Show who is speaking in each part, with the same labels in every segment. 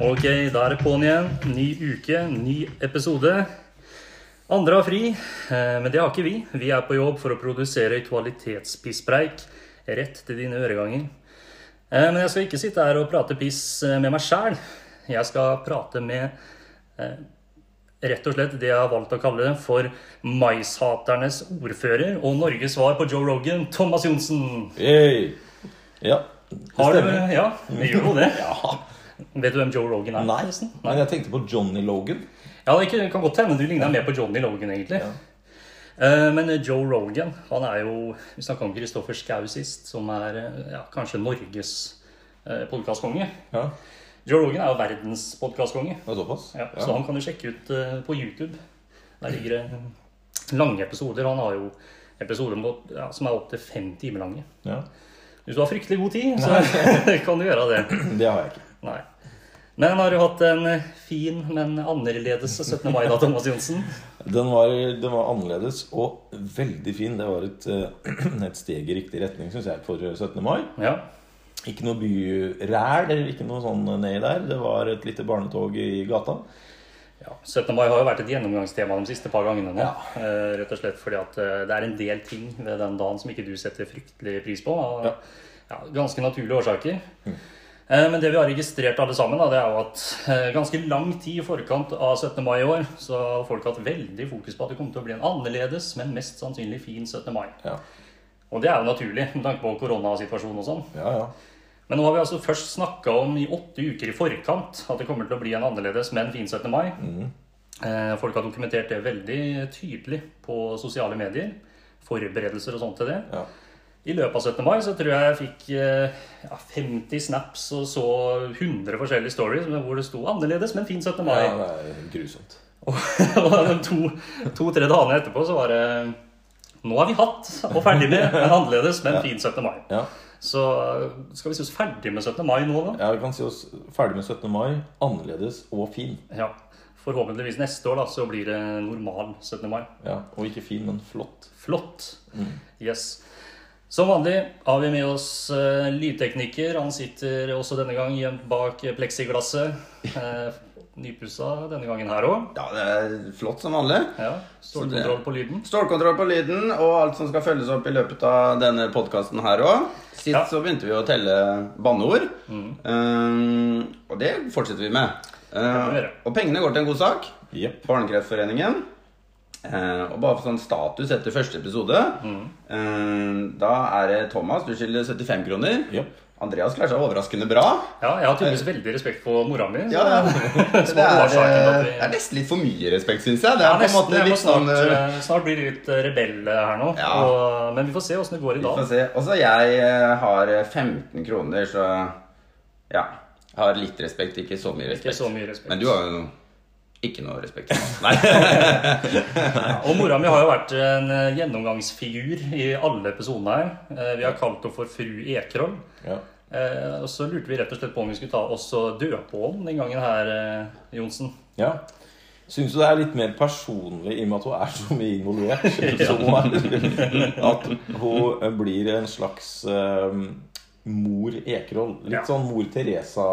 Speaker 1: Ok, da er det på'n igjen. Ny uke, ny episode. Andre har fri, eh, men det har ikke vi. Vi er på jobb for å produsere kvalitetspisspreik rett til dine øreganger. Eh, Men jeg skal ikke sitte her og prate piss eh, med meg sjæl. Jeg skal prate med eh, rett og slett det jeg har valgt å kalle for maishaternes ordfører og Norges svar på Joe Rogan, Thomas Johnsen.
Speaker 2: Yay. Ja, det
Speaker 1: Har du
Speaker 2: stemmer.
Speaker 1: Ja, vi gjør jo det.
Speaker 2: Ja.
Speaker 1: Vet du hvem Joe Rogan er?
Speaker 2: Nei, men jeg tenkte på Johnny Logan.
Speaker 1: Ja, det kan godt hende du ligna mer på Johnny Logan, egentlig.
Speaker 2: Ja.
Speaker 1: Eh, Men Joe Rogan, han er jo Vi snakka om Kristoffer Schau sist, som er eh, ja, kanskje Norges podkastkonge.
Speaker 2: Ja,
Speaker 1: Joe Rogan er jo verdens podkastkonge,
Speaker 2: det var såpass.
Speaker 1: ja, sånn. så han kan du sjekke ut eh, på YouTube. Der ligger det lange episoder. Han har jo episoder mot- ja, som er opptil fem timer lange.
Speaker 2: Ja.
Speaker 1: Hvis du har fryktelig god tid, så kan du gjøre det.
Speaker 2: Det har jeg ikke.
Speaker 1: Nei. Men har du hatt en eh, fin, men annerledes 17. mai da, Thomas Johnsen?
Speaker 2: Den var, den var annerledes og veldig fin. Det var et, eh, et steg i riktig retning, syns jeg, for 17. mai.
Speaker 1: Ja.
Speaker 2: Ikke noe byræl, eller ikke noe sånn nedi der. Det var et lite barnetog i gata.
Speaker 1: Ja, 17. mai har jo vært et gjennomgangstema de siste par gangene nå.
Speaker 2: Ja.
Speaker 1: Eh, rett og slett fordi at eh, det er en del ting ved den dagen som ikke du setter fryktelig pris på. Av ja.
Speaker 2: Ja.
Speaker 1: ganske naturlige årsaker. Eh, men det vi har registrert alle sammen, da, det er jo at eh, ganske lang tid i forkant av 17. mai i år, så har folk hatt veldig fokus på at det kommer til å bli en annerledes, men mest sannsynlig fin 17. mai.
Speaker 2: Ja,
Speaker 1: Og det er jo naturlig med tanke på koronasituasjonen og sånn.
Speaker 2: ja. ja.
Speaker 1: Men nå har vi altså først snakka om i åtte uker i forkant at det kommer til å bli en annerledes, men fin 17. mai.
Speaker 2: Mm.
Speaker 1: Eh, Folk har dokumentert det veldig tydelig på sosiale medier. Forberedelser og sånt til det.
Speaker 2: ja.
Speaker 1: I løpet av 17. mai så tror jeg jeg fikk eh, ja, 50 snaps og så 100 forskjellige stories men hvor det sto 'annerledes, men fin 17. mai'.
Speaker 2: ja det er grusomt.
Speaker 1: Og de to- to-tre dagene etterpå så var det 'Nå har vi hatt og ferdig med, men annerledes, men fin 17. mai'.
Speaker 2: Ja.
Speaker 1: Så eh, skal vi si oss ferdig med 17. mai nå, da?
Speaker 2: ja, vi kan si oss ferdig med 17. mai. Annerledes og fin.
Speaker 1: Ja. Forhåpentligvis neste år da, så blir det normal 17. mai.
Speaker 2: Ja, Og ikke fin, men flott.
Speaker 1: Flott.
Speaker 3: Mm.
Speaker 1: Yes. Som vanlig har vi med oss eh, lydtekniker. Han sitter også denne gang gjemt bak eh, pleksiglasset. Uh, nypussa denne gangen her òg.
Speaker 3: Ja, det er flott som vanlig.
Speaker 1: Ja. Stålkontroll på lyden.
Speaker 3: Stålkontroll på lyden og alt som skal følges opp i løpet av denne podkasten her òg. Sist
Speaker 1: Ja. Mm.
Speaker 3: så begynte vi å telle banneord, Ehm, og det fortsetter vi med.
Speaker 1: kan vi
Speaker 3: Ehm,
Speaker 1: gjøre.
Speaker 3: og pengene går til en god sak.
Speaker 2: Jepp.
Speaker 3: Barnekreftforeningen. Ehm, og bare for sånn status etter første episode
Speaker 1: Mm.
Speaker 3: ehm, Da er det Thomas. Du skylder 75 kroner.
Speaker 2: Jepp.
Speaker 3: Andreas klarer seg overraskende bra.
Speaker 1: Ja, jeg har tydeligvis veldig respekt for mora mi. så-
Speaker 3: Eh. Ja, ja.
Speaker 1: så
Speaker 3: Det er, eh,
Speaker 1: årsaken til at vi-
Speaker 3: det er nesten litt for mye respekt, syns jeg. Det
Speaker 1: Ja,
Speaker 3: er på en
Speaker 1: nesten.
Speaker 3: måte
Speaker 1: Jeg må
Speaker 3: litt
Speaker 1: snart,
Speaker 3: sånn eh,
Speaker 1: eh, snart blir de litt eh, rebell her nå.
Speaker 3: Ja.
Speaker 1: Og, eh, men vi får se åssen det går i
Speaker 3: Vi får
Speaker 1: dag.
Speaker 3: se. Og så jeg eh, har 15 kroner, så ja. Jeg har litt respekt, ikke så mye
Speaker 1: Ikke
Speaker 3: respekt.
Speaker 1: så mye respekt.
Speaker 3: Men du har jo ikke noe respekt. Nei.
Speaker 1: Og mora mi har jo vært en eh, gjennomgangsfigur i alle episodene her. Eh, Vi har kalt henne for fru Ekroll.
Speaker 2: Ja.
Speaker 1: Eh, Og så lurte vi rett og slett på om vi skulle ta oss og døpe henne den gangen her, eh, Johnsen.
Speaker 2: Ja. Syns du det er litt mer personlig i og med at hun er så mye involvert? som hun er, At hun blir en slags eh, mor Ekerhold. Litt
Speaker 1: Ja.
Speaker 2: sånn mor Teresa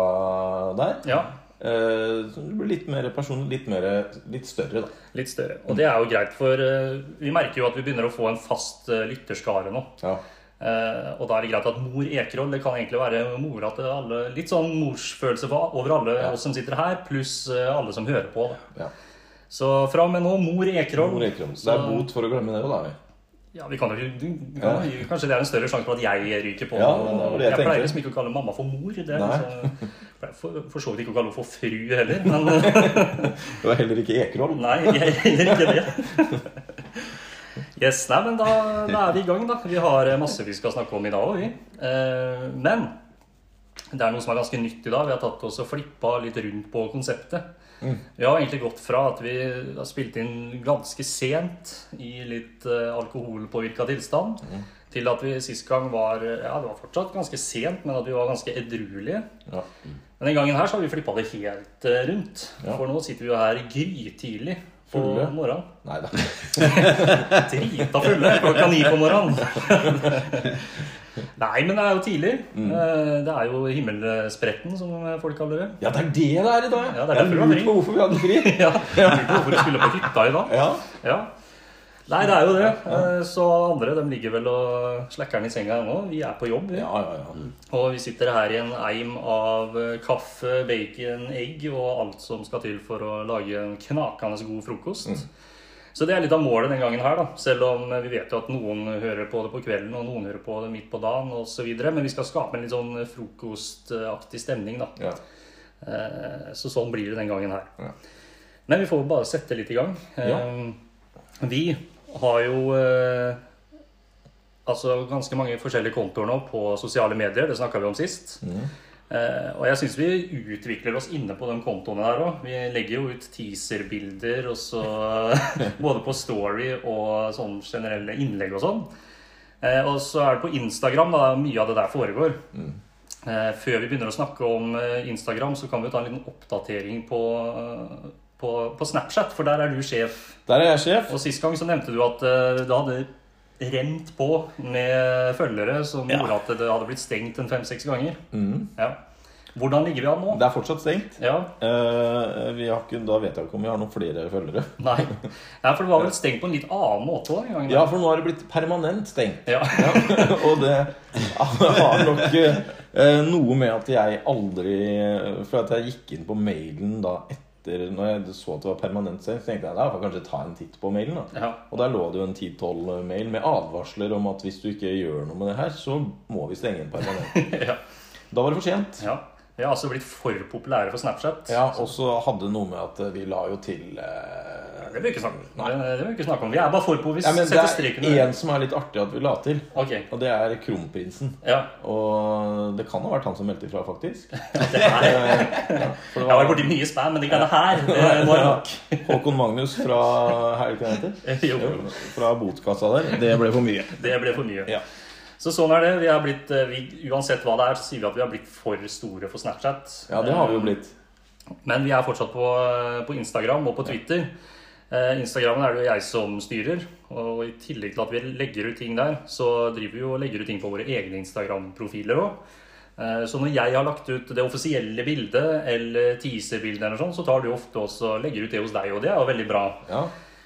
Speaker 2: der.
Speaker 1: Ja,
Speaker 2: Eh, så det blir litt mer personlig, litt, mer, litt større, da.
Speaker 1: litt større. Og det er jo greit, for eh, vi merker jo at vi begynner å få en fast eh, lytterskare nå.
Speaker 2: Ja.
Speaker 1: Eh, og da er det greit at mor Ekroll det kan egentlig være mora til alle. Litt sånn morsfølelse for- over alle
Speaker 2: Ja.
Speaker 1: oss som sitter her, pluss eh, alle som hører på. Da.
Speaker 2: ja.
Speaker 1: Så fra og med nå, mor Ekroll.
Speaker 2: Mor Ekerhold. Det er bot for å glemme det òg, da.
Speaker 1: Ja, vi kan jo ikke vi kan, jo- Kanskje det er en større sjanse for at jeg ryker på.
Speaker 2: Ja, det var det
Speaker 1: jeg
Speaker 2: jeg
Speaker 1: pleier
Speaker 2: tenkte.
Speaker 1: liksom ikke å kalle mamma for mor. Det, er
Speaker 2: Nei.
Speaker 1: liksom, jeg pleier for, for så vidt ikke å kalle henne for fru heller, men
Speaker 2: Det var heller ikke Ekerhold.
Speaker 1: nei, jeg gjør ikke det. Yes, nei, men da, da er vi i gang, da. Vi har eh, masse vi skal snakke om i dag òg, vi. Eh, Men det er noe som er ganske nytt i dag. Vi har tatt oss og flippa litt rundt på konseptet. Vi har egentlig gått fra at vi har spilt inn ganske sent i litt eh, alkoholpåvirka tilstand, til at vi sist gang var eh, Ja, det var fortsatt ganske sent, men at vi var ganske edruelige.
Speaker 2: Ja.
Speaker 1: Men den gangen her så har vi flippa det helt eh, rundt.
Speaker 2: Ja.
Speaker 1: For nå sitter vi jo her grytidlig på
Speaker 2: Fulle.
Speaker 1: morgenen.
Speaker 2: Nei da.
Speaker 1: Drita fulle klokka ni på morgenen. Nei, men det er jo tidlig.
Speaker 2: Mm.
Speaker 1: Eh, Det er jo himmelspretten, som folk kaller det.
Speaker 2: Ja, det er det det er i dag!
Speaker 1: Ja, det er
Speaker 2: Jeg
Speaker 1: derfor man
Speaker 2: lurer på hvorfor vi hadde fri.
Speaker 1: Ja, jeg lurer på hvorfor du skulle på hytta i dag.
Speaker 2: Ja,
Speaker 1: Ja. Nei, det er jo det. Eh, Så andre de ligger vel og slacker den i senga ennå. Vi er på jobb. vi.
Speaker 2: ja, ja. ja.
Speaker 1: Og vi sitter her i en eim av eh, kaffe, bacon, egg og alt som skal til for å lage en knakende god frokost. Så det er litt av målet den gangen her, da. Selv om eh, vi vet jo at noen hører på det på kvelden, og noen hører på det midt på dagen osv. Men vi skal skape en litt sånn frokostaktig stemning, da.
Speaker 2: ja.
Speaker 1: Eh, Så sånn blir det den gangen her.
Speaker 2: Ja.
Speaker 1: Men vi får bare sette litt i gang. Eh, Vi har jo eh, altså ganske mange forskjellige kontoer nå på sosiale medier. Det snakka vi om sist. Eh, og jeg syns vi utvikler oss inne på de kontoene der òg. Vi legger jo ut teaserbilder og så både på story og sånn generelle innlegg og sånn. Eh, og så er det på Instagram da mye av det der foregår. Eh, før vi begynner å snakke om eh, Instagram, så kan vi jo ta en liten oppdatering på, eh, på, på Snapchat, for der er du sjef.
Speaker 2: Der er jeg sjef.
Speaker 1: Og sist gang så nevnte du at eh, det hadde rent på med følgere som
Speaker 2: Ja.
Speaker 1: gjorde at det hadde blitt stengt en fem-seks ganger.
Speaker 2: Mhm.
Speaker 1: Ja. Hvordan ligger vi an nå?
Speaker 2: Det er fortsatt stengt.
Speaker 1: Ja,
Speaker 2: Eh, vi har ikke, da vet jeg ikke om vi har noen flere følgere.
Speaker 1: nei. Ja, for det var vel stengt på en litt annen måte òg en gang. da.
Speaker 2: Ja, for nå har det blitt permanent stengt.
Speaker 1: Ja.
Speaker 2: Ja, og det har nok eh, noe med at jeg aldri For at jeg gikk inn på mailen da etter Når jeg så at det var permanent stengt, så tenkte jeg da får jeg kanskje ta en titt på mailen. da
Speaker 1: Ja.
Speaker 2: Og der lå det jo en 10-12 mail med advarsler om at hvis du ikke gjør noe med det her, så må vi stenge inn permanent.
Speaker 1: ja.
Speaker 2: Da var det for sent.
Speaker 1: ja. Vi har altså blitt for populære for Snapchat.
Speaker 2: Ja, og så hadde det noe med at vi la jo til eh,
Speaker 1: Det vil vi ikke snakke om. Det, det vil vi ikke snakke om. Vi er bare for på. Vi
Speaker 2: ja, men Det
Speaker 1: setter
Speaker 2: er
Speaker 1: streken under.
Speaker 2: én som er litt artig at vi la til,
Speaker 1: Ok.
Speaker 2: og det er kronprinsen.
Speaker 1: Ja.
Speaker 2: Og det kan ha vært han som meldte ifra, faktisk. Eh,
Speaker 1: Det er, jeg
Speaker 2: For det
Speaker 1: har vært
Speaker 2: var
Speaker 1: borti mye spam, men det greiene her, det var nok.
Speaker 2: Håkon Magnus fra her, ikke det heter?
Speaker 1: Jo,
Speaker 2: Jo, Fra botkassa der. Det ble for mye.
Speaker 1: det ble for mye.
Speaker 2: Ja.
Speaker 1: Så sånn er det. Vi er blitt, eh, vi, uansett hva det er, så sier vi at vi har blitt for store for Snapchat. Eh,
Speaker 2: ja, det har vi jo blitt.
Speaker 1: Men vi er fortsatt på, eh, på Instagram og på Twitter. Eh, Instagramen er det jo jeg som styrer. Og i tillegg til at vi legger ut ting der, så driver vi jo og legger ut ting på våre egne Instagram-profiler òg. Så når jeg har lagt ut det offisielle bildet eller teaserbildet, eller sånn, så tar du ofte også og legger ut det hos deg, og det er jo veldig bra.
Speaker 2: Ja.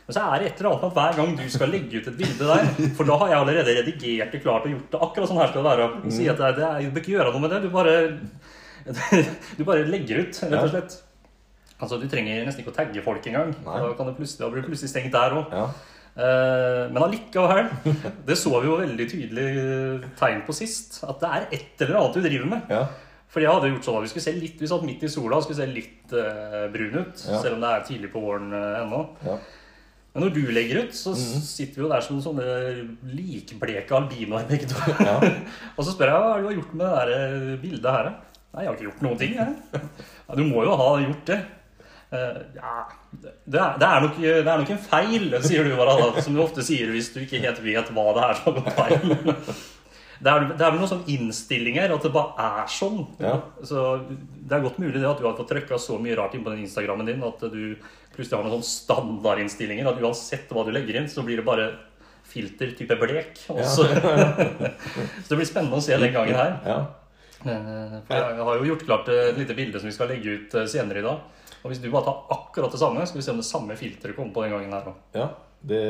Speaker 1: Men så er det et eller annet med at hver gang du skal legge ut et bilde der For da har jeg allerede redigert det klart og gjort det akkurat sånn her skal det være. Og si at det er, det er, du bør ikke gjøre noe med det. Du bare, du bare legger ut, rett og slett. Altså, Du trenger nesten ikke å tagge folk engang.
Speaker 2: Nei.
Speaker 1: Da kan det plutselig, da blir det plutselig stengt der òg.
Speaker 2: ja.
Speaker 1: Men allikevel, det så vi jo veldig tydelig eh, tegn på sist, at det er et eller annet du driver med.
Speaker 2: ja.
Speaker 1: Fordi jeg hadde gjort sånn at vi skulle se litt, vi satt midt i sola og skulle se litt eh, brun ut.
Speaker 2: Ja.
Speaker 1: Selv om det er tidlig på våren eh, ennå.
Speaker 2: ja.
Speaker 1: Men når du legger ut, så sitter vi jo der som sånne likbleke albinoer begge to.
Speaker 2: Ja.
Speaker 1: og så spør jeg hva er det du har gjort med det der eh, bildet her? da?» Nei, jeg har ikke gjort noen ting. Jeg. Ja, du må jo ha gjort det. «Eh, ja, det, det er, det, er nok, det er nok en feil, sier du bare, da, som du ofte sier hvis du ikke helt vet hva det er som har gått feil. Det er, det er vel noen sånne innstillinger at det bare er sånn.
Speaker 2: Ja.
Speaker 1: Så Det er godt mulig det at du har fått trykka så mye rart inn på den Instagrammen din at du plutselig har noen sånne standardinnstillinger at uansett hva du legger inn, så blir det bare filter type blek. Og så- så det blir spennende å se den gangen her.
Speaker 2: ja.
Speaker 1: Eh, For jeg har jo gjort klart eh, et lite bilde som vi skal legge ut eh, senere i dag. Og hvis du bare tar akkurat det samme, skal vi se om det samme filteret kommer på den gangen her òg.
Speaker 2: ja. Det,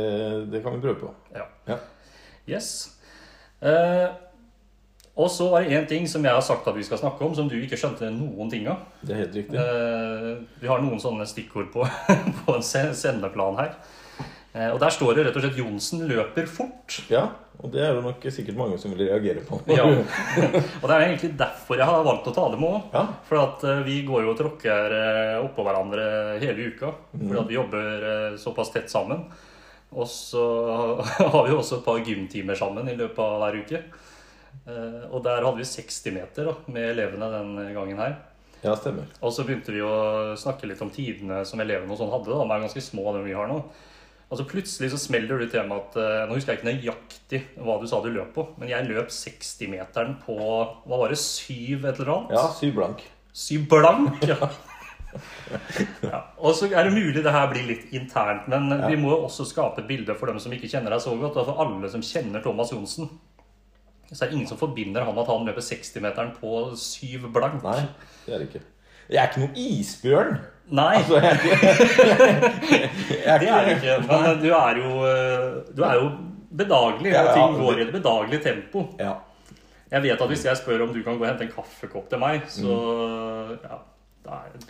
Speaker 2: det kan vi prøve på.
Speaker 1: Ja.
Speaker 2: Ja.
Speaker 1: Yes. Eh, og så var det én ting som jeg har sagt at vi skal snakke om, som du ikke skjønte noen ting av.
Speaker 2: Det er helt riktig.
Speaker 1: Eh, vi har noen sånne stikkord på, på en se- sendeplan her. Eh, og der står det rett og slett 'Johnsen løper fort'.
Speaker 2: Ja, og det er jo nok sikkert mange som vil reagere på.
Speaker 1: Ja. og det er egentlig derfor jeg har valgt å ta det med òg.
Speaker 2: Ja.
Speaker 1: For at eh, vi går jo og tråkker eh, oppå hverandre hele uka. Fordi at vi jobber eh, såpass tett sammen. Og så har vi jo også et par gymtimer sammen i løpet av hver uke. Eh, Og der hadde vi 60 meter da, med elevene den gangen her.
Speaker 2: Ja, stemmer.
Speaker 1: Og så begynte vi å snakke litt om tidene som elevene og sånn hadde. da, De er ganske små, de vi har nå. Og så plutselig så smeller det ut til meg at eh, Nå husker jeg ikke nøyaktig hva du sa du løp på, men jeg løp 60-meteren på Hva var det? Syv et eller annet?
Speaker 2: Ja, syv blank.
Speaker 1: Syv blank, ja. ja. Og så er det mulig det her blir litt internt, men vi må jo også skape et bilde for dem som ikke kjenner deg så godt, og for alle som kjenner Thomas Johnsen. Så er det ingen som forbinder han med at han løper 60-meteren på syv blank.
Speaker 2: Nei, det er det ikke. Jeg er ikke noen isbjørn.
Speaker 1: Nei,
Speaker 2: Så jeg er ikke, jeg er
Speaker 1: det er det ikke. Men du er jo, eh, du er jo bedagelig,
Speaker 2: Ja,
Speaker 1: og
Speaker 2: ja,
Speaker 1: ting
Speaker 2: det-
Speaker 1: går i et bedagelig tempo.
Speaker 2: Ja.
Speaker 1: Jeg vet at hvis jeg spør om du kan gå og hente en kaffekopp til meg, så
Speaker 2: Mm.
Speaker 1: ja, da er det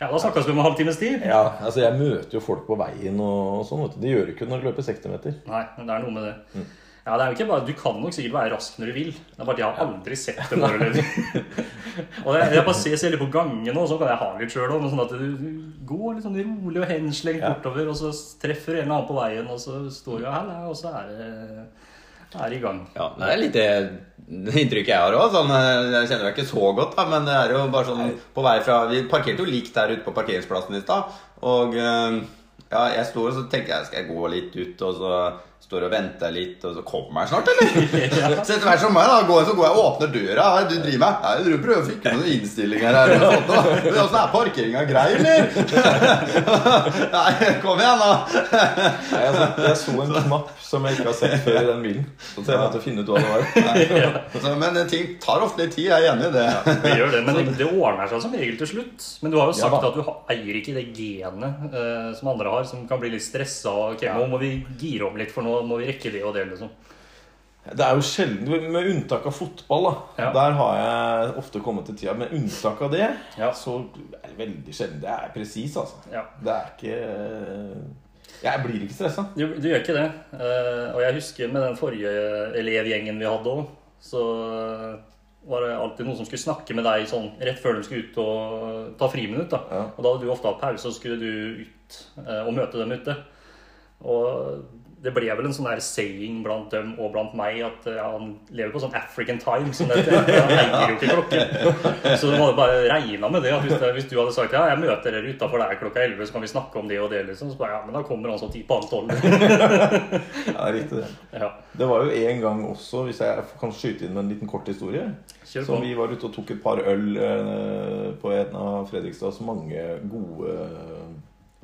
Speaker 1: ja, da snakkes vi om en halvtimes tid.
Speaker 2: ja, altså jeg møter jo folk på veien og sånn. Vet du. Det gjør du ikke når du løper 60 meter.
Speaker 1: Nei, men det er noe med det.
Speaker 2: Mm.
Speaker 1: Ja, det er jo ikke bare, Du kan nok sikkert være rask når du vil. Det er bare at jeg har aldri sett det når du løper. og jeg, jeg bare ser, ser litt på gangene, og så kan jeg ha litt sjøl òg. Sånn at du du går litt sånn rolig og henslengt
Speaker 2: Ja.
Speaker 1: bortover, og så treffer du en eller annen på veien, og så står du her, nei, og så er det, er det i gang.
Speaker 3: Ja, det er litt det inntrykket jeg har òg. Sånn, eh, jeg kjenner deg ikke så godt, da, men det er jo bare sånn på vei fra Vi parkerte jo likt her ute på parkeringsplassen i stad. Og eh, ja, jeg sto og så tenkte jeg skal jeg gå litt ut, og så står jeg og venter litt, og så kommer jeg snart, eller? Så etter hvert som meg, da, går, jeg- så går jeg og åpner døra. Hva er det du driver med? Nei, du prøver å fikle noen innstillinger her. Eller noe sånt, da. Men åssen er parkeringa grei, eller? Nei, kom igjen, da.
Speaker 2: Nei, altså, jeg så en knapp som jeg ikke har sett før i den bilen. Så jeg måtte finne ut hva det var.
Speaker 3: Så, men ting tar ofte litt tid. Jeg er enig i det.
Speaker 1: Det gjør det, men det, det ordner seg som regel til slutt. Men du har jo
Speaker 2: Ja
Speaker 1: sagt
Speaker 2: da.
Speaker 1: at du ha- eier ikke det genet eh, som andre har, som kan bli litt stressa. og, Ok, nå må vi gire om litt, for nå må vi rekke det og det. liksom.
Speaker 2: Det er jo sjelden, Med unntak av fotball, da.
Speaker 1: Ja.
Speaker 2: Der har jeg ofte kommet til tida. Med unntak av det,
Speaker 1: Ja.
Speaker 2: så er det veldig sjelden. Det er presis, altså.
Speaker 1: Ja.
Speaker 2: Det er ikke eh, Jeg blir ikke stressa.
Speaker 1: Du, du gjør ikke det. Eh, og jeg husker med den forrige elevgjengen vi hadde òg, så eh, var det alltid noen som skulle snakke med deg sånn rett før de skulle ut og ta friminutt. da.
Speaker 2: Ja.
Speaker 1: Og da hadde du ofte hatt pause, og så skulle du ut eh, og møte dem ute. Og det ble vel en sånn her saying blant dem og blant meg at eh, ja, han lever på sånn African time. som det heter. Han eier jo ikke klokken. Så det var bare regna med det. at hvis, det- hvis du hadde sagt ja, jeg møter dere utafor der klokka 11, så kan vi snakke om det og det, liksom. Så bare, ja, men da kommer han sånn ti på halv tolv.
Speaker 2: Ja, riktig det.
Speaker 1: Ja,
Speaker 2: Det var jo en gang også, hvis jeg kan skyte inn med en liten kort historie
Speaker 1: Kjør
Speaker 2: Så
Speaker 1: på.
Speaker 2: vi var ute og tok et par øl eh, på en av Fredrikstads mange gode eh,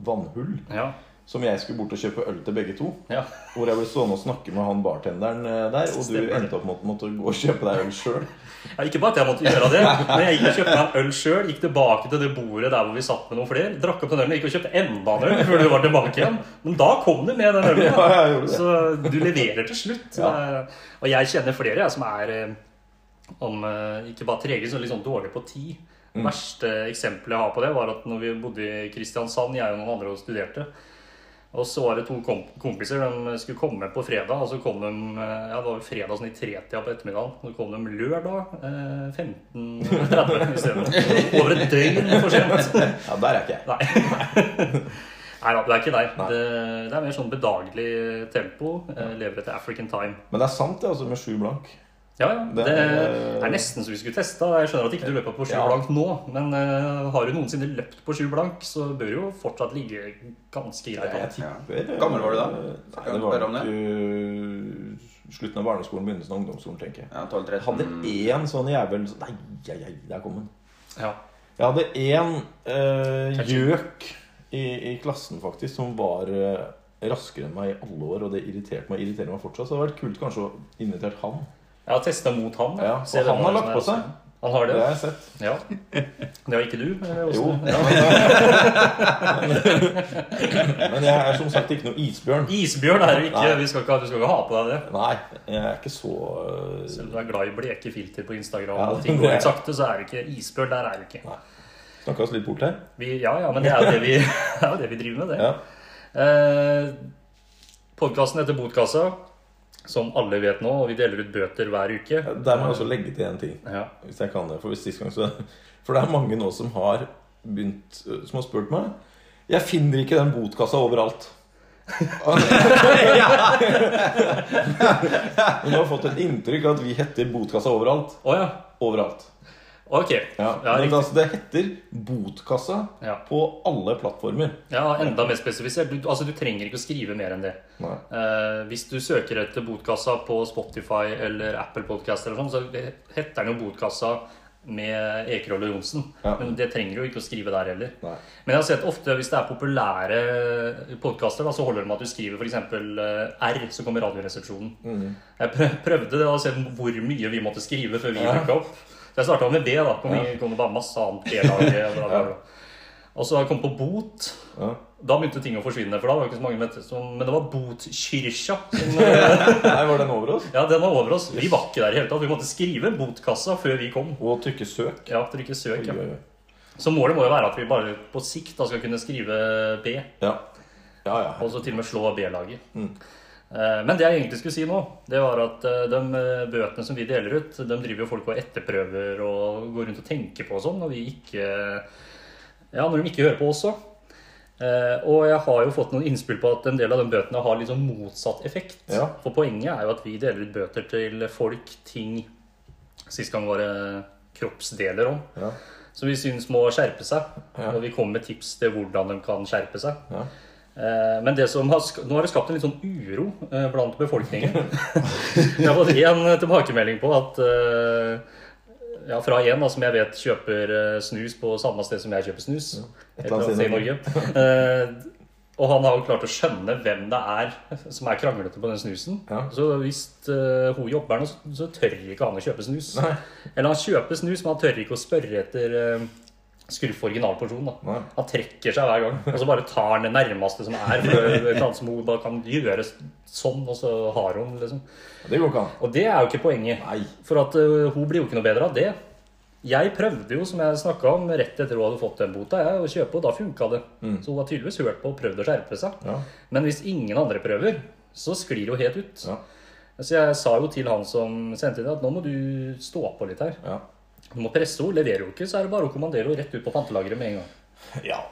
Speaker 2: vannhull.
Speaker 1: ja,
Speaker 2: Som jeg skulle bort og kjøpe øl til begge to.
Speaker 1: ja.
Speaker 2: Hvor jeg ble stående og snakke med han bartenderen eh, der, og du
Speaker 1: Stemmer det.
Speaker 2: endte opp med at du måtte gå og kjøpe deg øl sjøl.
Speaker 1: ja. Ikke bare at jeg måtte gjøre det, men jeg gikk og kjøpte meg en øl sjøl. Gikk tilbake til det bordet der hvor vi satt med noen flere. Drakk opp den ølen, gikk og kjøpte enda en øl før du var tilbake igjen. Men da kom du med den ølen.
Speaker 2: Ja, jeg gjorde det.
Speaker 1: Så du leverer til slutt. Så
Speaker 2: Ja.
Speaker 1: det er- Og jeg kjenner flere jeg, som er eh, om eh, ikke bare trege, så litt sånn dårlig på tid.
Speaker 2: Mm.
Speaker 1: Det verste eksempelet jeg har på det, var at når vi bodde i Kristiansand, jeg og noen andre og studerte, og så var det to kom kompiser, de skulle komme på fredag, og så kom de eh, ja, det var jo fredag sånn i tretida på ettermiddagen. Så kom de lørdag eh, 15.30 isteden. Over et døgn for sent.
Speaker 2: Ja, der er ikke jeg.
Speaker 1: Nei. Nei da, det er ikke deg. Det, det er mer sånn bedagelig tempo. Eh, lever etter African time.
Speaker 2: Men det er sant, det, altså, med sju blank.
Speaker 1: Ja, ja. Det,
Speaker 2: Det er- eh,
Speaker 1: er nesten så vi skulle testa. Jeg skjønner at ikke du løper på sju
Speaker 2: Ja.
Speaker 1: blank nå, men eh, har du noensinne løpt på sju blank, så bør jo fortsatt ligge ganske greit
Speaker 2: Jeg
Speaker 1: an.
Speaker 2: tipper eh,
Speaker 3: Hvor gammel var du da?
Speaker 2: Nei,
Speaker 3: Kan
Speaker 2: det
Speaker 3: du
Speaker 2: var
Speaker 3: spørre om det?
Speaker 2: ikke slutten av barneskolen, begynnelsen av ungdomsskolen, tenker jeg.
Speaker 3: Ja, 12-13.
Speaker 2: Jeg hadde én sånn jævel Nei, ei, ei, der kom den.
Speaker 1: Ja.
Speaker 2: Jeg hadde én eh, gjøk i, i klassen faktisk som var eh, raskere enn meg i alle år, og det irriterte meg, irriterer meg fortsatt. Så det hadde vært kult kanskje å invitere han.
Speaker 1: Jeg har testa mot han.
Speaker 2: Ja,
Speaker 1: Se
Speaker 2: og
Speaker 1: hvem
Speaker 2: han har
Speaker 1: som
Speaker 2: lagt
Speaker 1: er-
Speaker 2: på seg.
Speaker 1: Han har
Speaker 2: Det
Speaker 1: det?
Speaker 2: har jeg sett.
Speaker 1: Ja. Det har ikke du? eh, Åsne?
Speaker 2: Jo. Men jeg er som sagt ikke noe isbjørn.
Speaker 1: Isbjørn er du ikke.
Speaker 2: Nei.
Speaker 1: Vi skal ikke, ha- du skal ikke ha på deg det.
Speaker 2: Nei, jeg er ikke så eh,
Speaker 1: Selv om du er glad i bleke filter på Instagram,
Speaker 2: Ja,
Speaker 1: og ting
Speaker 2: det
Speaker 1: går
Speaker 2: er-
Speaker 1: litt sakte, så er du ikke isbjørn. Der er du ikke.
Speaker 2: Snakka oss litt bort her.
Speaker 1: Vi, ja, ja, men det er jo det vi, det er jo det vi driver med, det.
Speaker 2: Ja.
Speaker 1: Eh, Podkasten heter Botkassa, som alle vet nå, og vi deler ut bøter hver uke.
Speaker 2: Der må jeg også legge til en ting.
Speaker 1: Ja.
Speaker 2: Hvis jeg kan det. For sist gang så For det er mange nå som har begynt øh, Som har spurt meg Jeg finner ikke den botkassa overalt. Men du har fått et inntrykk av at vi heter Botkassa overalt.
Speaker 1: Å ja.
Speaker 2: Overalt.
Speaker 1: Ok.
Speaker 2: Ja.
Speaker 1: Ja,
Speaker 2: Men
Speaker 1: riktig.
Speaker 2: altså, det heter Botkassa
Speaker 1: Ja.
Speaker 2: på alle plattformer.
Speaker 1: ja, enda mer spesifisert. Du, altså, du trenger ikke å skrive mer enn det.
Speaker 2: Nei.
Speaker 1: Eh, hvis du søker etter Botkassa på Spotify eller Apple Podcast, eller sånn, så heter den jo Botkassa med Ekerhol og Johnsen.
Speaker 2: Ja.
Speaker 1: Men det trenger du jo ikke å skrive der heller.
Speaker 2: Nei.
Speaker 1: Men jeg har sett ofte, hvis det er populære podkaster, så holder det med at du skriver f.eks. R, så kommer Radioresepsjonen.
Speaker 2: Mm.
Speaker 1: Jeg prø- prøvde det å se hvor mye vi måtte skrive før vi
Speaker 2: Ja.
Speaker 1: dukka opp. Så jeg starta med det. da, Hvor mye kom det bare masse annet B-laget. bla, bla, bla. Og så har jeg kommet på bot.
Speaker 2: Ja.
Speaker 1: Da begynte ting å forsvinne, for da var det ikke så mange meter som Men det var Botkircha. som- eh,
Speaker 2: Nei, var den over oss?
Speaker 1: Ja, den var over oss. Vi var ikke der i hele tatt. Vi måtte skrive botkassa før vi kom.
Speaker 2: Og trykke søk.
Speaker 1: Ja, trykke søk.
Speaker 2: Oi,
Speaker 1: Ja.
Speaker 2: oi, oi.
Speaker 1: Så målet må jo være at vi bare på sikt da skal kunne skrive B,
Speaker 2: Ja. Ja, ja.
Speaker 1: og så til og med slå B-laget. Eh, Men det jeg egentlig skulle si nå, det var at eh, de eh, bøtene som vi deler ut, de driver jo folk og etterprøver og går rundt og tenker på og sånn, når vi ikke Ja, når de ikke hører på oss òg. Og jeg har jo fått noen innspill på at en del av de bøtene har liksom motsatt effekt.
Speaker 2: Ja.
Speaker 1: For poenget er jo at vi deler ut bøter til folk, ting Sist gang var det kroppsdeler om.
Speaker 2: ja.
Speaker 1: Som vi syns må skjerpe seg.
Speaker 2: Ja.
Speaker 1: Og vi kommer med tips til hvordan de kan skjerpe seg.
Speaker 2: ja.
Speaker 1: Eh, Men det som har, sk- nå har det skapt en litt sånn uro eh, blant befolkningen. Jeg har fått én tilbakemelding på at eh, ja, Fra en da, som jeg vet kjøper eh, snus på samme sted som jeg kjøper snus. Et eller annet sted i Norge. Eh, Og han har jo klart å skjønne hvem det er som er kranglete på den snusen.
Speaker 2: Ja.
Speaker 1: Så hvis eh, hun jobber nå, så- så tør ikke han å kjøpe snus.
Speaker 2: Nei.
Speaker 1: Eller han kjøper snus, men han tør ikke å spørre etter eh, Skruff originalporsjon, da.
Speaker 2: Nei.
Speaker 1: Han trekker seg hver gang. Og så bare tar han det nærmeste som er. For et eller annet som hun da kan gjøre sånn, og så har hun liksom.
Speaker 2: Det går ikke an.
Speaker 1: Og det er jo ikke poenget.
Speaker 2: Nei.
Speaker 1: For at ø, hun blir jo ikke noe bedre av det. Jeg prøvde jo, som jeg snakket om, rett etter hun hadde fått den bota, jeg, å kjøpe, og da funka det. Så hun har tydeligvis hørt på og prøvd å skjerpe seg.
Speaker 2: Mm. Ja.
Speaker 1: Men hvis ingen andre prøver, så sklir hun helt ut.
Speaker 2: Ja.
Speaker 1: Så jeg sa jo til han som sendte inn, at nå må du stå på litt her.
Speaker 2: Ja.
Speaker 1: Du må presse henne. Leverer hun ikke, så er det bare å kommandere henne rett ut på pantelageret med en gang.
Speaker 2: ja.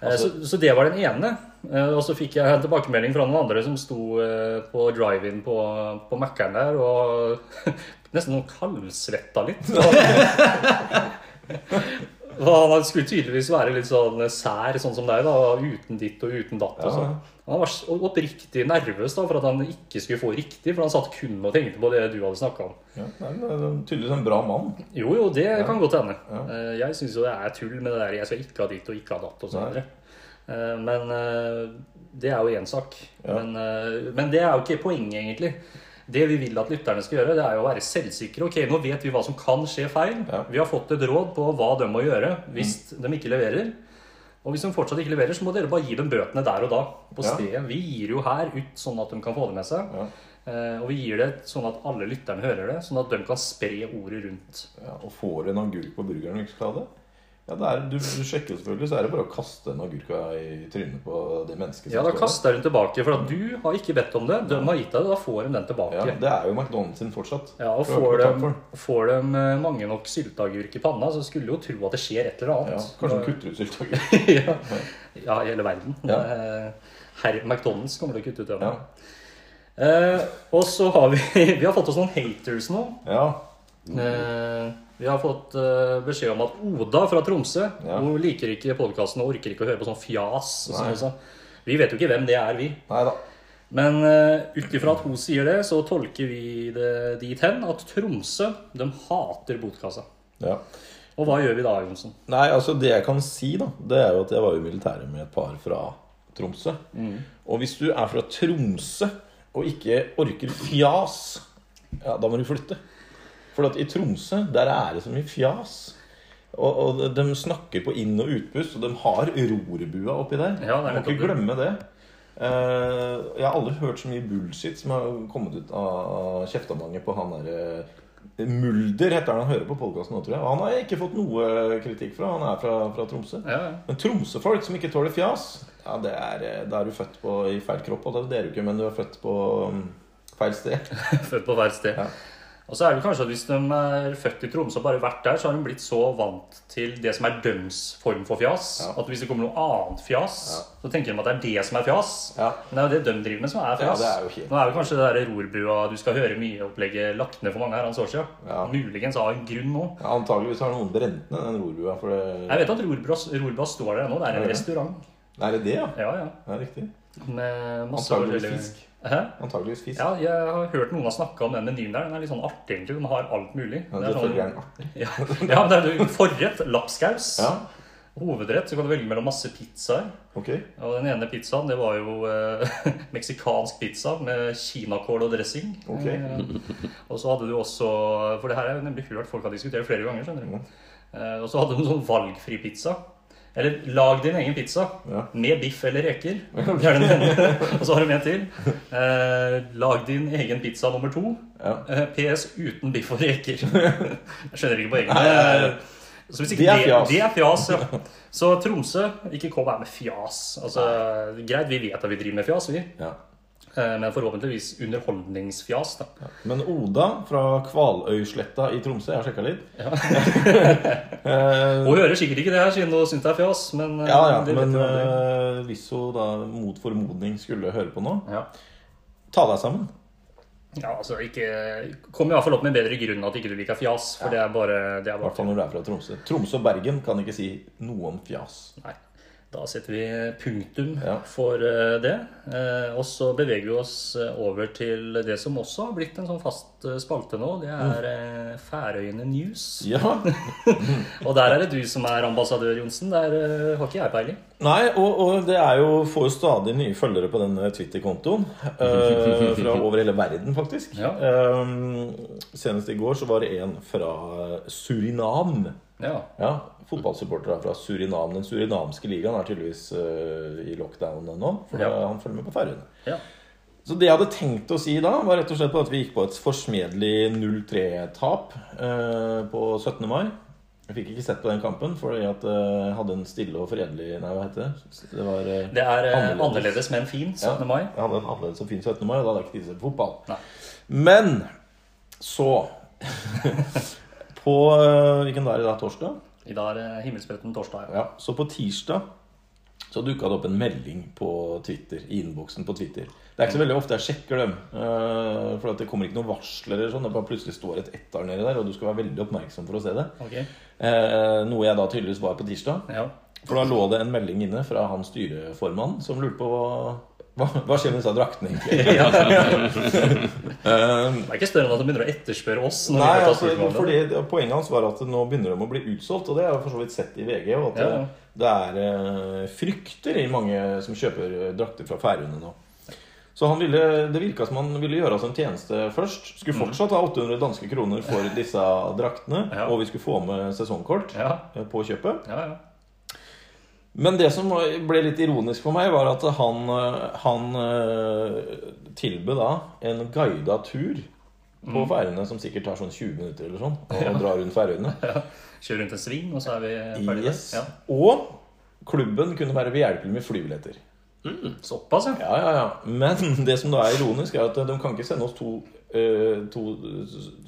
Speaker 1: Eh, så, så det var den ene. Eh, Og så fikk jeg en tilbakemelding fra noen andre som sto eh, på drive-in på, på Mækkern der og nesten noen kaldsvetta litt. Og han skulle tydeligvis være litt sånn sær, sånn som deg, da, uten ditt og uten datt. og
Speaker 2: Ja.
Speaker 1: sånn. Han var så oppriktig nervøs da, for at han ikke skulle få riktig, for han satt kun og tenkte på det du hadde snakka om.
Speaker 2: ja. Nei, men det er tydeligvis en bra mann.
Speaker 1: Jo, jo, det kan godt hende. Eh, Jeg syns jo det er tull med det der 'jeg skal ikke ha ditt og ikke ha datt' og så
Speaker 2: Nei.
Speaker 1: videre. Eh, Men eh, det er jo én sak.
Speaker 2: Ja.
Speaker 1: Men, eh, men det er jo ikke poenget, egentlig. Det vi vil at lytterne skal gjøre, det er jo å være selvsikre. Ok, nå vet vi hva som kan skje feil.
Speaker 2: Ja. Mm.
Speaker 1: Vi har fått et råd på hva de må gjøre hvis de ikke leverer. Og hvis de fortsatt ikke leverer, så må dere bare gi dem bøtene der og da. på
Speaker 2: Ja.
Speaker 1: stedet. Vi gir jo her ut sånn at de kan få det med seg.
Speaker 2: Ja.
Speaker 1: Eh, Og vi gir det sånn at alle lytterne hører det, sånn at de kan spre ordet rundt.
Speaker 2: Ja, og får en agurk på burgeren og ikke skal ha det ja, det er, du, du sjekker jo selvfølgelig, så er det bare å kaste en agurk i trynet på det mennesket. som
Speaker 1: Ja, da
Speaker 2: står der.
Speaker 1: kaster jeg den tilbake, for at du har ikke bedt om det. De har gitt deg det, da får de den tilbake.
Speaker 2: Ja,
Speaker 1: Ja,
Speaker 2: det er jo McDonald's sin fortsatt.
Speaker 1: og
Speaker 2: Det var
Speaker 1: får
Speaker 2: ikke noe
Speaker 1: de,
Speaker 2: takk for.
Speaker 1: får de eh, mange nok sylteagurk i panna, så skulle du jo tro at det skjer et eller
Speaker 2: ja,
Speaker 1: annet.
Speaker 2: Kanskje de kutter ut sylteagurk.
Speaker 1: ja. ja, i hele verden.
Speaker 2: Ja.
Speaker 1: Eh, Herr McDonald's kommer til å kutte ut den.
Speaker 2: Ja.
Speaker 1: Eh, og så har vi, vi har fått oss noen haters nå.
Speaker 2: ja.
Speaker 1: Eh, vi har fått eh, beskjed om at Oda fra Tromsø
Speaker 2: Ja.
Speaker 1: Hun liker ikke podkasten og orker ikke å høre på sånn fjas. Og
Speaker 2: Nei.
Speaker 1: sånn, og sånn. Vi vet jo ikke hvem det er, vi.
Speaker 2: Nei da.
Speaker 1: Men uh, ut ifra at hun sier det, så tolker vi det dit hen at Tromsø de hater botkassa.
Speaker 2: Ja.
Speaker 1: Og hva gjør vi da, Johnsen?
Speaker 2: Nei, altså det jeg kan si, da, det er jo at jeg var i militæret med et par fra Tromsø.
Speaker 1: Mm.
Speaker 2: Og hvis du er fra Tromsø og ikke orker fjas, ja, da må du flytte. For at i Tromsø, der er det så mye fjas. Og, og de snakker på inn- og utpust, og de har rorbua oppi der.
Speaker 1: Ja, det er
Speaker 2: Du må
Speaker 1: nettopp
Speaker 2: ikke
Speaker 1: det.
Speaker 2: glemme det. Eh, jeg har aldri hørt så mye bullshit som har kommet ut av kjeftamanget på han eh, derre Mulder heter han han hører på podkasten nå, tror jeg. Og han har jeg ikke fått noe kritikk fra. Han er fra, fra Tromsø.
Speaker 1: Ja, ja.
Speaker 2: Men tromsøfolk som ikke tåler fjas, ja, det er, eh, da er du født på, i feil kropp. Og det er du ikke, men du er født på mm, feil sted.
Speaker 1: Født på hvert sted.
Speaker 2: Ja.
Speaker 1: Og så er det kanskje at Hvis de er født i Tromsø og bare vært der, så har de blitt så vant til det som er døms form for fjas.
Speaker 2: Ja.
Speaker 1: At hvis det kommer noe annet fjas, så tenker de at det er det som er fjas.
Speaker 2: Ja.
Speaker 1: Men det er jo det de driver med, som er fjas.
Speaker 2: Ja, det er jo helt-
Speaker 1: Nå er jo kanskje det der rorbua du skal høre mye-opplegget lagt ned for mange herrens år siden.
Speaker 2: Ja.
Speaker 1: Muligens av en grunn nå.
Speaker 2: Ja, antageligvis har noen brent ned den rorbua. For det,
Speaker 1: Jeg vet at rorbua, rorbua står der ennå. Det er
Speaker 2: Ja,
Speaker 1: en
Speaker 2: ja.
Speaker 1: restaurant.
Speaker 2: er det det, ja?
Speaker 1: Ja, ja.
Speaker 2: Det er riktig.
Speaker 1: Med masse
Speaker 2: Antageligvis
Speaker 1: forskjellige-
Speaker 2: fisk.
Speaker 1: Hæ?
Speaker 2: Antakeligvis fisk.
Speaker 1: Ja, jeg har hørt noen har snakka om den menyen der. Den er litt sånn artig, egentlig. Den har alt mulig.
Speaker 2: Ja,
Speaker 1: Det
Speaker 2: det
Speaker 1: er sånn,
Speaker 2: føler jeg er artig.
Speaker 1: ja, ja, men det er jo forrett, lapskaus.
Speaker 2: Ja,
Speaker 1: Hovedrett, så kan du velge mellom masse pizzaer.
Speaker 2: ok.
Speaker 1: Og den ene pizzaen, det var jo eh, meksikansk pizza med kinakål og dressing.
Speaker 2: Ok.
Speaker 1: Eh, og så hadde du også For det her er jo nemlig hørt folk har diskutert flere ganger, skjønner du. Eh, og så hadde du en sånn valgfri pizza. Eller lag din egen pizza
Speaker 2: Ja.
Speaker 1: med biff eller reker. Det er den ene. og så har du en til. Eh, lag din egen pizza nummer to.
Speaker 2: Ja.
Speaker 1: Eh, PS uten biff og reker. Jeg skjønner ikke poenget. men, eh, Så hvis ikke
Speaker 2: Det er fjas.
Speaker 1: Det, det er fjas ja. Så Tromsø, ikke kom her med fjas. Altså, greit, vi vet at vi driver med fjas, vi.
Speaker 2: Ja.
Speaker 1: Eh, Men forhåpentligvis underholdningsfjas. da.
Speaker 2: Men Oda fra Kvaløysletta i Tromsø, jeg har sjekka litt Eh,
Speaker 1: Hun hører sikkert ikke det her, siden hun syns det er fjas, men eh,
Speaker 2: Ja, ja,
Speaker 1: det vet
Speaker 2: men
Speaker 1: hun aldri.
Speaker 2: eh, hvis hun da mot formodning skulle høre på nå,
Speaker 1: ja.
Speaker 2: ta deg sammen.
Speaker 1: ja, altså ikke Kom iallfall opp med en bedre grunn at ikke du liker fjas, for det er bare, det er
Speaker 2: I hvert fall
Speaker 1: bare
Speaker 2: når du er fra Tromsø. Tromsø og Bergen kan ikke si noe om fjas.
Speaker 1: Nei. Da setter vi punktum
Speaker 2: Ja.
Speaker 1: for eh, det. Eh, Og så beveger vi oss eh, over til det som også har blitt en sånn fast eh, spalte nå. Det er
Speaker 2: Mm.
Speaker 1: eh, Færøyene News.
Speaker 2: Ja,
Speaker 1: Og der er det du som er ambassadør, Johnsen. Der eh, har ikke jeg peiling.
Speaker 2: Nei, og, og det er jo, får jo stadig nye følgere på den Twitter-kontoen. eh, fra over hele verden, faktisk.
Speaker 1: Ja.
Speaker 2: Eh, senest i går så var det en fra Surinam.
Speaker 1: Ja.
Speaker 2: Ja, Fotballsupportere fra Surinam. Den surinamske ligaen er tydeligvis eh, i lockdown nå. For
Speaker 1: Ja.
Speaker 2: han følger med på Færøyene.
Speaker 1: ja.
Speaker 2: Så det jeg hadde tenkt å si da, var rett og slett på at vi gikk på et forsmedelig 0-3-tap eh, på 17. mai. Jeg fikk ikke sett på den kampen, fordi at eh, jeg hadde en stille og fredelig Nei, hva heter det? Det var eh,
Speaker 1: Det er eh,
Speaker 2: Annerledes.
Speaker 1: annerledes, men fin. 17.
Speaker 2: ja,
Speaker 1: mai.
Speaker 2: Jeg hadde en annerledes og fin 17. mai, og da hadde jeg ikke tid til å se på fotball.
Speaker 1: Nei.
Speaker 2: Men så På eh, hvilken dag er det da? Torsdag?
Speaker 1: I dag er det himmelspretten torsdag. Ja.
Speaker 2: Ja, så på tirsdag så dukka det opp en melding på Twitter, i innboksen på Twitter. Det er ikke så veldig ofte jeg sjekker dem, eh, for at det kommer ikke noen varsler. eller sånn, Det bare plutselig står et ettar nedi der, og du skal være veldig oppmerksom for å se det.
Speaker 1: Ok.
Speaker 2: Eh, Noe jeg da tydeligvis var på tirsdag.
Speaker 1: Ja.
Speaker 2: For da lå det en melding inne fra han styreformannen som lurte på hva, hva, hva skjer med disse draktene, egentlig.
Speaker 1: ja. Det
Speaker 2: Eh,
Speaker 1: er ikke større enn at de begynner å etterspørre oss. Når
Speaker 2: Nei,
Speaker 1: vi får ta
Speaker 2: altså,
Speaker 1: spørsmål.
Speaker 2: fordi det- Poenget hans var at nå begynner de å bli utsolgt, og det har jeg for så vidt sett i VG. Og at
Speaker 1: Ja, ja.
Speaker 2: det- det er eh, frykter i mange som kjøper eh, drakter fra Færøyene nå. Så han ville, det virka som han ville gjøre oss en tjeneste først. Skulle fortsatt ha 800 danske kroner for disse draktene,
Speaker 1: Mhm. Ja.
Speaker 2: og vi skulle få med sesongkort
Speaker 1: Ja.
Speaker 2: eh, på kjøpet.
Speaker 1: Ja, ja.
Speaker 2: Men det som ble litt ironisk for meg, var at han, eh, han eh, tilbød da en guida tur på Færøyene, som sikkert tar sånn 20 minutter eller sånn, og drar rundt Færøyene.
Speaker 1: ja. Kjøre rundt en sving, og så er vi ferdige.
Speaker 2: Yes.
Speaker 1: Ja.
Speaker 2: Og klubben kunne være behjelpelig med flybilletter.
Speaker 1: Såpass, ja.
Speaker 2: Ja, ja, ja. Men det som da er ironisk, er at de kan ikke sende oss to, eh, to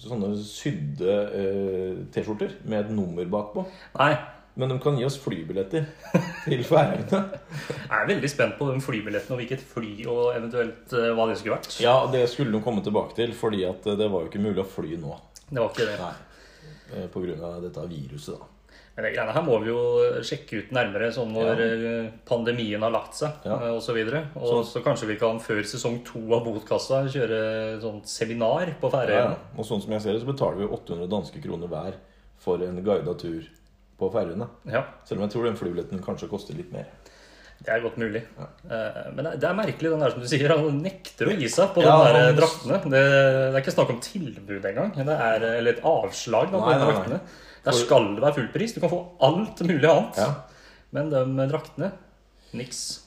Speaker 2: sånne sydde eh, T-skjorter med et nummer bakpå.
Speaker 1: Nei.
Speaker 2: Men de kan gi oss flybilletter til Færøyene.
Speaker 1: Jeg er veldig spent på den flybilletten og hvilket fly og eventuelt eh, hva det skulle vært.
Speaker 2: Ja, det skulle de komme tilbake til, fordi at eh, det var jo ikke mulig å fly nå.
Speaker 1: Det var ikke det.
Speaker 2: eh, På grunn av dette viruset, da.
Speaker 1: Men det greiene her må vi jo sjekke ut nærmere sånn når eh, pandemien har lagt seg
Speaker 2: Ja.
Speaker 1: eh, og så videre. Og så, kanskje vi kan før sesong to av Botkassa kjøre sånn seminar på
Speaker 2: Ja,
Speaker 1: Færøyene.
Speaker 2: Og sånn som jeg ser det, så betaler vi 800 danske kroner hver for en guida tur på Færøyene.
Speaker 1: Ja.
Speaker 2: Selv om jeg tror den flybilletten kanskje koster litt mer.
Speaker 1: det er godt mulig. Eh, Men det er- det er merkelig, den der som du sier. Han nekter å gi seg på
Speaker 2: Ja,
Speaker 1: de der eh,
Speaker 2: han-
Speaker 1: draktene. Det, det er ikke snakk om tilbud engang. Det er eh, eller et avslag da, på
Speaker 2: Nei,
Speaker 1: de
Speaker 2: nei, nei.
Speaker 1: draktene. Der skal det være full pris. Du kan få alt mulig annet.
Speaker 2: Ja.
Speaker 1: Men de draktene niks.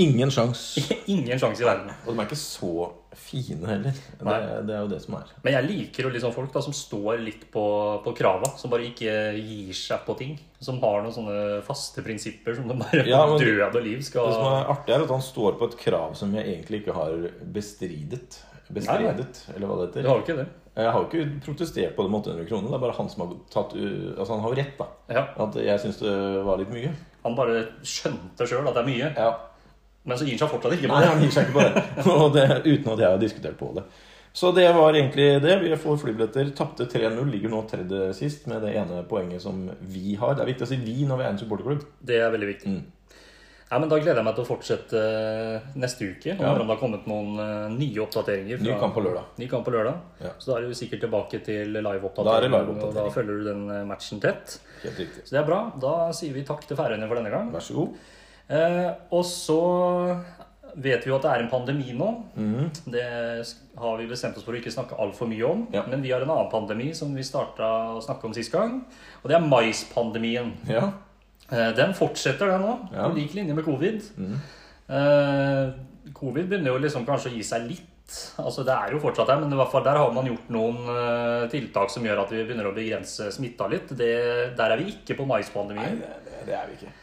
Speaker 2: Ingen sjans.
Speaker 1: Ingen sjanse i verden.
Speaker 2: Og de er ikke så fine heller. Det,
Speaker 1: Nei.
Speaker 2: det er jo det som er.
Speaker 1: Men jeg liker jo litt sånn folk da, som står litt på, på krava, som bare ikke gir seg på ting. Som har noen sånne faste prinsipper som de bare
Speaker 2: Ja, men-
Speaker 1: død og liv skal
Speaker 2: Det som er artig, er at han står på et krav som jeg egentlig ikke har bestridet. Bestridet, eller hva det
Speaker 1: Du
Speaker 2: heter.
Speaker 1: har jo ikke det.
Speaker 2: Jeg har jo ikke protestert på de 800 kronene. Det er bare han som har tatt u- Altså, han har jo rett, da.
Speaker 1: Ja.
Speaker 2: At jeg syns det var litt mye.
Speaker 1: Han bare skjønte sjøl at det er mye,
Speaker 2: Ja.
Speaker 1: men så gir han seg fortsatt ikke på
Speaker 2: Nei,
Speaker 1: det.
Speaker 2: han gir seg ikke på det. Og det uten at jeg har diskutert på det. Så det var egentlig det. Vi får flybilletter. Tapte 3-0. Ligger nå tredje sist med det ene poenget som vi har. Det er viktig å si 'vi' når vi er en supporterklubb.
Speaker 1: Det er veldig viktig. Ja, men Da gleder jeg meg til å fortsette eh, neste uke. Nå
Speaker 2: Ja.
Speaker 1: har det kommet noen eh, nye oppdateringer.
Speaker 2: Ny kamp på lørdag.
Speaker 1: Ny kamp på lørdag.
Speaker 2: Ja.
Speaker 1: Så da er du sikkert tilbake til
Speaker 2: Da er det
Speaker 1: live-oppdatering.
Speaker 2: live-oppdatering.
Speaker 1: og da følger du den eh, matchen tett.
Speaker 2: Helt riktig.
Speaker 1: Så det er bra. Da sier vi takk til Færøyene for denne gang.
Speaker 2: Vær så god.
Speaker 1: Eh, og så vet vi jo at det er en pandemi nå. Det har vi bestemt oss for å ikke snakke altfor mye om.
Speaker 2: Mhm. Ja.
Speaker 1: Men vi har en annen pandemi som vi starta å snakke om sist gang. Og det er maispandemien.
Speaker 2: Ja.
Speaker 1: Eh, Den fortsetter, den nå.
Speaker 2: Ja.
Speaker 1: På lik linje med covid. Eh, covid begynner jo liksom kanskje å gi seg litt. Altså Det er jo fortsatt der, men i hvert fall der har man gjort noen eh, tiltak som gjør at vi begynner å begrense smitta litt. Det, der er vi ikke på
Speaker 2: Nei,
Speaker 1: maispandemien.
Speaker 2: det, det, det er vi ikke.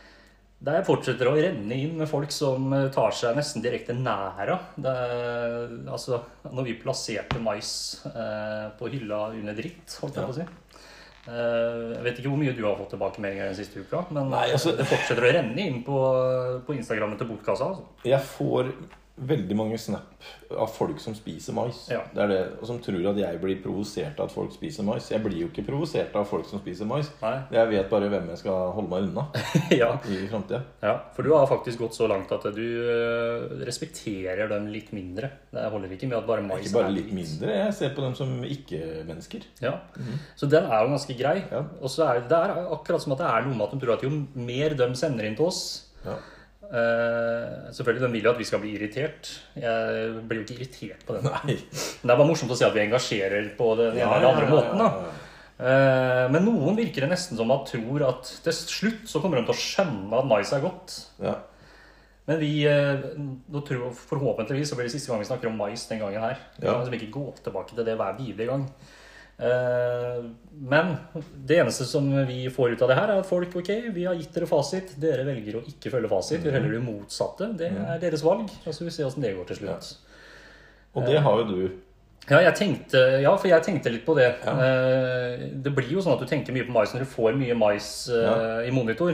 Speaker 1: Der fortsetter det å renne inn med folk som eh, tar seg nesten direkte næra. Det er- Altså, når vi plasserte mais eh, på hylla under dritt, holdt jeg på å si. Eh, Jeg vet ikke hvor mye du har fått tilbakemeldinger den siste uka, men
Speaker 2: Nei, altså-
Speaker 1: det fortsetter å renne inn på, på Instagrammen til Botkassa. Altså.
Speaker 2: Jeg får veldig mange snap av folk som spiser mais.
Speaker 1: Ja.
Speaker 2: Det er det, og Som tror at jeg blir provosert av at folk spiser mais. Jeg blir jo ikke provosert av folk som spiser mais.
Speaker 1: Nei.
Speaker 2: Jeg vet bare hvem jeg skal holde meg unna
Speaker 1: ja.
Speaker 2: i framtida.
Speaker 1: ja, for du har faktisk gått så langt at du eh, respekterer dem litt mindre. Det holder ikke med at bare mais
Speaker 2: Ikke bare
Speaker 1: er
Speaker 2: litt mindre. Jeg ser på dem som ikke-mennesker.
Speaker 1: Ja. Så den er jo ganske grei.
Speaker 2: Mhm. Ja.
Speaker 1: Og så er det, det er akkurat som at det er noe med at de tror at jo mer de sender inn til oss
Speaker 2: Ja.
Speaker 1: eh, Selvfølgelig, de vil jo at vi skal bli irritert. Jeg blir jo ikke irritert på den.
Speaker 2: Nei.
Speaker 1: Men det er bare morsomt å si at vi engasjerer på den ene
Speaker 2: Ja,
Speaker 1: eller
Speaker 2: ja,
Speaker 1: andre
Speaker 2: ja,
Speaker 1: måten. da.
Speaker 2: ja, ja.
Speaker 1: Eh, Men noen virker det nesten som at tror at til slutt så kommer de til å skjønne at mais er godt.
Speaker 2: Ja.
Speaker 1: Men vi, eh, nå tror, forhåpentligvis så blir det siste gang vi snakker om mais den gangen her. Vi
Speaker 2: Ja.
Speaker 1: kan liksom ikke gå tilbake til det hver bidige gang. Eh, Men det eneste som vi får ut av det her, er at folk ok, vi har gitt dere fasit. Dere velger å ikke følge fasit. Vi heller det motsatte. Det
Speaker 2: Mm.
Speaker 1: er deres valg. Og så får vi se åssen det går til slutt.
Speaker 2: Og det har jo du.
Speaker 1: Ja, jeg tenkte, ja, for jeg tenkte litt på det. Eh, Det blir jo sånn at du tenker mye på mais når du får mye mais eh,
Speaker 2: Ja.
Speaker 1: i monitor.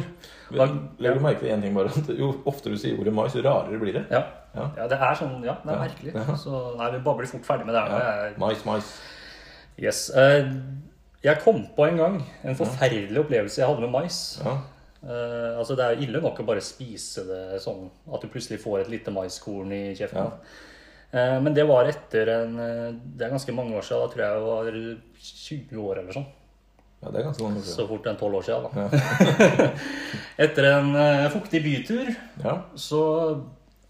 Speaker 1: Da,
Speaker 2: Legger du merke til én ting bare? At jo oftere du sier ordet mais, jo rarere blir det.
Speaker 1: ja.
Speaker 2: Ja.
Speaker 1: ja, det er sånn. Ja, det er
Speaker 2: Ja.
Speaker 1: merkelig. Så nei, vi babler fort ferdig med det her.
Speaker 2: Ja.
Speaker 1: Jeg-
Speaker 2: Mais, mais.
Speaker 1: Yes. eh, Jeg kom på en gang en forferdelig opplevelse jeg hadde med mais.
Speaker 2: Ja.
Speaker 1: Eh, altså Det er jo ille nok å bare spise det sånn at du plutselig får et lite maiskorn i kjeften.
Speaker 2: Ja.
Speaker 1: Eh, men det var etter en eh, Det er ganske mange år siden. Da tror jeg jeg var 20 år eller sånn.
Speaker 2: ja, det er ganske mange
Speaker 1: Så fort enn 12 år siden, da. etter en eh, fuktig bytur
Speaker 2: Ja.
Speaker 1: så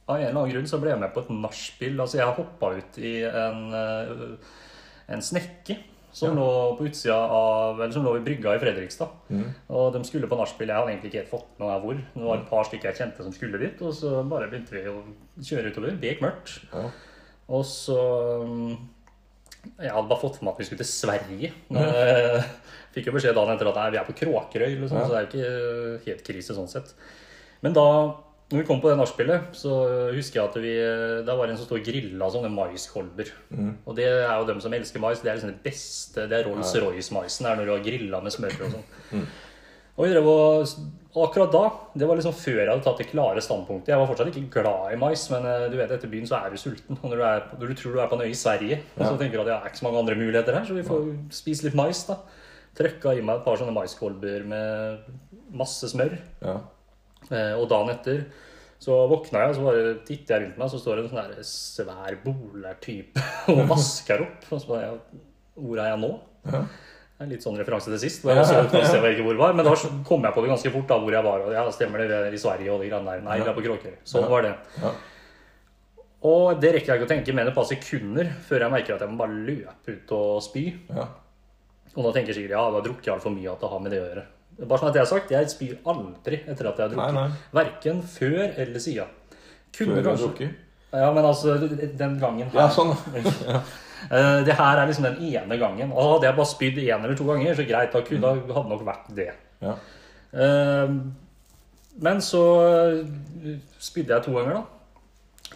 Speaker 1: av en eller annen grunn så ble jeg med på et nachspiel. Altså, jeg hoppa ut i en, eh, en snekke som lå på utsida av Eller som lå i brygga i Fredrikstad. Og de skulle på nachspiel. Jeg hadde egentlig ikke helt fått med meg hvor. Det var et par stykker jeg kjente som skulle dit, og så bare begynte vi å kjøre utover. Det gikk mørkt.
Speaker 2: Ja.
Speaker 1: Og så mm, Jeg hadde bare fått for meg at vi skulle til Sverige. Men eh, fikk jo beskjed dagen etter at nei, vi er på Kråkerøy, liksom, så det er jo ikke eh, helt krise sånn sett. Men da når vi kom på det nachspielet, så husker jeg at vi Der var det en som sto og grilla sånne maiskolber. Og det er jo dem som elsker mais. Det er liksom det beste. Det er Rolls-Royce-maisen er når du har grilla med smør og sånn. Og vi drev og og akkurat da, det var liksom før jeg hadde tatt det klare standpunktet. Jeg var fortsatt ikke glad i mais, men eh, du vet, etter byen så er du sulten. Og når du, er, når du tror du er på en øy i Sverige, og så tenker du at det er ikke så mange andre muligheter her, så vi får spise litt mais, da. Trøkka i meg et par sånne maiskolber med masse smør.
Speaker 2: Ja.
Speaker 1: Eh, Og dagen etter så våkna jeg, så bare titter jeg rundt meg, så står det en sånn der svær boler-type og vasker opp. Og så bare jeg, Hvor er jeg nå? Det er litt sånn referanse til sist. Hvor jeg så ut, jeg vet ikke hvor jeg var, men da kom jeg på det ganske fort, da, hvor jeg var. Og ja, stemmer det, vi er i Sverige og de greiene der. Nei, vi er på Kråkerøy. Sånn var det.
Speaker 2: Ja.
Speaker 1: Og det rekker jeg ikke å tenke mer enn et par sekunder før jeg merker at jeg må bare løpe ut og spy.
Speaker 2: Ja.
Speaker 1: Og da tenker jeg sikkert ja, du har drukket altfor mye at det har med det å gjøre. Bare sånn at jeg har sagt, jeg spyr aldri etter at jeg har drukket.
Speaker 2: Nei, nei.
Speaker 1: Verken før eller siden. Kunne
Speaker 2: Før du har
Speaker 1: kanskje
Speaker 2: drukket.
Speaker 1: Ja, men altså, den gangen her
Speaker 2: Ja, sånn.
Speaker 1: Eh, Det her er liksom den ene gangen. Og hadde jeg bare spydd én eller to ganger, så greit, da kunne- da hadde det nok vært det.
Speaker 2: Ja.
Speaker 1: Eh, Men så eh, spydde jeg to ganger, da.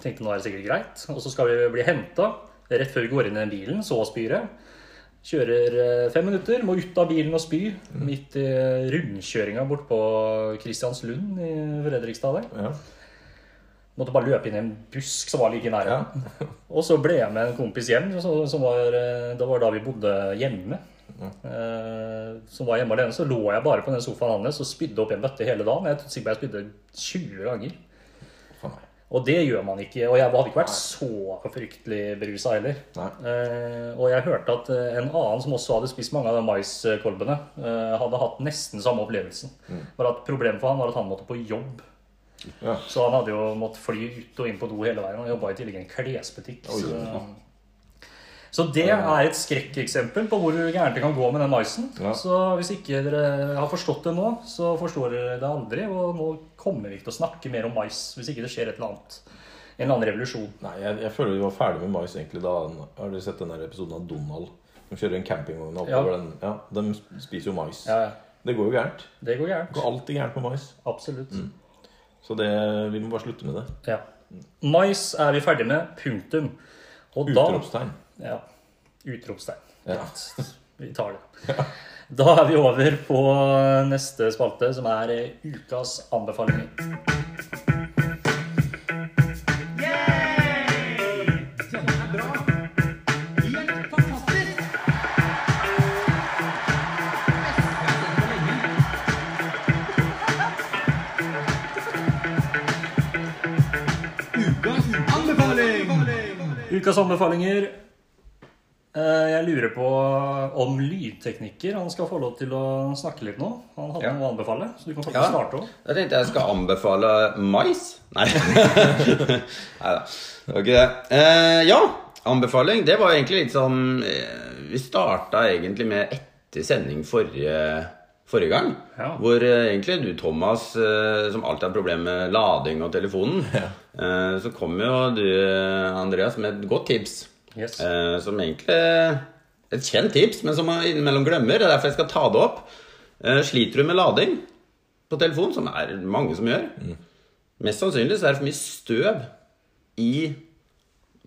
Speaker 1: Tenkte nå er det sikkert greit. Og så skal vi bli henta rett før vi går inn i den bilen, så spyr jeg. Kjører eh, fem minutter, må ut av bilen og spy.
Speaker 2: Mm.
Speaker 1: Midt i rundkjøringa bort på Kristianslund i Fredrikstad der.
Speaker 2: Ja.
Speaker 1: Måtte bare løpe inn i en busk som var like nær.
Speaker 2: Ja.
Speaker 1: Og så ble jeg med en kompis hjem, så- som var, eh, da var da vi bodde hjemme. Eh, som var hjemme alene, så lå jeg bare på den sofaen hans og spydde opp i en bøtte hele dagen. Jeg er sikker på jeg spydde 20 ganger. Og det gjør man ikke. Og jeg hadde ikke vært så fryktelig berusa heller.
Speaker 2: Nei.
Speaker 1: Eh, og jeg hørte at eh, en annen som også hadde spist mange av de maiskolbene, eh, hadde hatt nesten samme opplevelsen.
Speaker 2: Mm.
Speaker 1: Bare at Problemet for han var at han måtte på jobb.
Speaker 2: Ja.
Speaker 1: Så han hadde jo måttet fly ut og inn på do hele veien. Og jobba i tillegg i en klesbutikk.
Speaker 2: Oi,
Speaker 1: så... Så det er et skrekkeksempel på hvor gærent det kan gå med den maisen.
Speaker 2: Ja.
Speaker 1: Så hvis ikke dere har forstått det nå, så forstår dere det aldri. Og nå kommer vi ikke til å snakke mer om mais hvis ikke det skjer et eller annet. En eller annen revolusjon.
Speaker 2: Nei, jeg, jeg føler vi var ferdig med mais egentlig da han- Har dere sett den der episoden av Donald? De kjører en campingvogn oppover
Speaker 1: Ja.
Speaker 2: den. Ja, de spiser jo mais.
Speaker 1: Ja, ja.
Speaker 2: Det går jo gærent.
Speaker 1: Det går
Speaker 2: Det
Speaker 1: gærent.
Speaker 2: går alltid gærent med mais.
Speaker 1: Absolutt.
Speaker 2: Mm. Så det, vi må bare slutte med det.
Speaker 1: Ja. Mais er vi ferdig med. Punktum. Og da
Speaker 2: Utropstegn.
Speaker 1: Ja. Utropstegn.
Speaker 2: Ja.
Speaker 1: Greit. Vi tar det. Da er vi over på neste spalte, som er eh, ukas anbefalinger. Ukas anbefalinger. Eh, Jeg lurer på om lydteknikker han skal få lov til å snakke litt nå. Han hadde
Speaker 3: Ja.
Speaker 1: noe å anbefale, så du kan få lov til
Speaker 3: Ja.
Speaker 1: å starte òg.
Speaker 3: Da tenkte jeg skal anbefale mais. Nei Neida. Det var ikke det. Eh, ja, anbefaling. Det var egentlig litt sånn eh, Vi starta egentlig med etter sending forrige, forrige gang.
Speaker 1: Ja.
Speaker 3: Hvor eh, egentlig du, Thomas, eh, som alltid har problemer med lading og telefonen, eh, så kom jo du, Andreas, med et godt tips.
Speaker 1: Yes.
Speaker 3: Eh, som egentlig Et kjent tips, men som man innimellom glemmer. Det er derfor jeg skal ta det opp. Eh, sliter du med lading på telefon, som er mange som gjør, mest sannsynlig så er det for mye støv i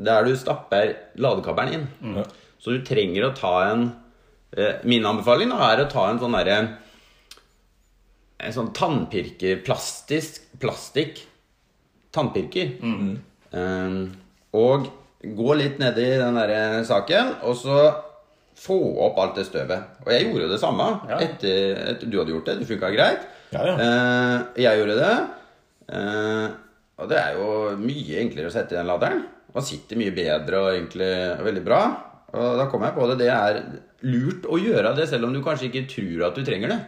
Speaker 3: der du stapper ladekabelen inn.
Speaker 2: Ja.
Speaker 3: Så du trenger å ta en eh, Min anbefaling da er å ta en sånn derre En sånn tannpirker Plastisk plastikk tannpirker.
Speaker 2: Mm.
Speaker 3: Eh, og gå litt nedi den derre saken, og så få opp alt det støvet. Og jeg gjorde jo det samme
Speaker 1: Ja.
Speaker 3: etter, etter du hadde gjort det. Det funka greit.
Speaker 2: Ja, ja.
Speaker 3: Eh, jeg gjorde det. Eh, og det er jo mye enklere å sette i den laderen. Man sitter mye bedre og egentlig veldig bra. Og da kom jeg på det. Det er lurt å gjøre det selv om du kanskje ikke tror at du trenger det.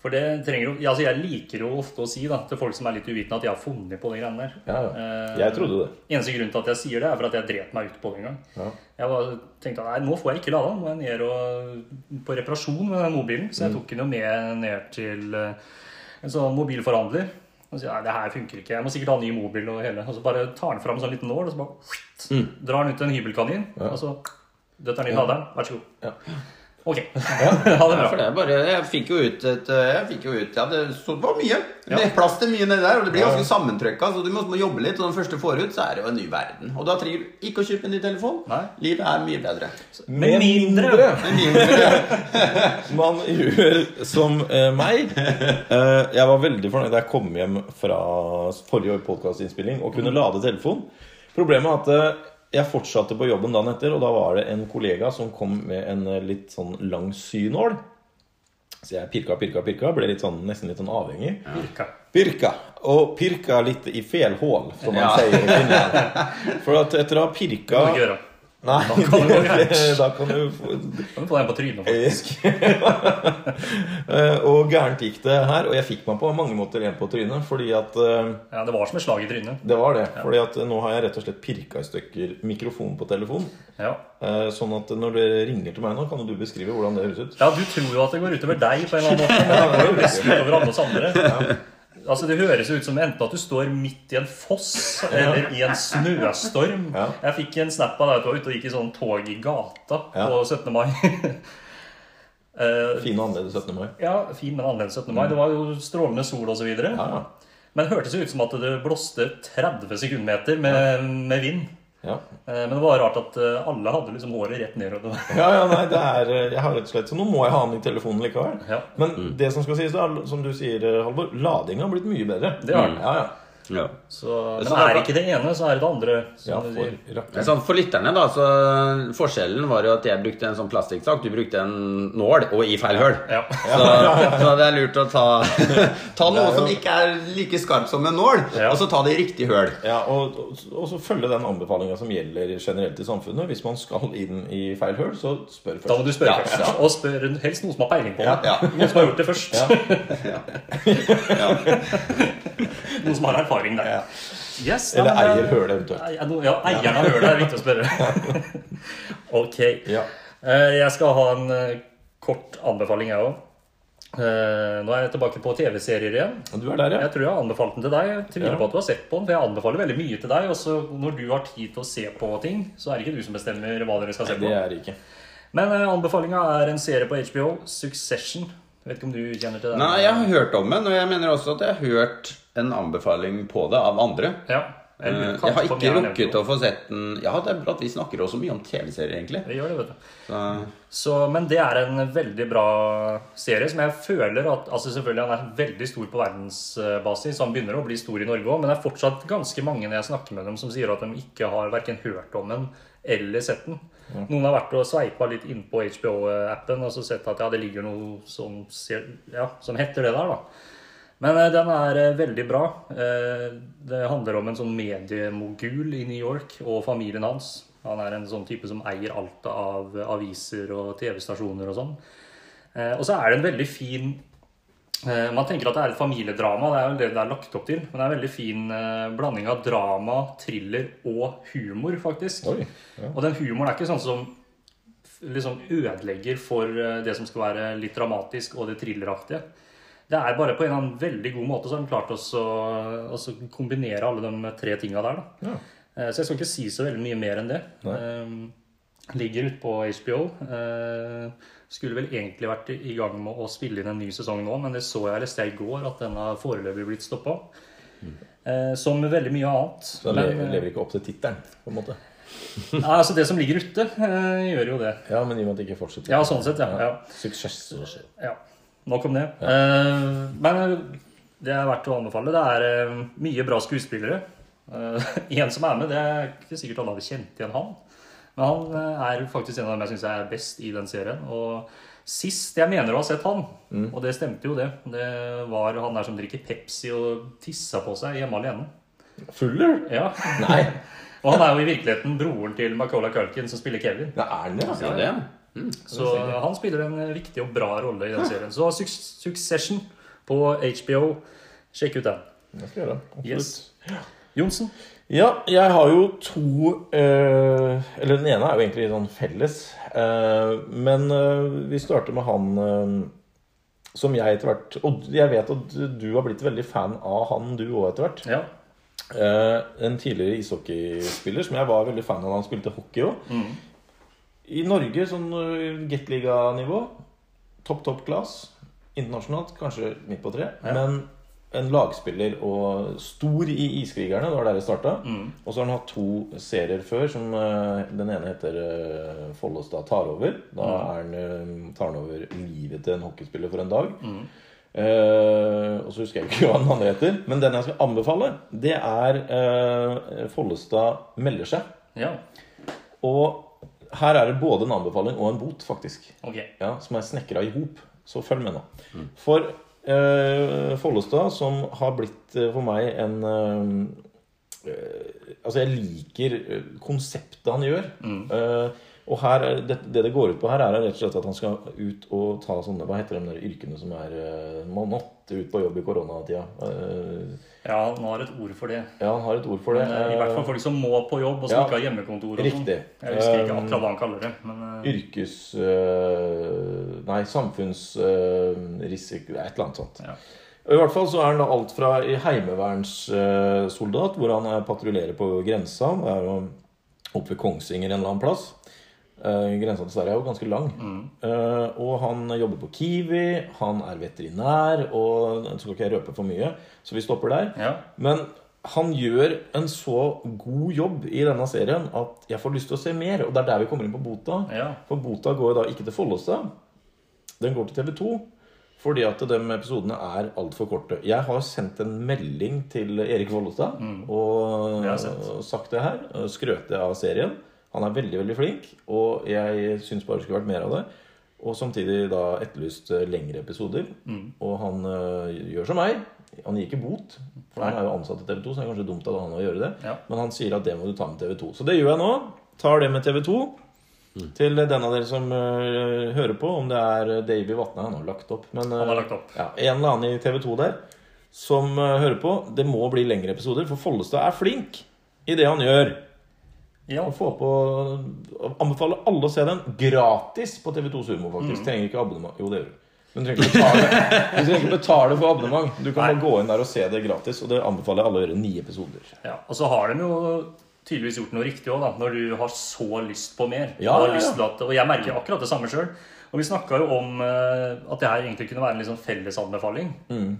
Speaker 1: For det trenger jo ja, altså Jeg liker jo ofte å si da, til folk som er litt uvitende, at jeg har funnet på de greiene der.
Speaker 2: Ja,
Speaker 1: Eh,
Speaker 2: ja. Jeg trodde det.
Speaker 1: Eneste grunnen til at jeg sier det, er for at jeg dret meg ut på det en gang.
Speaker 2: Ja.
Speaker 1: Jeg bare tenkte at nei, nå får jeg ikke lada, nå er jeg ned og på reparasjon med den mobilen. Så
Speaker 2: Mm.
Speaker 1: jeg tok den jo med ned til eh, en sånn mobilforhandler. Og så sier jeg, nei, det her funker ikke, jeg må sikkert ha en ny mobil og hele. Og så bare tar han fram en sånn liten nål, og så bare drar han ut en hybelkanin. Og så døtter han inn laderen. Vær så god.
Speaker 2: Mm. Ja.
Speaker 1: Ok. ha det
Speaker 3: Ja,
Speaker 1: bra.
Speaker 3: for det er bare, jeg fikk jo ut et eh, Jeg fikk jo ut, ja, det så- det var mye. Det er plass til mye nedi der, og det blir ganske sammentrykka, så du må, må jobbe litt. Og når den første får ut, så er det jo en ny verden. Og da trenger du ikke å kjøpe en ny telefon.
Speaker 1: Nei.
Speaker 3: Livet er mye bedre.
Speaker 1: Med mindre
Speaker 3: Men mindre-
Speaker 2: man gjør som eh, meg. Eh, jeg var veldig fornøyd da jeg kom hjem fra forrige podkastinnspilling og kunne lade telefonen. Problemet er at eh, jeg fortsatte på jobben dagen etter, og da var det en kollega som kom med en eh, litt sånn lang synål. Så jeg pirka, pirka, pirka. Ble litt sånn, nesten litt sånn avhengig.
Speaker 1: Virka.
Speaker 2: Pirka. Og pirka litt i fel hål, som man
Speaker 3: Ja.
Speaker 2: sier i Finland. For at etter å ha pirka
Speaker 1: Må ikke gjøre.
Speaker 2: Nei,
Speaker 1: Da kan det gå gærent.
Speaker 2: da kan du få
Speaker 1: Kan du få den på trynet? faktisk?
Speaker 2: Faktisk. Eh, og gærent gikk det her. Og jeg fikk meg på mange måter en på trynet, fordi at eh,
Speaker 1: Ja, det var som et slag i trynet.
Speaker 2: Det var det. Fordi at nå har jeg rett og slett pirka i stykker mikrofonen på telefonen.
Speaker 1: Ja.
Speaker 2: Eh, Sånn at når dere ringer til meg nå, kan jo du beskrive hvordan det høres ut?
Speaker 1: Ja, du tror jo at det går utover deg på en eller annen måte, men det går jo mest utover alle oss andre. Altså, Det høres jo ut som enten at du står midt i en foss eller i en snøstorm.
Speaker 2: Ja.
Speaker 1: Jeg fikk en snap av deg at du var ute og gikk i sånn tog i gata
Speaker 2: Ja.
Speaker 1: på 17. mai. Eh,
Speaker 2: Fin og annerledes 17. mai.
Speaker 1: ja, fin, men annerledes 17. mai. Det var jo strålende sol og så videre.
Speaker 2: Ja, ja.
Speaker 1: Men det hørtes jo ut som at det blåste 30 sekundmeter med, med vind.
Speaker 2: Ja.
Speaker 1: Eh, Men det var rart at eh, alle hadde liksom håret rett nedover.
Speaker 2: ja, ja, nei, det er eh, Jeg har rett og slett Så nå må jeg ha den i telefonen likevel.
Speaker 1: Ja.
Speaker 2: Men det som skal sies, da, som du sier, eh, Halvor, ladinga har blitt mye bedre.
Speaker 1: Det har den.
Speaker 2: Ja, ja.
Speaker 3: Ja.
Speaker 1: Så,
Speaker 3: Det
Speaker 1: men
Speaker 3: er
Speaker 1: er ikke det ene, så er det det andre. Som
Speaker 2: sånn Ja,
Speaker 1: du
Speaker 2: for
Speaker 1: sier.
Speaker 2: rakker.
Speaker 3: Men sånn for lytterne, da, så forskjellen var jo at jeg brukte en sånn plastikksak, du brukte en nål, og i feil høl.
Speaker 1: Ja.
Speaker 3: Så, så det er lurt å ta Ta
Speaker 2: Det er
Speaker 3: noe
Speaker 2: jo-
Speaker 3: som ikke er like skarpt som en nål,
Speaker 1: Ja.
Speaker 3: og så ta det i riktig høl.
Speaker 2: Ja, og, og så følge den anbefalinga som gjelder generelt i samfunnet. Hvis man skal inn i feil høl, så spør først.
Speaker 1: Da må du spørre
Speaker 3: Ja,
Speaker 1: først.
Speaker 3: ja.
Speaker 1: Og spør helst noen som har peiling på det.
Speaker 3: Ja.
Speaker 1: Noen som har gjort det først. noen som har erfaring der.
Speaker 2: Ja.
Speaker 1: Yes,
Speaker 2: Eller
Speaker 1: ja, men det-
Speaker 2: eier hølet eventuelt.
Speaker 1: Ja, no- ja, eieren av hølet er viktig å spørre. ok.
Speaker 2: Ja.
Speaker 1: Eh, Jeg skal ha en eh, kort anbefaling, jeg òg. Nå er jeg tilbake på TV-serier igjen.
Speaker 2: Du er der, ja.
Speaker 1: Jeg tror jeg har anbefalt den til deg. Jeg tviler
Speaker 2: Ja.
Speaker 1: på at du har sett på den, for jeg anbefaler veldig mye til deg. Og så når du har tid til å se på ting, så er det ikke du som bestemmer hva dere skal se
Speaker 2: Det
Speaker 1: på.
Speaker 2: er det ikke.
Speaker 1: Men eh, anbefalinga er en serie på HBO, Succession. Jeg vet ikke om du kjenner til den?
Speaker 3: Nei, jeg har hørt om den, og jeg mener også at jeg har hørt en anbefaling på det av andre.
Speaker 1: Ja.
Speaker 3: Eh,
Speaker 1: lurer
Speaker 3: Jeg har
Speaker 1: kanskje på om
Speaker 3: ikke
Speaker 1: nevnt
Speaker 3: rukket
Speaker 1: noe.
Speaker 3: å få sett den Ja, det er bra at vi snakker også mye om TV-serier, egentlig.
Speaker 1: Vi gjør det, vet du.
Speaker 3: Så,
Speaker 1: Så, men det er en veldig bra serie som jeg føler at altså Selvfølgelig han er veldig stor på verdensbasis, så han begynner å bli stor i Norge òg, men det er fortsatt ganske mange når jeg snakker med dem, som sier at de ikke har hverken hørt om den eller sett den. Noen har vært og sveipa litt innpå HBO-appen og så sett at ja, det ligger noe som, ser, ja, som heter det der, da. Men eh, den er eh, veldig bra. Eh, det handler om en sånn mediemogul i New York og familien hans. Han er en sånn type som eier alt av eh, aviser og TV-stasjoner og sånn. Eh, og så er det en veldig fin Eh, Man tenker at det er et familiedrama, det er jo det det er lagt opp til. Men det er en veldig fin eh, blanding av drama, thriller og humor, faktisk.
Speaker 2: Oi, ja.
Speaker 1: Og den humoren er ikke sånn som f- liksom ødelegger for eh, det som skal være litt dramatisk og det thrilleraktige. Det er bare på en eller annen veldig god måte så har de klart også å så kombinere alle de tre tinga der. da.
Speaker 2: Ja.
Speaker 1: Eh, Så jeg skal ikke si så veldig mye mer enn det.
Speaker 2: Nei.
Speaker 1: Eh, Ligger ute på HBO. Eh, Skulle vel egentlig vært i gang med å spille inn en ny sesong nå, men det så jeg leste jeg i går at den har foreløpig blitt stoppa. Som veldig mye annet.
Speaker 2: Mm. Så
Speaker 1: Men,
Speaker 2: den lever,
Speaker 1: eh,
Speaker 2: lever ikke opp til tittelen, på en måte.
Speaker 1: ja, altså det som ligger ute, eh, gjør jo det.
Speaker 2: Ja, men i og med at det ikke fortsetter.
Speaker 1: Ja, sånn sett, ja. ja.
Speaker 2: Suksess. altså. også.
Speaker 1: Ja, nok om det. Eh, men det er verdt å anbefale. Det er eh, mye bra skuespillere. Eh, en som er med, det er ikke sikkert alle hadde kjent igjen han. Men han eh, er faktisk en av dem jeg syns er best i den serien. Og sist jeg mener å ha sett han, og det stemte jo det, det var han der som drikker Pepsi og tissa på seg hjemme alene.
Speaker 2: Fuller?
Speaker 1: Ja.
Speaker 2: Nei.
Speaker 1: Og han er jo i virkeligheten broren til Macaulay Culkin som spiller Kevin.
Speaker 2: Det er den, ja.
Speaker 3: ja, det.
Speaker 1: Så han spiller en viktig og bra rolle i den serien. Så Suc- Succession på HBO. Sjekk ut den.
Speaker 2: Det skal jeg gjøre. Absolutt.
Speaker 1: Yes. Johnsen.
Speaker 2: Ja, jeg har jo to eh, Eller den ene er jo egentlig sånn felles. eh, men eh, vi starter med han eh, som jeg etter hvert Og jeg vet at du har blitt veldig fan av han du òg etter hvert.
Speaker 1: Ja.
Speaker 2: Eh, en tidligere ishockeyspiller som jeg var veldig fan av da han spilte hockey òg. I Norge, sånn eh, Gateliga-nivå, topp, topp class. Internasjonalt kanskje midt på tre. Men en lagspiller og stor i Iskrigerne, det var der det starta. Og så har han hatt to serier før, som eh, den ene heter eh, Follestad tar over. Da er han, eh, tar han over livet til en hockeyspiller for en dag. Eh, og så husker jeg ikke hva den andre heter. Men den jeg skal anbefale, det er eh, Follestad melder seg.
Speaker 1: ja.
Speaker 2: Og her er det både en anbefaling og en bot, faktisk.
Speaker 1: Ok.
Speaker 2: Ja, Som er snekra i hop. Så følg med nå.
Speaker 1: Mm.
Speaker 2: For eh, Follestad, som har blitt eh, for meg en eh, eh, Altså, jeg liker eh, konseptet han gjør.
Speaker 1: Mm.
Speaker 2: Eh, og her, er- det, det det går ut på her, er rett og slett at han skal ut og ta sånne Hva heter de der yrkene som er eh, Man måtte ut på jobb i koronatida. Eh,
Speaker 1: Ja, han har et ord for det.
Speaker 2: ja, han har et ord for det.
Speaker 1: Men, eh, I hvert fall folk som må på jobb, og som
Speaker 2: ja.
Speaker 1: ikke har hjemmekontor. og sånn.
Speaker 2: Riktig.
Speaker 1: Jeg husker ikke
Speaker 2: Um,
Speaker 1: akkurat hva han kaller det. Men eh,
Speaker 2: Yrkes... øh, nei, samfunnsrisiko Et eller annet sånt.
Speaker 1: Ja.
Speaker 2: Og I hvert fall så er han da alt fra i heimevernssoldat, hvor han eh, patruljerer på grensa Det er jo oppe ved Kongsvinger en eller annen plass. Eh, Grensa til Sverige er jo ganske lang.
Speaker 1: Mm.
Speaker 2: Eh, og han jobber på Kiwi, han er veterinær, og så skal ikke jeg røpe for mye, så vi stopper der.
Speaker 1: ja.
Speaker 2: Men han gjør en så god jobb i denne serien at jeg får lyst til å se mer. Og det er der vi kommer inn på bota.
Speaker 1: Ja.
Speaker 2: For bota går jo da ikke til Follestad. Den går til TV2. Fordi at de episodene er altfor korte. Jeg har sendt en melding til Erik Vollestad
Speaker 1: Mm. Det
Speaker 2: og,
Speaker 1: har jeg sett.
Speaker 2: og sagt det her. og Skrøt jeg av serien. Han er veldig veldig flink, og jeg syns bare det skulle vært mer av det. Og samtidig da etterlyst eh, lengre episoder.
Speaker 1: Mm.
Speaker 2: Og han eh, gjør som meg. Han gir ikke bot, for han er jo ansatt i TV 2. Så det er kanskje dumt av han å gjøre det
Speaker 1: Ja.
Speaker 2: Men han sier at det må du ta med TV 2. Så det gjør jeg nå. Tar det med TV 2. Mm. Til den av dere som øh, hører på, om det er øh, Davy Vatne Han har lagt opp. Men øh,
Speaker 1: Han har lagt opp.
Speaker 2: Ja, en eller annen i TV2 der som øh, hører på. Det må bli lengre episoder, for Follestad er flink i det han gjør.
Speaker 1: Ja,
Speaker 2: Og få på og Anbefaler alle å se den gratis på TV2 Sumo,
Speaker 1: Mm.
Speaker 2: faktisk. Trenger ikke abonnement. Jo, det gjør du. Men Du trenger ikke betale, du trenger ikke betale for abonnement. Du kan bare gå inn der og se det gratis. Og det anbefaler jeg alle å gjøre. Ni episoder.
Speaker 1: ja. Og så har de jo tydeligvis gjort noe riktig òg, da. Når du har så lyst på mer.
Speaker 2: Ja,
Speaker 1: og, har
Speaker 2: ja, ja.
Speaker 1: lyst til at, og jeg merker akkurat det samme sjøl. Og vi snakka jo om eh, at det her egentlig kunne være en liksom fellesanbefaling.
Speaker 2: Mm.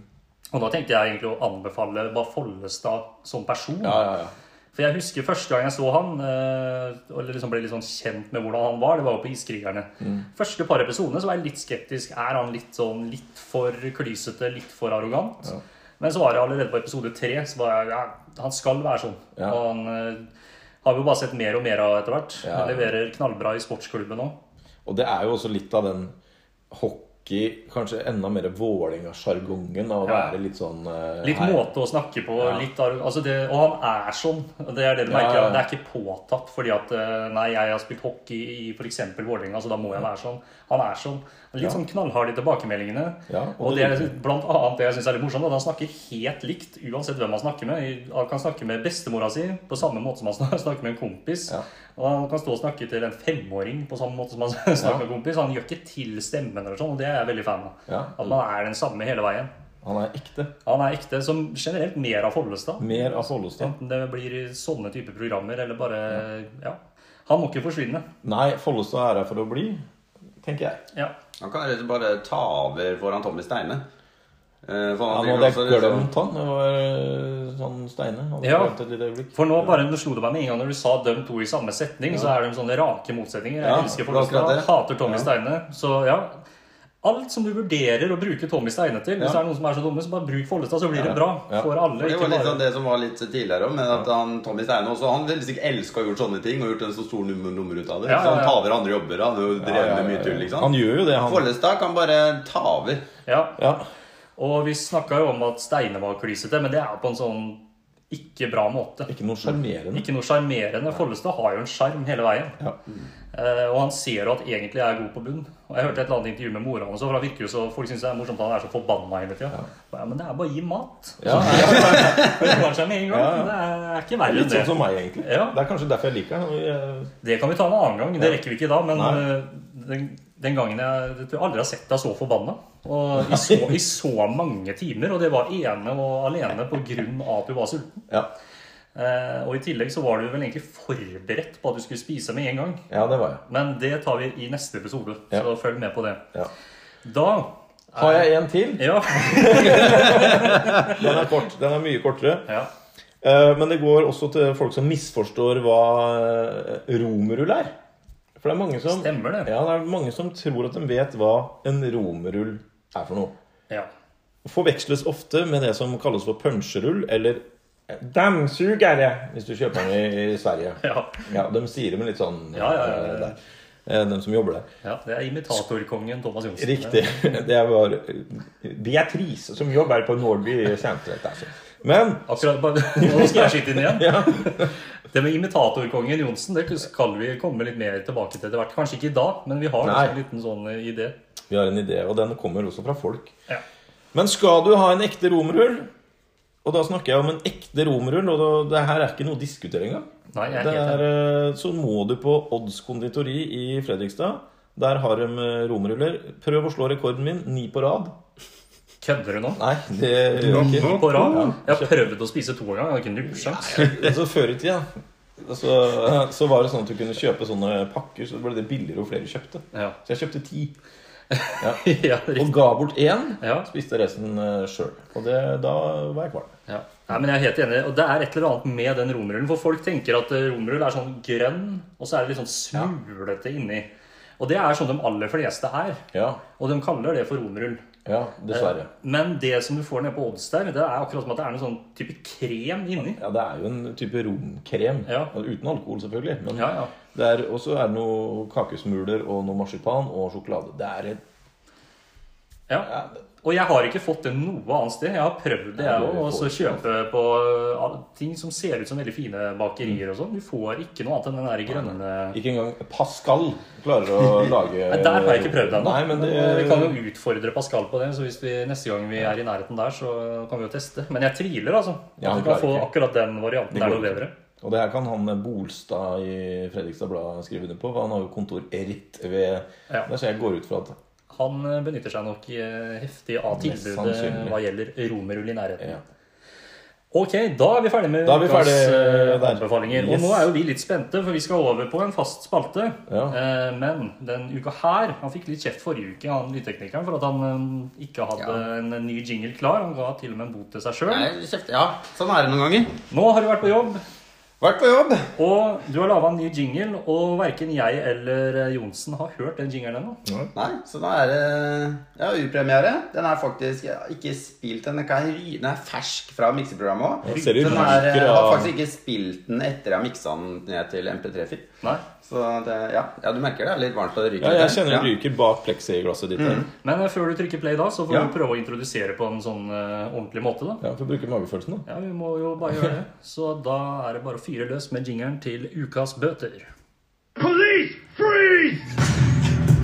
Speaker 1: Og da tenkte jeg egentlig å anbefale bare Follestad som person.
Speaker 2: Ja, ja, ja.
Speaker 1: For jeg husker første gang jeg så han, eh, eller liksom ble litt sånn kjent med hvordan han var, det var jo på Iskrigerne.
Speaker 2: Mm.
Speaker 1: Første par episodene så var jeg litt skeptisk. Er han litt sånn litt for klysete, litt for arrogant? Men så var jeg allerede på episode tre, så var jeg ja, Han skal være sånn.
Speaker 2: Ja.
Speaker 1: Og han eh, har vi jo bare sett mer og mer av etter hvert.
Speaker 2: Ja.
Speaker 1: Han leverer knallbra i sportsklubben òg.
Speaker 2: Og det er jo også litt av den hockey Kanskje enda mer Vålerenga-sjargongen av å
Speaker 1: Ja.
Speaker 2: være litt sånn eh,
Speaker 1: Litt
Speaker 2: her.
Speaker 1: måte å snakke på.
Speaker 2: Ja.
Speaker 1: Litt, arro- altså det, og han er sånn. og Det er det du
Speaker 2: Ja,
Speaker 1: merker.
Speaker 2: ja, ja.
Speaker 1: at Det er ikke påtatt fordi at eh, Nei, jeg har spilt hockey i f.eks. Vålerenga, så da må jeg være sånn. Han er sånn. Litt
Speaker 2: Ja.
Speaker 1: sånn knallhard i tilbakemeldingene.
Speaker 2: Ja, og
Speaker 1: og, det
Speaker 2: det
Speaker 1: er liksom blant annet det jeg syns er litt morsomt, at han snakker helt likt uansett hvem han snakker med. Han kan snakke med bestemora si på samme måte som han snak- snakker med en kompis.
Speaker 2: Ja.
Speaker 1: Og han kan stå og snakke til en femåring på samme måte som han snakker
Speaker 2: Ja.
Speaker 1: med en kompis. Han gjør ikke til stemmen eller sånn, og det er jeg veldig fan av.
Speaker 2: Ja.
Speaker 1: At man er den samme hele veien.
Speaker 2: Han er ekte.
Speaker 1: Han er ekte som generelt mer av Follestad.
Speaker 2: Mer av Follestad.
Speaker 1: Enten det blir i sånne type programmer eller bare Ja. Han må ikke forsvinne.
Speaker 2: Nei, Follestad er her for å bli, tenker jeg.
Speaker 1: Ja.
Speaker 3: Han kan rett og slett bare ta over foran Tommy Steine. Eh, For
Speaker 2: Han
Speaker 3: driver
Speaker 2: hadde
Speaker 3: også
Speaker 2: jeg
Speaker 3: liksom-
Speaker 2: glemt han. Det var eh, sånn Steine. Han hadde
Speaker 1: Ja.
Speaker 2: glemt et lite øyeblikk.
Speaker 1: For nå bare nå slo det meg med en gang når du sa dem to i samme setning, så er de sånne rake motsetninger. Jeg
Speaker 3: Ja,
Speaker 1: elsker
Speaker 3: det var akkurat
Speaker 1: Follestad,
Speaker 3: det.
Speaker 1: hater Tommy
Speaker 2: Ja.
Speaker 1: Steine. Så ja. Alt som du vurderer å bruke Tommy Steine til, hvis
Speaker 2: Ja.
Speaker 1: det er noen som er så dumme, så bare bruk Follestad, så blir det
Speaker 2: Ja.
Speaker 1: bra
Speaker 2: Ja.
Speaker 1: for alle.
Speaker 3: Det
Speaker 1: Ikke
Speaker 3: var litt
Speaker 1: bare
Speaker 3: sånn det som var litt tidligere òg, men at han, Tommy Steine også Han ville sikkert elska å gjort sånne ting og gjort en så stor nummer, nummer ut av det.
Speaker 1: Ja,
Speaker 3: Så
Speaker 1: ja, ja.
Speaker 3: han tar over andre jobber. Han har jo drevet
Speaker 2: Ja, ja, ja,
Speaker 3: med mye
Speaker 2: ja.
Speaker 3: tull, liksom.
Speaker 2: Han gjør jo det, han.
Speaker 3: Follestad kan bare ta over.
Speaker 1: Ja.
Speaker 2: Ja.
Speaker 1: Og vi snakka jo om at Steine var klysete, men det er på en sånn ikke bra måte.
Speaker 2: Ikke noe sjarmerende.
Speaker 1: Ikke noe sjarmerende. Follestad har jo en sjarm hele veien.
Speaker 2: Ja.
Speaker 1: Eh, og han ser jo at egentlig er jeg god på bunn. Og jeg hørte et eller annet intervju med mora hans, for han virker jo så, folk syns det er morsomt at han er så forbanna hele tida. Ja. Men det er bare å gi mat.
Speaker 2: Ja,
Speaker 1: Det klarer seg med en gang.
Speaker 2: Ja, ja.
Speaker 1: Det er ikke verre
Speaker 2: Litt
Speaker 1: enn
Speaker 2: sånn
Speaker 1: det.
Speaker 2: som meg, egentlig.
Speaker 1: Ja.
Speaker 2: Det er kanskje derfor jeg liker han. eh, Jeg-
Speaker 1: Det kan vi ta en annen gang. Det rekker vi ikke da. Men
Speaker 2: Nei.
Speaker 1: eh, den, den gangen jeg, jeg tror jeg aldri har sett deg så forbanna. Og i så, i så mange timer. Og det var ene og alene på grunn av at du var sulten.
Speaker 2: Ja.
Speaker 1: Eh, og i tillegg så var du vel egentlig forberedt på at du skulle spise med en gang.
Speaker 2: ja, det var jeg.
Speaker 1: Men det tar vi i neste episode,
Speaker 2: Ja.
Speaker 1: så følg med på det.
Speaker 2: Ja.
Speaker 1: Da
Speaker 2: Har jeg en til?
Speaker 1: Ja.
Speaker 2: Den er kort. Den er mye kortere.
Speaker 1: ja.
Speaker 2: Eh, Men det går også til folk som misforstår hva eh, romerull er. For det er mange som,
Speaker 1: Stemmer det.
Speaker 2: Ja, det er mange som tror at de vet hva en romerull er for noe.
Speaker 1: ja.
Speaker 2: Forveksles ofte med det som kalles for punsjerull eller damsugere, hvis du kjøper den i, i Sverige.
Speaker 1: Ja.
Speaker 2: Ja, De sier det med litt sånn
Speaker 1: Ja, ja, ja, ja.
Speaker 2: eh, der. Eh, De som jobber der.
Speaker 1: ja. Det er imitatorkongen Thomas Johnsen.
Speaker 2: Riktig. Det var Beatrice som jobber på Nordby senter. altså. Men
Speaker 1: Akkurat, bare, nå skal jeg skyte inn igjen. Det med imitatorkongen Johnsen det skal vi komme litt mer tilbake til etter hvert. Kanskje ikke i dag, men vi har
Speaker 2: Nei.
Speaker 1: liksom en liten sånn idé.
Speaker 2: vi har en idé, og den kommer også fra folk.
Speaker 1: Ja.
Speaker 2: Men skal du ha en ekte romerhull Og da snakker jeg om en ekte romerhull Og da, det her er ikke noe å diskutere engang
Speaker 1: Nei, jeg er
Speaker 2: Det
Speaker 1: helt
Speaker 2: er, eh, Så må du på Odds konditori i Fredrikstad Der har de eh, romerhuller Prøv å slå rekorden min, ni på rad
Speaker 1: Kødder du nå?
Speaker 2: Nei, det gjør jeg ikke
Speaker 1: På rad? Jeg har prøvd å spise to ganger. Jeg har ikke nubbsjans.
Speaker 2: Altså før i tida så, så var det sånn at du kunne kjøpe sånne pakker Så ble det billigere og flere kjøpte
Speaker 1: Ja.
Speaker 2: Så jeg kjøpte ti
Speaker 1: Ja,
Speaker 2: Og
Speaker 1: riktig.
Speaker 2: ga bort én
Speaker 1: Ja.
Speaker 2: Spiste resten eh, selv Og det, da var jeg kvalm
Speaker 1: Ja. Nei, men jeg er helt enig, og Det er et eller annet med den romerullen. For folk tenker at eh, romerull er sånn grønn, og så er det litt sånn smulete inni. Og det er sånn de aller fleste er.
Speaker 2: Ja,
Speaker 1: Og de kaller det for romerull.
Speaker 2: Ja, dessverre.
Speaker 1: Men det som du får nede på odds der, det er akkurat som at det er noe sånn type krem inni.
Speaker 2: Ja, det er jo en type romkrem.
Speaker 1: Ja.
Speaker 2: Uten alkohol, selvfølgelig. Men
Speaker 1: Ja, ja.
Speaker 2: det er også er det noe kakesmuler og noe marsipan og sjokolade. Det er et
Speaker 1: Ja.
Speaker 2: ja, det-
Speaker 1: Og jeg har ikke fått det noe annet sted. Jeg har prøvd det,
Speaker 2: Ja,
Speaker 1: jeg
Speaker 2: du
Speaker 1: òg. Og så
Speaker 2: får
Speaker 1: kjøpe på alle ting som ser ut som veldig fine bakerier og sånn. Du får ikke noe annet enn den der grønne
Speaker 2: Ikke engang Pascal klarer å lage
Speaker 1: Nei, Der har jeg ikke prøvd ennå.
Speaker 2: Nei, men det,
Speaker 1: Men, eh, Vi kan jo utfordre Pascal på det. Så hvis vi neste gang vi er i nærheten der, så kan vi jo teste. Men jeg tviler, altså.
Speaker 2: Ja,
Speaker 1: At vi kan
Speaker 2: han klarer
Speaker 1: få
Speaker 2: ikke.
Speaker 1: akkurat den varianten.
Speaker 2: Det
Speaker 1: Det er
Speaker 2: går
Speaker 1: noe
Speaker 2: ikke.
Speaker 1: bedre.
Speaker 2: Og det her kan han eh, Bolstad i Fredrikstad Blad skrive under på, for han har jo kontor rett ved
Speaker 1: Ja.
Speaker 2: Der, så jeg går ut fra at
Speaker 1: Han eh, benytter seg nok eh, heftig av
Speaker 2: Mest
Speaker 1: tilbudet
Speaker 2: sannsynlig.
Speaker 1: hva gjelder romerull i nærheten.
Speaker 2: ja.
Speaker 1: Ok, da er vi ferdige med
Speaker 2: Da er vi ferdige
Speaker 1: eh,
Speaker 2: der.
Speaker 1: anbefalinger.
Speaker 2: Yes.
Speaker 1: Og nå er jo vi litt spente, for vi skal over på en fast spalte.
Speaker 2: Ja.
Speaker 1: Eh, Men den uka her Han fikk litt kjeft forrige uke, han lydteknikeren, for at han eh, ikke hadde
Speaker 3: Ja.
Speaker 1: en ny jingle klar. Han ga til og med en bot til seg sjøl.
Speaker 3: Nei, kjeft, ja, sånn er det noen ganger.
Speaker 1: Nå har du vært på jobb.
Speaker 3: Vært på jobb.
Speaker 1: Og du har laga en ny jingle, og verken jeg eller eh, Johnsen har hørt den jingelen ennå.
Speaker 3: Nei, så da er det ja, upremiere. Den er faktisk ikke spilt den. Den kan ry- Den er fersk fra mikseprogrammet òg.
Speaker 2: Jeg ser jo
Speaker 3: Den er, jeg
Speaker 2: ryker
Speaker 3: har
Speaker 2: av
Speaker 3: faktisk ikke spilt den etter jeg har miksa den ned til MP3-fil.
Speaker 1: Nei.
Speaker 3: Så det, ja. ja, du merker det er litt varmt og det ryker.
Speaker 2: Ja, jeg
Speaker 3: litt der.
Speaker 2: kjenner det
Speaker 3: Ja.
Speaker 2: ryker bak pleksiglasset ditt. her.
Speaker 1: Men eh, før du trykker play, da, så får
Speaker 3: Ja.
Speaker 1: du prøve å introdusere på en sånn eh, ordentlig måte. da.
Speaker 2: Ja, Får bruke magefølelsen, da.
Speaker 1: Ja, vi må jo bare gjøre det. Så da er det bare å fyre løs med jingeren til ukas bøter.
Speaker 4: Police, freeze!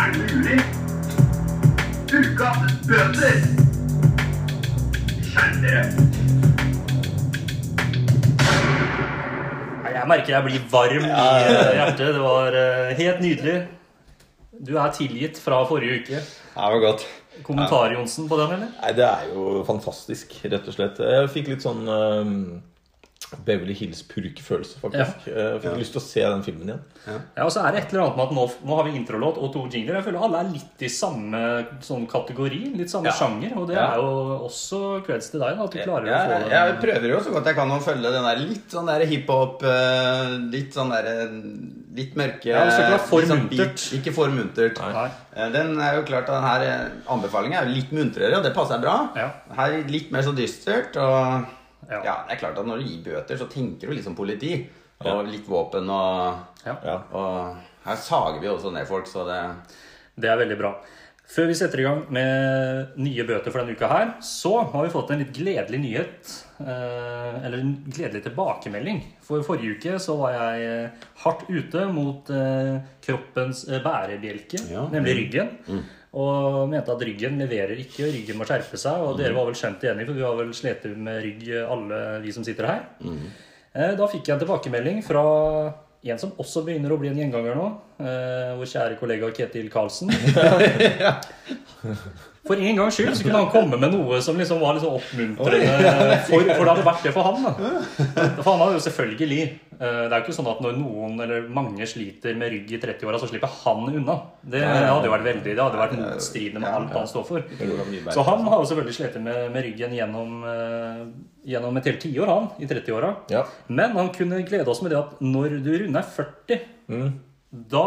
Speaker 4: Er det mulig? Ukas bøter! Skjerp dere!
Speaker 1: Nei, Jeg merker jeg blir varm i eh, hjertet. Det var eh, helt nydelig. Du er tilgitt fra forrige uke.
Speaker 3: Ja, det var godt.
Speaker 1: Kommentar, Johnsen, på den, eller?
Speaker 2: Nei, det er jo fantastisk, rett og slett. Jeg fikk litt sånn øhm, Beverly Hills-purkefølelse, faktisk. Jeg fikk lyst til å se den filmen igjen.
Speaker 1: Ja, og så er det et eller annet med at nå, nå har vi introlåt og to jingler. Jeg føler alle er litt i samme sånn kategori, litt samme
Speaker 3: Ja.
Speaker 1: sjanger. Og det
Speaker 3: Ja.
Speaker 1: er jo også creds til deg, da, at du klarer
Speaker 3: jeg,
Speaker 1: å få
Speaker 3: jeg
Speaker 1: det.
Speaker 3: prøver jo så godt jeg kan å følge den der litt sånn der hiphop eh, Litt sånn der eh, Litt mørke
Speaker 1: Ja, det skal ikke være for
Speaker 3: litt sånn
Speaker 1: muntert.
Speaker 3: beat. Ikke for muntert.
Speaker 1: Nei.
Speaker 3: Eh, Den er jo klart at den her eh, anbefalingen er jo litt muntrere, og det passer bra.
Speaker 1: Ja.
Speaker 3: Her litt mer så dystert, og
Speaker 1: Ja.
Speaker 3: ja. det er klart at når du gir bøter, så tenker du litt som politi, og litt våpen og
Speaker 1: Ja.
Speaker 2: Ja.
Speaker 3: Og her sager vi jo også ned folk, så det
Speaker 1: Det er veldig bra. Før vi setter i gang med nye bøter for denne uka her, så har vi fått en litt gledelig nyhet. eh, Eller en gledelig tilbakemelding. For forrige uke så var jeg eh, hardt ute mot eh, kroppens eh, bærebjelke,
Speaker 3: Ja.
Speaker 1: nemlig ryggen. Og mente at ryggen leverer ikke, og ryggen må skjerpe seg. Og dere var vel skjønt enige, for vi har vel slitt med rygg, eh, alle vi som sitter her. Eh, Da fikk jeg en tilbakemelding fra en som også begynner å bli en gjenganger nå. eh, Vår kjære kollega Ketil Karlsen. For en gangs skyld så kunne han komme med noe som liksom var litt sånn oppmuntrende. For, for det hadde vært det for han. da. For han hadde jo selvfølgelig eh, Det er jo ikke sånn at når noen eller mange sliter med rygg i 30-åra, så slipper han unna. Det hadde jo vært veldig, det hadde vært motstridende med alt han står for. Så han har jo selvfølgelig slitt med, med ryggen gjennom, eh, gjennom et helt tiår, han, i 30-åra.
Speaker 2: Ja.
Speaker 1: Men han kunne glede oss med det at når du runder 40, da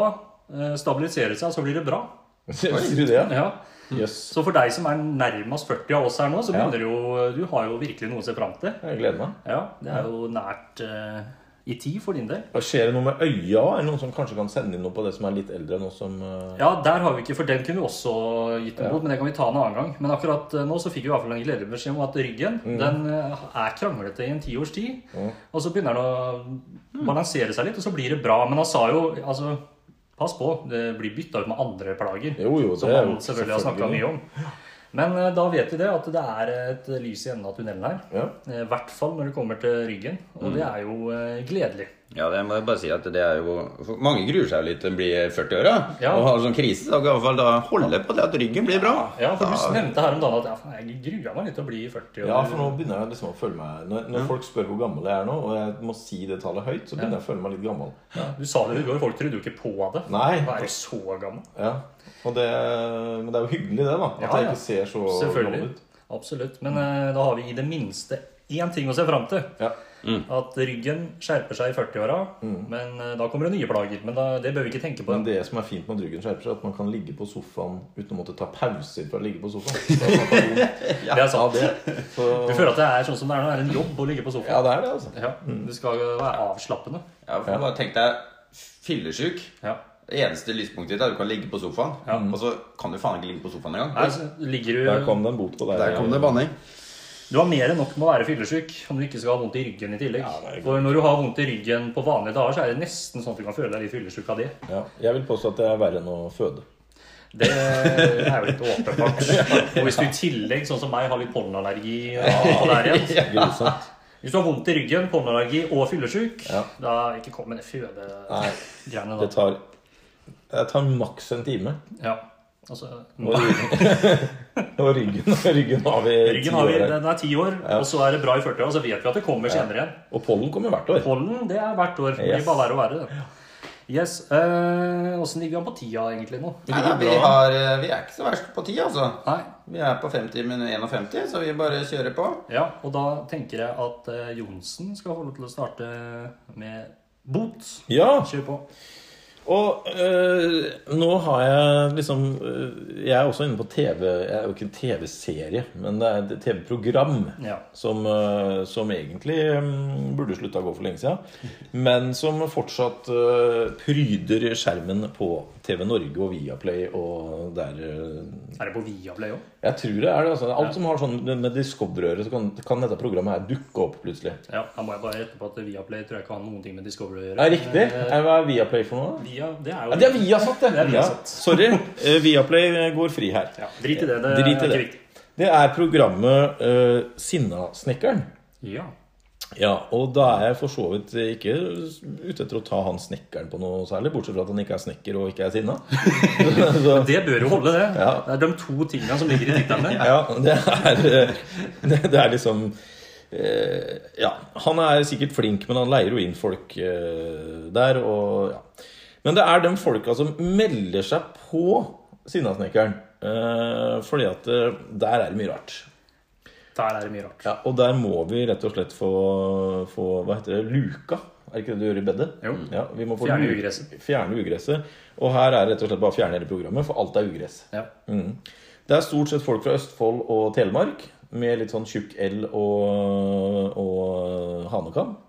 Speaker 1: eh, stabiliserer det seg, og så blir det bra.
Speaker 2: Sier du det, ja?
Speaker 1: Ja.
Speaker 2: Jøss.
Speaker 1: Så for deg som er nærmest 40 av oss her nå, så
Speaker 2: Ja.
Speaker 1: begynner jo Du har jo virkelig noe å se fram til.
Speaker 2: Jeg gleder meg.
Speaker 1: Ja, det er jo nært eh, i tid for din del.
Speaker 2: Og Skjer det noe med øya? Er det noen som kanskje kan sende inn noe på det som er litt eldre enn oss som eh,
Speaker 1: Ja, der har vi ikke, for den kunne vi også gitt en bot, men det kan vi ta en annen gang. Men akkurat eh, nå så fikk vi i hvert fall en gledelig beskjed om at ryggen
Speaker 2: Mm.
Speaker 1: den eh, er kranglete i en tiårs tid. Og så begynner den å balansere seg litt, og så blir det bra. Men han sa jo altså Pass på, det blir bytta ut med andre plager.
Speaker 2: Jo, jo, det
Speaker 1: som
Speaker 2: er
Speaker 1: han
Speaker 2: jo
Speaker 1: selvfølgelig har snakka
Speaker 2: selvfølgelig.
Speaker 1: mye om. Men eh, da vet vi det, at det er et lys i enden av tunnelen her. Eh,
Speaker 2: Ja.
Speaker 1: I hvert fall når det kommer til Ryggen, og det
Speaker 2: Mm.
Speaker 1: er jo eh, gledelig.
Speaker 3: Ja, det må jeg bare si at det er jo for Mange gruer seg jo litt til å bli 40 år, da.
Speaker 1: Ja.
Speaker 3: Og har sånn krise. Da kan i hvert fall da holde på det at ryggen blir bra.
Speaker 1: Ja, for du nevnte her om dagen at ja, faen, jeg grua meg litt til å bli 40. Og,
Speaker 2: Ja, for nå begynner jeg liksom å føle meg Når, når folk spør hvor gammel jeg er nå, og jeg må si det tallet høyt, så begynner jeg å føle meg litt gammel.
Speaker 1: Du sa det i går, folk trodde jo ikke på det.
Speaker 2: Nei.
Speaker 1: Hva er du så gammel?
Speaker 2: Ja. Og det, men det er jo hyggelig, det, da. At
Speaker 1: Ja,
Speaker 2: jeg
Speaker 1: ja.
Speaker 2: ikke ser så gammel
Speaker 1: Selvfølgelig.
Speaker 2: ut.
Speaker 1: Absolutt. Men eh, da har vi i det minste én ting å se fram til.
Speaker 2: Ja. Mm.
Speaker 1: At ryggen skjerper seg i 40-åra. Men eh, da kommer det nye plager. Men da, det bør vi ikke tenke på.
Speaker 2: Men det som er fint med at ryggen skjerper seg, er at man kan ligge på sofaen uten å måtte ta pauser fra å ligge på sofaen. Så det er sånn-
Speaker 1: Det er
Speaker 2: ja,
Speaker 1: sant.
Speaker 2: det. Så,
Speaker 1: Du føler at det er sånn som det er nå. Det er en jobb å ligge på
Speaker 2: ja,
Speaker 1: sofaen.
Speaker 2: det er det, altså.
Speaker 1: Ja, Du skal være avslappende.
Speaker 3: Ja, for bare tenk deg fyllesyk.
Speaker 1: Ja.
Speaker 3: Det eneste lyspunktet ditt er at du kan ligge på sofaen.
Speaker 1: Ja.
Speaker 3: Og så kan du faen ikke ligge på sofaen engang.
Speaker 1: Nei, så Altså, ligger
Speaker 2: Der
Speaker 1: du
Speaker 2: kom det en bot på deg.
Speaker 3: Der kom det banning.
Speaker 1: Du har mer enn nok med å være fyllesyk om du ikke skal ha vondt i ryggen i tillegg.
Speaker 2: det er godt.
Speaker 1: For når du har vondt i ryggen på vanlige dager, så er det nesten sånn at du kan føle deg litt fyllesyk av det.
Speaker 2: Ja. Jeg vil påstå at det er verre enn å føde.
Speaker 1: Det er jo litt åpenbart. Og hvis du i tillegg, sånn som meg, har litt pollenallergi og alt det der igjen
Speaker 2: Grusomt.
Speaker 1: Hvis du har vondt i ryggen, pollenallergi og fyllesyk,
Speaker 2: Ja.
Speaker 1: da ikke kom med det fødegreiene da.
Speaker 2: Det tar, det tar maks en time.
Speaker 1: Ja. Altså,
Speaker 2: Og ryggen, og ryggen, ryggen har vi ti
Speaker 1: ryggen har vi,
Speaker 2: år her.
Speaker 1: den er ti år, og så er det bra i 40 år, og så vet vi at det kommer senere igjen.
Speaker 2: Og pollen kommer hvert år.
Speaker 1: Pollen, det er hvert år. Det blir
Speaker 2: Yes.
Speaker 1: bare verre og verre. det. Yes. eh, Åssen ligger vi an på tida egentlig nå?
Speaker 3: Nei, da, vi, har, eh, vi er ikke så verst på tid, altså.
Speaker 1: Nei.
Speaker 3: Vi er på 50 men 51, så vi bare kjører på.
Speaker 1: Ja, og da tenker jeg at eh, Johnsen skal få lov til å starte med bot.
Speaker 2: Ja,
Speaker 1: Kjør på.
Speaker 2: og øh, nå har jeg liksom øh, Jeg er også inne på TV. Jeg er jo ikke en TV-serie, men det er et TV-program.
Speaker 1: Ja.
Speaker 2: Som, øh, som egentlig mm, burde slutta å gå for lenge siden. Men som fortsatt øh, pryder skjermen på TV Norge og Viaplay og der øh,
Speaker 1: Er det på Viaplay òg?
Speaker 2: Jeg tror det er det. altså. Alt som har sånn med Discover-øret, så kan, kan dette programmet her dukke opp plutselig.
Speaker 1: Ja, da må jeg bare rette på at Viaplay tror jeg ikke har noen ting med Discovery å gjøre.
Speaker 2: Ja, riktig. Eh, Hva er Viaplay for noe? da?
Speaker 1: Via, det er jo
Speaker 2: Ja, det er Viasat, det.
Speaker 1: Det er Viasat.
Speaker 2: Ja, sorry. Eh, Viaplay går fri her.
Speaker 1: Ja, Drit i det. Det
Speaker 2: Drit i
Speaker 1: er ikke
Speaker 2: det.
Speaker 1: viktig.
Speaker 2: Det er programmet eh, Sinnasnekkeren.
Speaker 1: Ja.
Speaker 2: Ja, og da er jeg for så vidt ikke ute etter å ta han snekkeren på noe særlig, bortsett fra at han ikke er snekker og ikke er sinna. så,
Speaker 1: Det bør jo holde, det.
Speaker 2: Ja.
Speaker 1: Det er de to tingene som ligger i tittelen der.
Speaker 2: Ja, det er, det, det er liksom eh, Ja, han er sikkert flink, men han leier jo inn folk eh, der, og ja. Men det er de folka som melder seg på Sinnasnekkeren. eh, fordi at eh, der er det mye rart.
Speaker 1: Der er det mye rart.
Speaker 2: Ja, og der må vi rett og slett få, få Hva heter det? Luka? Er ikke det du gjør i bedet?
Speaker 1: Jo.
Speaker 2: Ja, vi må få
Speaker 1: Fjerne
Speaker 2: lu-
Speaker 1: ugresset.
Speaker 2: Fjerne ugresset. Og her er det rett og slett bare å fjerne hele programmet, for alt er ugress.
Speaker 1: Ja.
Speaker 2: Mm. Det er stort sett folk fra Østfold og Telemark med litt sånn tjukk L og, og hanekam.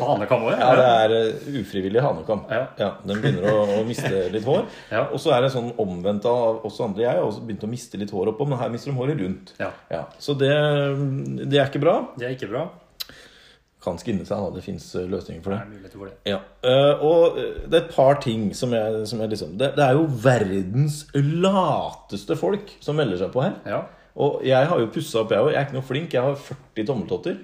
Speaker 1: Hanekam òg,
Speaker 2: Ja,
Speaker 1: ja.
Speaker 2: det er eh, ufrivillig hanekam.
Speaker 1: Ja.
Speaker 2: Den begynner å, å miste litt hår.
Speaker 1: Ja.
Speaker 2: Og så er det sånn omvendt av oss andre. Jeg har også begynt å miste litt hår oppå, men her mister de håret rundt.
Speaker 1: Ja.
Speaker 2: Så det, det er ikke bra.
Speaker 1: Det er ikke bra.
Speaker 2: Kan skinne seg, da. Det fins løsninger for det.
Speaker 1: Det er muligheter for det.
Speaker 2: Ja. eh, og eh, det er et par ting som jeg, som jeg liksom det, det er jo verdens lateste folk som melder seg på her.
Speaker 1: Ja.
Speaker 2: Og jeg har jo pussa opp, jeg òg. Jeg er ikke noe flink. Jeg har 40 tommeltotter.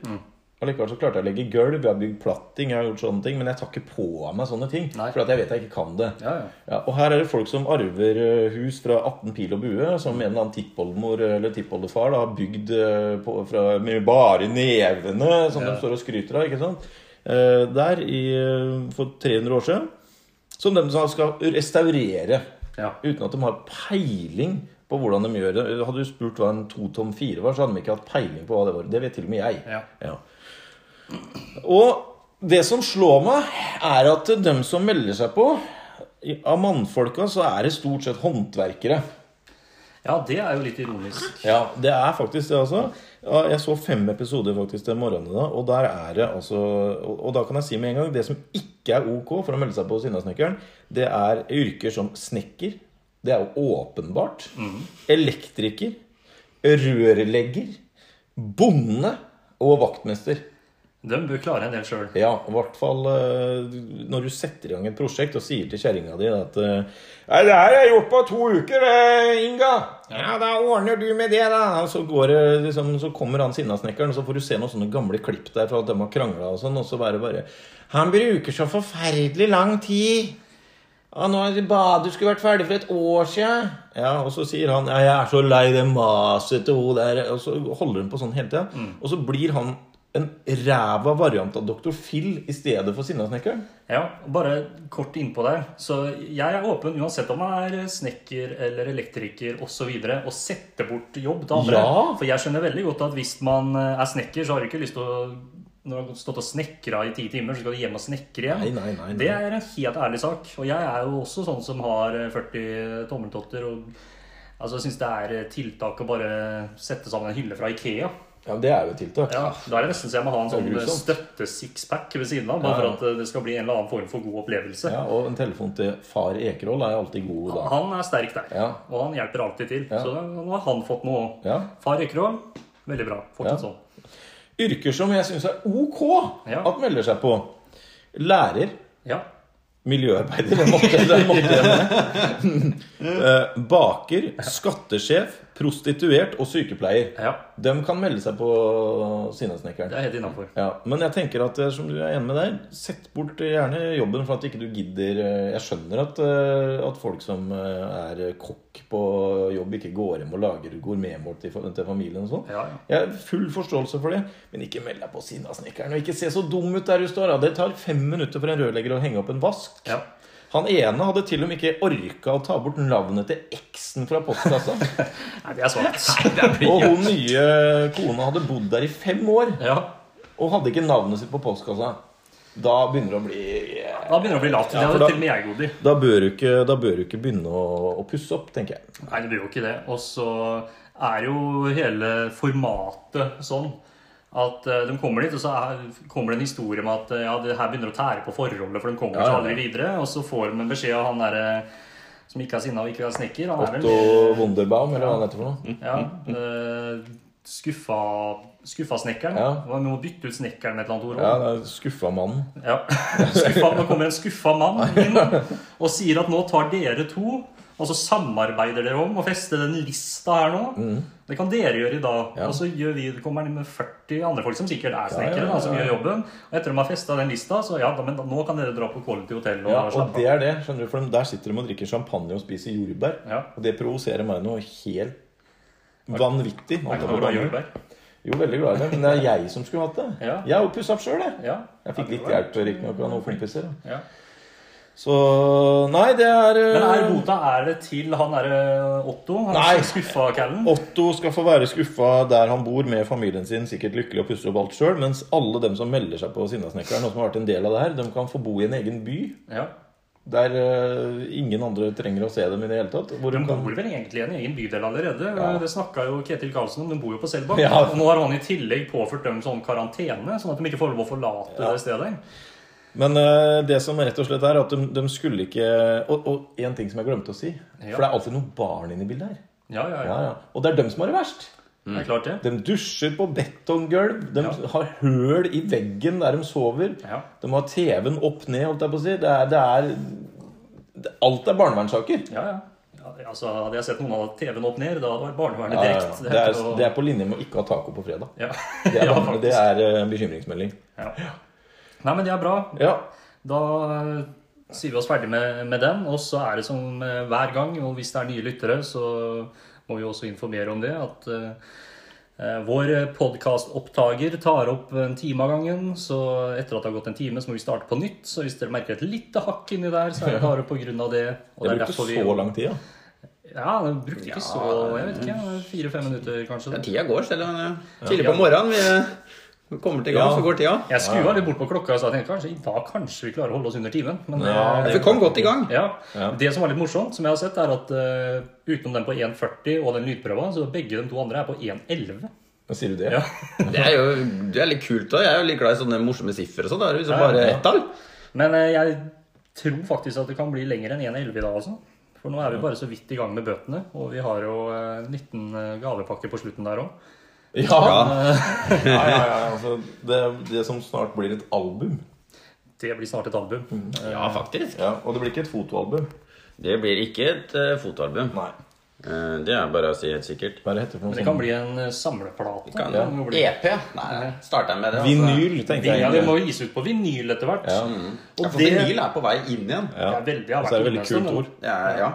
Speaker 2: Allikevel så klarte jeg å legge gulv, jeg har bygd platting, jeg har gjort sånne ting. Men jeg tar ikke på av meg sånne ting.
Speaker 1: Nei.
Speaker 2: For at jeg vet jeg ikke kan det.
Speaker 1: Ja, ja.
Speaker 2: og her er det folk som arver eh, hus fra 18 pil og bue, som en eller annen tippoldemor eller tippoldefar da, har bygd eh, på, fra, med bare nevene, som
Speaker 1: Ja.
Speaker 2: de står og skryter av. ikke sant? Eh, Der i, eh, for 300 år siden. Som de som skal restaurere.
Speaker 1: ja.
Speaker 2: Uten at de har peiling på hvordan de gjør det. Hadde du spurt hva en 2 tom 4 var, så hadde de ikke hatt peiling på hva det var. Det vet til og med jeg.
Speaker 1: Ja.
Speaker 2: Og det som slår meg, er at de som melder seg på, i- av mannfolka, så er det stort sett håndverkere.
Speaker 1: Ja, det er jo litt ironisk.
Speaker 2: Ja, det er faktisk det, altså. Ja, Jeg så fem episoder faktisk den morgenen, da, og der er det altså Og og da kan jeg si med en gang det som ikke er ok for å melde seg på Sinnasnekkeren, det er yrker som snekker. Det er jo åpenbart. Elektriker. Rørlegger. Bonde. Og vaktmester.
Speaker 1: De bør klare en del sjøl.
Speaker 2: Ja, i hvert fall eh, når du setter i gang et prosjekt og sier til kjerringa di at eh, Nei, det her har jeg gjort på to uker, eh, Inga. Ja, da ordner du med det, da. Og så, går, det liksom, så kommer han sinnasnekkeren, og så får du se noen sånne gamle klipp der fra at de har krangla og sånn, og så bare bare Han bruker så forferdelig lang tid. Ja, nå er det bad, Du skulle vært ferdig for et år siden. Ja, Og så sier han ja, 'Jeg er så lei det maset til hun der'. Og så holder hun på sånn hele tida. Og så blir han en ræva variant av Dr. Phil i stedet for Sinnasnekkeren.
Speaker 1: Ja, bare kort innpå der. Så jeg er åpen uansett om jeg er snekker eller elektriker osv. Og, så videre, og sette bort jobb til andre.
Speaker 2: Ja.
Speaker 1: For jeg skjønner veldig godt at hvis man eh, er snekker, så har du ikke lyst til å når du har stått og snekra i ti timer, så skal du hjem og snekre igjen.
Speaker 2: Nei, nei, nei, nei.
Speaker 1: Det er en helt ærlig sak. Og jeg er jo også sånn som har 40 tommeltotter. Og altså, jeg syns det er tiltak å bare sette sammen en hylle fra Ikea.
Speaker 2: Ja, det er jo et tiltak.
Speaker 1: Ja, Da er det nesten så jeg må ha en
Speaker 2: Det
Speaker 1: sånn
Speaker 2: er grusomt.
Speaker 1: støtte-sixpack ved siden av. Bare
Speaker 2: Ja.
Speaker 1: for at eh, det skal bli en eller annen form for god opplevelse.
Speaker 2: Ja, Og en telefon til far Ekerhold er alltid god da.
Speaker 1: Han er sterk der,
Speaker 2: Ja.
Speaker 1: og han hjelper alltid til.
Speaker 2: Ja.
Speaker 1: Så nå har han fått noe òg.
Speaker 2: Ja.
Speaker 1: Far Ekerholm, veldig bra. Fortsatt
Speaker 2: Ja.
Speaker 1: sånn.
Speaker 2: Yrker som jeg syns er ok
Speaker 1: Ja.
Speaker 2: at melder seg på. Lærer.
Speaker 1: Ja.
Speaker 2: Miljøarbeider. Den måtte, den måtte igjen. Eh, Baker. Skattesjef. Prostituert og sykepleier.
Speaker 1: ja.
Speaker 2: De kan melde seg på Sinnasnekkeren.
Speaker 1: Det er helt innafor.
Speaker 2: Ja, men jeg tenker at eh, som du er enig med der, sett bort eh, gjerne jobben for at ikke du gidder eh, Jeg skjønner at, eh, at folk som eh, er kokk på jobb, ikke går hjem og lager gourmetmåltid for- til familien og sånn.
Speaker 1: Ja, ja.
Speaker 2: Jeg har full forståelse for det, men ikke meld deg på Sinnasnekkeren. Og ikke se så dum ut der du står. Da. Det tar fem minutter for en rørlegger å henge opp en vask.
Speaker 1: Ja.
Speaker 2: Han ene hadde til og med ikke orka å ta bort navnet til eksen fra postkassa.
Speaker 1: Nei, det er svakt.
Speaker 2: og hun nye kona hadde bodd der i fem år.
Speaker 1: Ja.
Speaker 2: Og hadde ikke navnet sitt på postkassa. Da begynner det å bli
Speaker 1: Da begynner det å bli lavt. Det
Speaker 2: Ja, for
Speaker 1: hadde
Speaker 2: da-
Speaker 1: til og med jeg god i.
Speaker 2: Da bør du ikke, da bør du ikke begynne å, å pusse opp, tenker jeg.
Speaker 1: Nei, det blir jo ikke det. Og så er jo hele formatet sånn at eh, de kommer dit, og så er, kommer det en historie om at eh, ja, det her begynner å tære på forholdet, for de kommer
Speaker 2: Ja, ja,
Speaker 1: seg
Speaker 2: ja.
Speaker 1: aldri videre. Og så får de en beskjed av han derre som ikke er sinna og ikke er snekker. Han er
Speaker 2: Otto Mm,
Speaker 1: vel
Speaker 2: Wunderbaum, eller hva han heter for noe.
Speaker 1: ja, eh, skuffa, skuffa snekkeren.
Speaker 2: Ja.
Speaker 1: Vi må bytte ut snekkeren med et eller annet ord.
Speaker 2: Ja,
Speaker 1: også.
Speaker 2: det er Skuffa mannen.
Speaker 1: Ja. Skuffa, nå kommer en skuffa mann inn og sier at nå tar dere to, og så samarbeider dere om å feste den lista her nå. Det kan dere gjøre i dag.
Speaker 2: Mm. Ja.
Speaker 1: Og så gjør vi, det kommer med 40 andre folk som sikkert er
Speaker 2: ja,
Speaker 1: snekkere,
Speaker 2: ja,
Speaker 1: da, som
Speaker 2: ja.
Speaker 1: gjør jobben. Og etter de har festa den lista, så ja, da, men da, nå kan dere dra på Quality Hotel og
Speaker 2: Ja, og
Speaker 1: slappe
Speaker 2: det
Speaker 1: av.
Speaker 2: er det. skjønner du, For de- der sitter de og drikker champagne og spiser jordbær.
Speaker 1: Ja.
Speaker 2: Og det provoserer meg noe helt vanvittig.
Speaker 1: Er ikke noe bra jordbær.
Speaker 2: Jo, veldig glad i det, men det er jeg som skulle hatt det.
Speaker 1: Ja.
Speaker 2: Jeg har jo pussa opp sjøl, jeg.
Speaker 1: Ja.
Speaker 2: Jeg fikk
Speaker 1: Ja,
Speaker 2: litt
Speaker 1: det var-
Speaker 2: hjelp riktignok av noen kompiser. da.
Speaker 1: Ja.
Speaker 2: Så Nei, det er eh,
Speaker 1: Men er bota er det til han derre Otto? Han
Speaker 2: Nei.
Speaker 1: skuffa callen?
Speaker 2: Otto skal få være skuffa der han bor med familien sin, sikkert lykkelig og pusse opp alt sjøl, mens alle dem som melder seg på Sinnasnekkeren, og som har vært en del av det her, de kan få bo i en egen by
Speaker 1: Ja.
Speaker 2: der eh, ingen andre trenger å se dem i det hele tatt. Hvor
Speaker 1: De
Speaker 2: de kan...
Speaker 1: bor vel egentlig i en egen bydel allerede.
Speaker 2: Ja.
Speaker 1: Det snakka jo Ketil Karlsen om. De bor jo på Selbakk.
Speaker 2: Ja.
Speaker 1: Og nå har han i tillegg påført dem sånn karantene, sånn at de ikke får lov å forlate det stedet.
Speaker 2: Men eh, det som rett og slett er, at de, de skulle ikke Og og en ting som jeg glemte å si,
Speaker 1: Ja.
Speaker 2: for det er alltid noen barn inne i bildet her.
Speaker 1: Ja, ja, ja.
Speaker 2: Ja, Mm. ja. Og det er dem som har det verst.
Speaker 1: Det er klart det.
Speaker 2: De dusjer på betonggulv. De
Speaker 1: Ja.
Speaker 2: har høl i veggen der de sover.
Speaker 1: Ja.
Speaker 2: De har TV-en opp ned, holdt jeg på å si. Det er, det er det, Alt er barnevernssaker.
Speaker 1: Ja, ja. Ja, altså, hadde jeg sett noen av TV-en opp ned, da hadde det vært barnevernet
Speaker 2: Ja, ja, ja.
Speaker 1: direkte.
Speaker 2: Det, er, det er på linje med å ikke ha taco på fredag.
Speaker 1: ja.
Speaker 2: Det er,
Speaker 1: ja,
Speaker 2: det
Speaker 1: faktisk.
Speaker 2: er eh, bekymringsmelding.
Speaker 1: Ja. Nei, men det er bra.
Speaker 2: Ja.
Speaker 1: Da eh, sier vi oss ferdig med, med den. Og så er det som eh, hver gang, og hvis det er nye lyttere, så må vi også informere om det, at eh, eh, vår podkastopptaker tar opp en time av gangen. Så etter at det har gått en time, så må vi starte på nytt. Så hvis dere merker et lite hakk inni der, så er det bare på grunn av det. Og
Speaker 2: Det
Speaker 1: er
Speaker 2: brukte
Speaker 1: derfor vi-
Speaker 2: så lang tid, ja.
Speaker 1: Ja, det brukte ikke så Jeg vet ikke. Fire-fem minutter, kanskje.
Speaker 3: Ja, tida går, selv om det er tidlig på morgenen. Vi kommer til gang,
Speaker 2: Ja.
Speaker 3: så går tida.
Speaker 1: Jeg skrua litt bort på klokka og sa at jeg tenkte, kanskje i dag kanskje vi klarer å holde oss under timen. Men
Speaker 2: Ja,
Speaker 1: eh,
Speaker 3: Vi kom godt i gang.
Speaker 1: Ja.
Speaker 2: Ja.
Speaker 1: Det som var litt morsomt, som jeg har sett, er at eh, utenom den på 1,40 og den lydprøva, så begge de to andre er på 1,11.
Speaker 2: Hva sier du det?
Speaker 1: Ja.
Speaker 3: Det er jo det er litt kult. da. Jeg er jo litt glad i sånne morsomme siffer og sånn. Da er det
Speaker 1: Ja,
Speaker 3: liksom bare
Speaker 1: ja.
Speaker 3: ett tall.
Speaker 1: Men eh, jeg tror faktisk at det kan bli lenger enn 1,11 i dag, altså. For nå er vi bare så vidt i gang med bøtene, og vi har jo eh, 19 gavepakker på eh, slutten der òg.
Speaker 2: Ja,
Speaker 3: Ja.
Speaker 2: ja, ja, ja altså, det, det som snart blir et album.
Speaker 1: Det blir snart et album.
Speaker 3: ja, faktisk.
Speaker 2: Ja, Og det blir ikke et fotoalbum.
Speaker 3: Det blir ikke et eh, fotoalbum.
Speaker 2: Nei.
Speaker 3: Eh, det er bare å si helt sikkert.
Speaker 2: Hva er det heter
Speaker 1: Men
Speaker 2: for noe sånn
Speaker 1: det kan bli en eh, samleplate.
Speaker 3: Det kan-
Speaker 1: Det kan jo bli.
Speaker 3: EP? Nei, starter jeg med det. altså.
Speaker 2: Vinyl, tenkte
Speaker 1: Ja,
Speaker 2: jeg.
Speaker 1: det må jo gis ut på vinyl etter hvert.
Speaker 2: Ja.
Speaker 3: Ja,
Speaker 1: Og
Speaker 3: for
Speaker 1: det
Speaker 3: vinyl er på vei inn igjen.
Speaker 2: Ja.
Speaker 1: Det er veldig, det har
Speaker 2: Og så er det
Speaker 1: vært
Speaker 2: veldig
Speaker 1: inne en
Speaker 2: kult
Speaker 1: stund,
Speaker 2: ord.
Speaker 1: da.
Speaker 3: Det er, ja.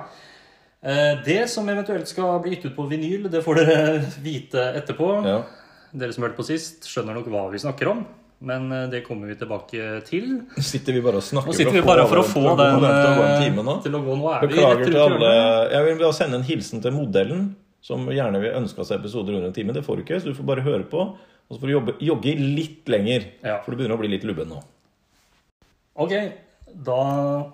Speaker 1: Eh, Det som eventuelt skal bli gitt ut på vinyl, det får dere vite etterpå.
Speaker 2: Ja.
Speaker 1: Dere som hørte på sist, skjønner nok hva vi snakker om. Men eh, det kommer vi tilbake til.
Speaker 2: Sitter vi bare og snakker
Speaker 1: Nå sitter vi bare for å få den eh,
Speaker 2: nå.
Speaker 1: til å gå. Nå er vi
Speaker 2: Beklager
Speaker 1: rett
Speaker 2: til
Speaker 1: rundt
Speaker 2: alle.
Speaker 1: hjørnet.
Speaker 2: Jeg vil da sende en hilsen til modellen, som gjerne vil ønske seg episoder under en time. Det får du ikke, så du får bare høre på. Og så får du jobbe, jogge litt lenger,
Speaker 1: Ja.
Speaker 2: for du begynner å bli litt lubben nå.
Speaker 1: Ok, da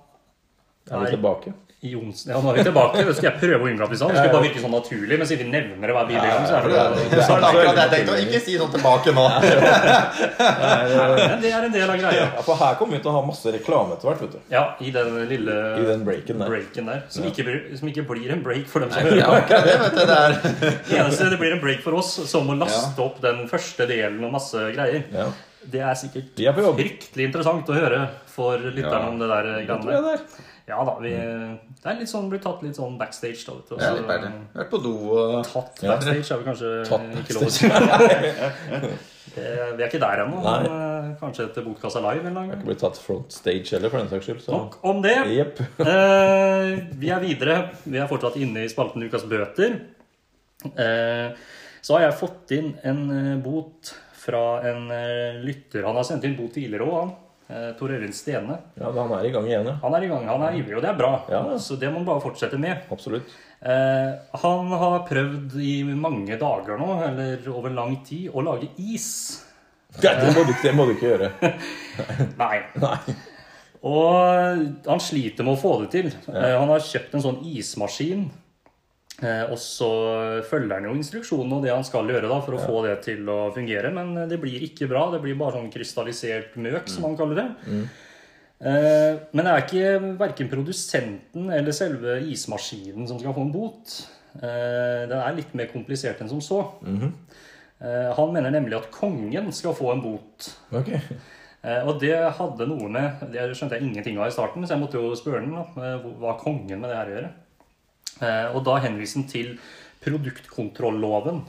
Speaker 2: Er
Speaker 1: Nei.
Speaker 2: vi tilbake?
Speaker 1: Jonsen Ja, nå er vi tilbake. Det skal jeg prøve å unngå at vi sa. Det skal bare virke sånn naturlig, men siden vi nevner det hver bidige gang, så er
Speaker 3: For Det
Speaker 1: det
Speaker 3: er det er akkurat det jeg tenkte. å Ikke si sånn tilbake nå.
Speaker 1: Men Det er en del av greia.
Speaker 2: Ja, for her kommer vi til å ha masse reklame etter hvert, vet du.
Speaker 1: Ja, i den lille
Speaker 2: I den breaken der.
Speaker 1: breaken der. Som, ikke, blir- som ikke blir en break for dem som
Speaker 3: Det er
Speaker 1: hører på.
Speaker 3: akkurat det, vet du. Det er
Speaker 1: Det eneste det blir en break for oss, som å laste opp den første delen og masse greier.
Speaker 2: Ja.
Speaker 1: Det er sikkert
Speaker 2: Vi er på jobb.
Speaker 1: fryktelig interessant å høre for lytterne
Speaker 3: Ja.
Speaker 1: om det der
Speaker 2: Tror jeg
Speaker 1: greiene.
Speaker 2: det er.
Speaker 1: Ja da, vi, det er litt sånn, blir tatt litt sånn backstage, da. vet du, og
Speaker 3: Jeg
Speaker 1: så-
Speaker 3: er litt ferdig. Vært på do og
Speaker 1: Tatt backstage er vi kanskje
Speaker 2: Tatt
Speaker 1: ikke lov å si. Eh, Vi er ikke der ennå. men, eh, Kanskje etter Bokkassa Live en eller annen gang.
Speaker 2: Ikke blitt tatt front stage heller, for den saks skyld. Så.
Speaker 1: Nok om det.
Speaker 2: Jepp.
Speaker 1: Eh, vi er videre. Vi er fortsatt inne i spalten Ukas bøter. Eh, så har jeg fått inn en eh, bot fra en eh, lytter. Han har sendt inn bot tidligere òg, han. Eh, Tor Øyvind Stene.
Speaker 2: Ja, han er i gang igjen, ja.
Speaker 1: Han er i gang. Han er ivrig, og det er bra.
Speaker 2: Ja.
Speaker 1: Så det må han bare fortsette med.
Speaker 2: Absolutt.
Speaker 1: Eh, han har prøvd i mange dager nå, eller over lang tid, å lage is.
Speaker 2: Det, det, må du, ikke- det må du ikke gjøre.
Speaker 1: Nei.
Speaker 2: Nei.
Speaker 1: Og han sliter med å få det til. Eh, han har kjøpt en sånn ismaskin. Eh, og så følger han jo instruksjonene og det han skal gjøre da, for å få det til å fungere. Men eh, det blir ikke bra. Det blir bare sånn krystallisert møk, som han kaller det. Eh, men det er ikke verken produsenten eller selve ismaskinen som skal få en bot. Eh, den er litt mer komplisert enn som så. eh, han mener nemlig at kongen skal få en bot.
Speaker 2: Ok.
Speaker 1: Eh, Og det hadde noe med Det skjønte jeg ingenting av i starten, så jeg måtte jo spørre den da, eh, hvor- hva har kongen med det her å gjøre. Eh, Og da henviste den til produktkontrolloven.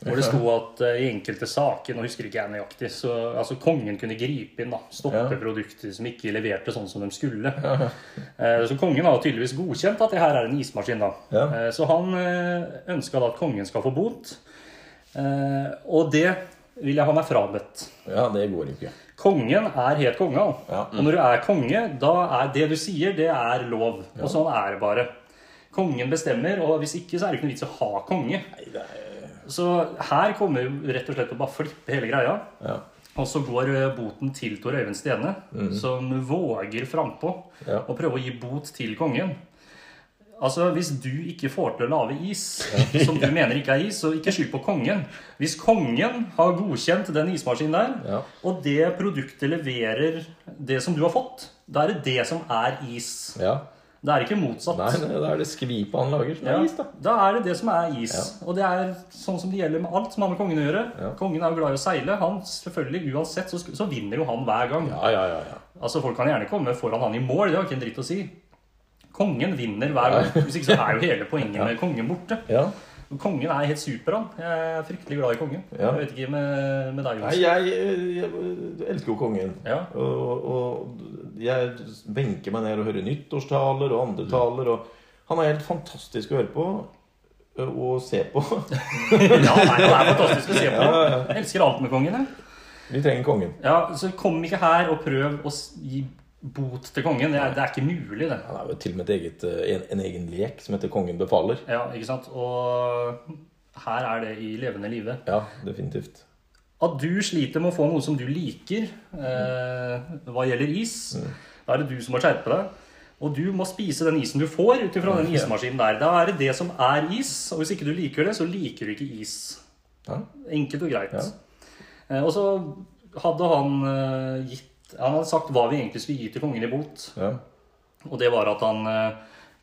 Speaker 1: Hvor det sto at eh, i enkelte saker Nå husker ikke jeg nøyaktig. Så, altså, kongen kunne gripe inn. da, Stoppe
Speaker 2: Ja.
Speaker 1: produkter som ikke leverte sånn som de skulle. Eh, Så kongen har jo tydeligvis godkjent at det her er en ismaskin. da.
Speaker 2: Ja.
Speaker 1: Eh, Så han ønska da at kongen skal få bot. Eh, Og det vil jeg ha meg frabedt.
Speaker 2: Ja, det går ikke.
Speaker 1: Kongen er helt konge. han.
Speaker 2: Ja.
Speaker 1: Og når du er konge, da er det du sier, det er lov. Og sånn er det bare. Kongen bestemmer, og hvis ikke, så er det ikke noe vits i å ha konge.
Speaker 2: eh.
Speaker 1: Så her kommer vi rett og slett å bare flippe hele greia.
Speaker 2: Ja.
Speaker 1: Og så går eh, boten til Tor Øyvind Stene, som våger frampå
Speaker 2: Mhm. Ja.
Speaker 1: å prøve å gi bot til kongen. Altså, Hvis du ikke får til å lage is som du mener ikke er is, så ikke skyld på kongen. Hvis kongen har godkjent den ismaskinen der,
Speaker 2: Ja.
Speaker 1: og det produktet leverer det som du har fått, da er det det som er is.
Speaker 2: ja.
Speaker 1: Det er ikke motsatt.
Speaker 2: Nei, nei, da er det skvipet han lager. som er
Speaker 1: Ja,
Speaker 2: is, da.
Speaker 1: da er det det som er is. Og det er sånn som det gjelder med alt som har med kongen å gjøre. Kongen er jo glad i å seile. Han selvfølgelig, uansett, så, sk- så vinner jo han hver gang.
Speaker 2: Ja, ja, ja, ja.
Speaker 1: Altså, Folk kan gjerne komme foran han i mål, det har ikke en dritt å si. Kongen vinner hver gang. Hvis ikke så er jo hele poenget med kongen borte.
Speaker 2: ja.
Speaker 1: Kongen er helt super, han. Jeg er fryktelig glad i kongen.
Speaker 2: Ja.
Speaker 1: Jeg vet ikke med, med deg,
Speaker 2: Nei,
Speaker 1: Jonas.
Speaker 2: jeg, jeg, elsker jo kongen.
Speaker 1: Ja.
Speaker 2: Og, og jeg benker meg ned og hører nyttårstaler og andre taler. Og han er helt fantastisk å høre på og se på.
Speaker 1: Ja, nei, han er fantastisk å se på.
Speaker 2: Ja, ja, ja.
Speaker 1: Jeg elsker alt med kongen. Jeg.
Speaker 2: Vi trenger kongen.
Speaker 1: Ja, Så kom ikke her og prøv å s- gi bot til kongen. Det er, det er ikke mulig, det.
Speaker 2: Han er jo til og med et eget, eh, en, en egen lek som heter Kongen befaler.
Speaker 1: Ja, ikke sant? Og her er det i levende live.
Speaker 2: Ja, definitivt.
Speaker 1: At du sliter med å få noe som du liker eh, hva gjelder is,
Speaker 2: Mm.
Speaker 1: da er det du som må skjerpe deg. Og du må spise den isen du får ut ifra
Speaker 2: Mm.
Speaker 1: den ismaskinen der. Da er det det som er is, og hvis ikke du liker det, så liker du ikke is.
Speaker 2: Ja.
Speaker 1: Enkelt og greit.
Speaker 2: Ja.
Speaker 1: Eh, og så hadde han eh, gitt Han hadde sagt hva vi egentlig skulle gi til kongen i bot.
Speaker 2: Ja.
Speaker 1: Og det var at han eh,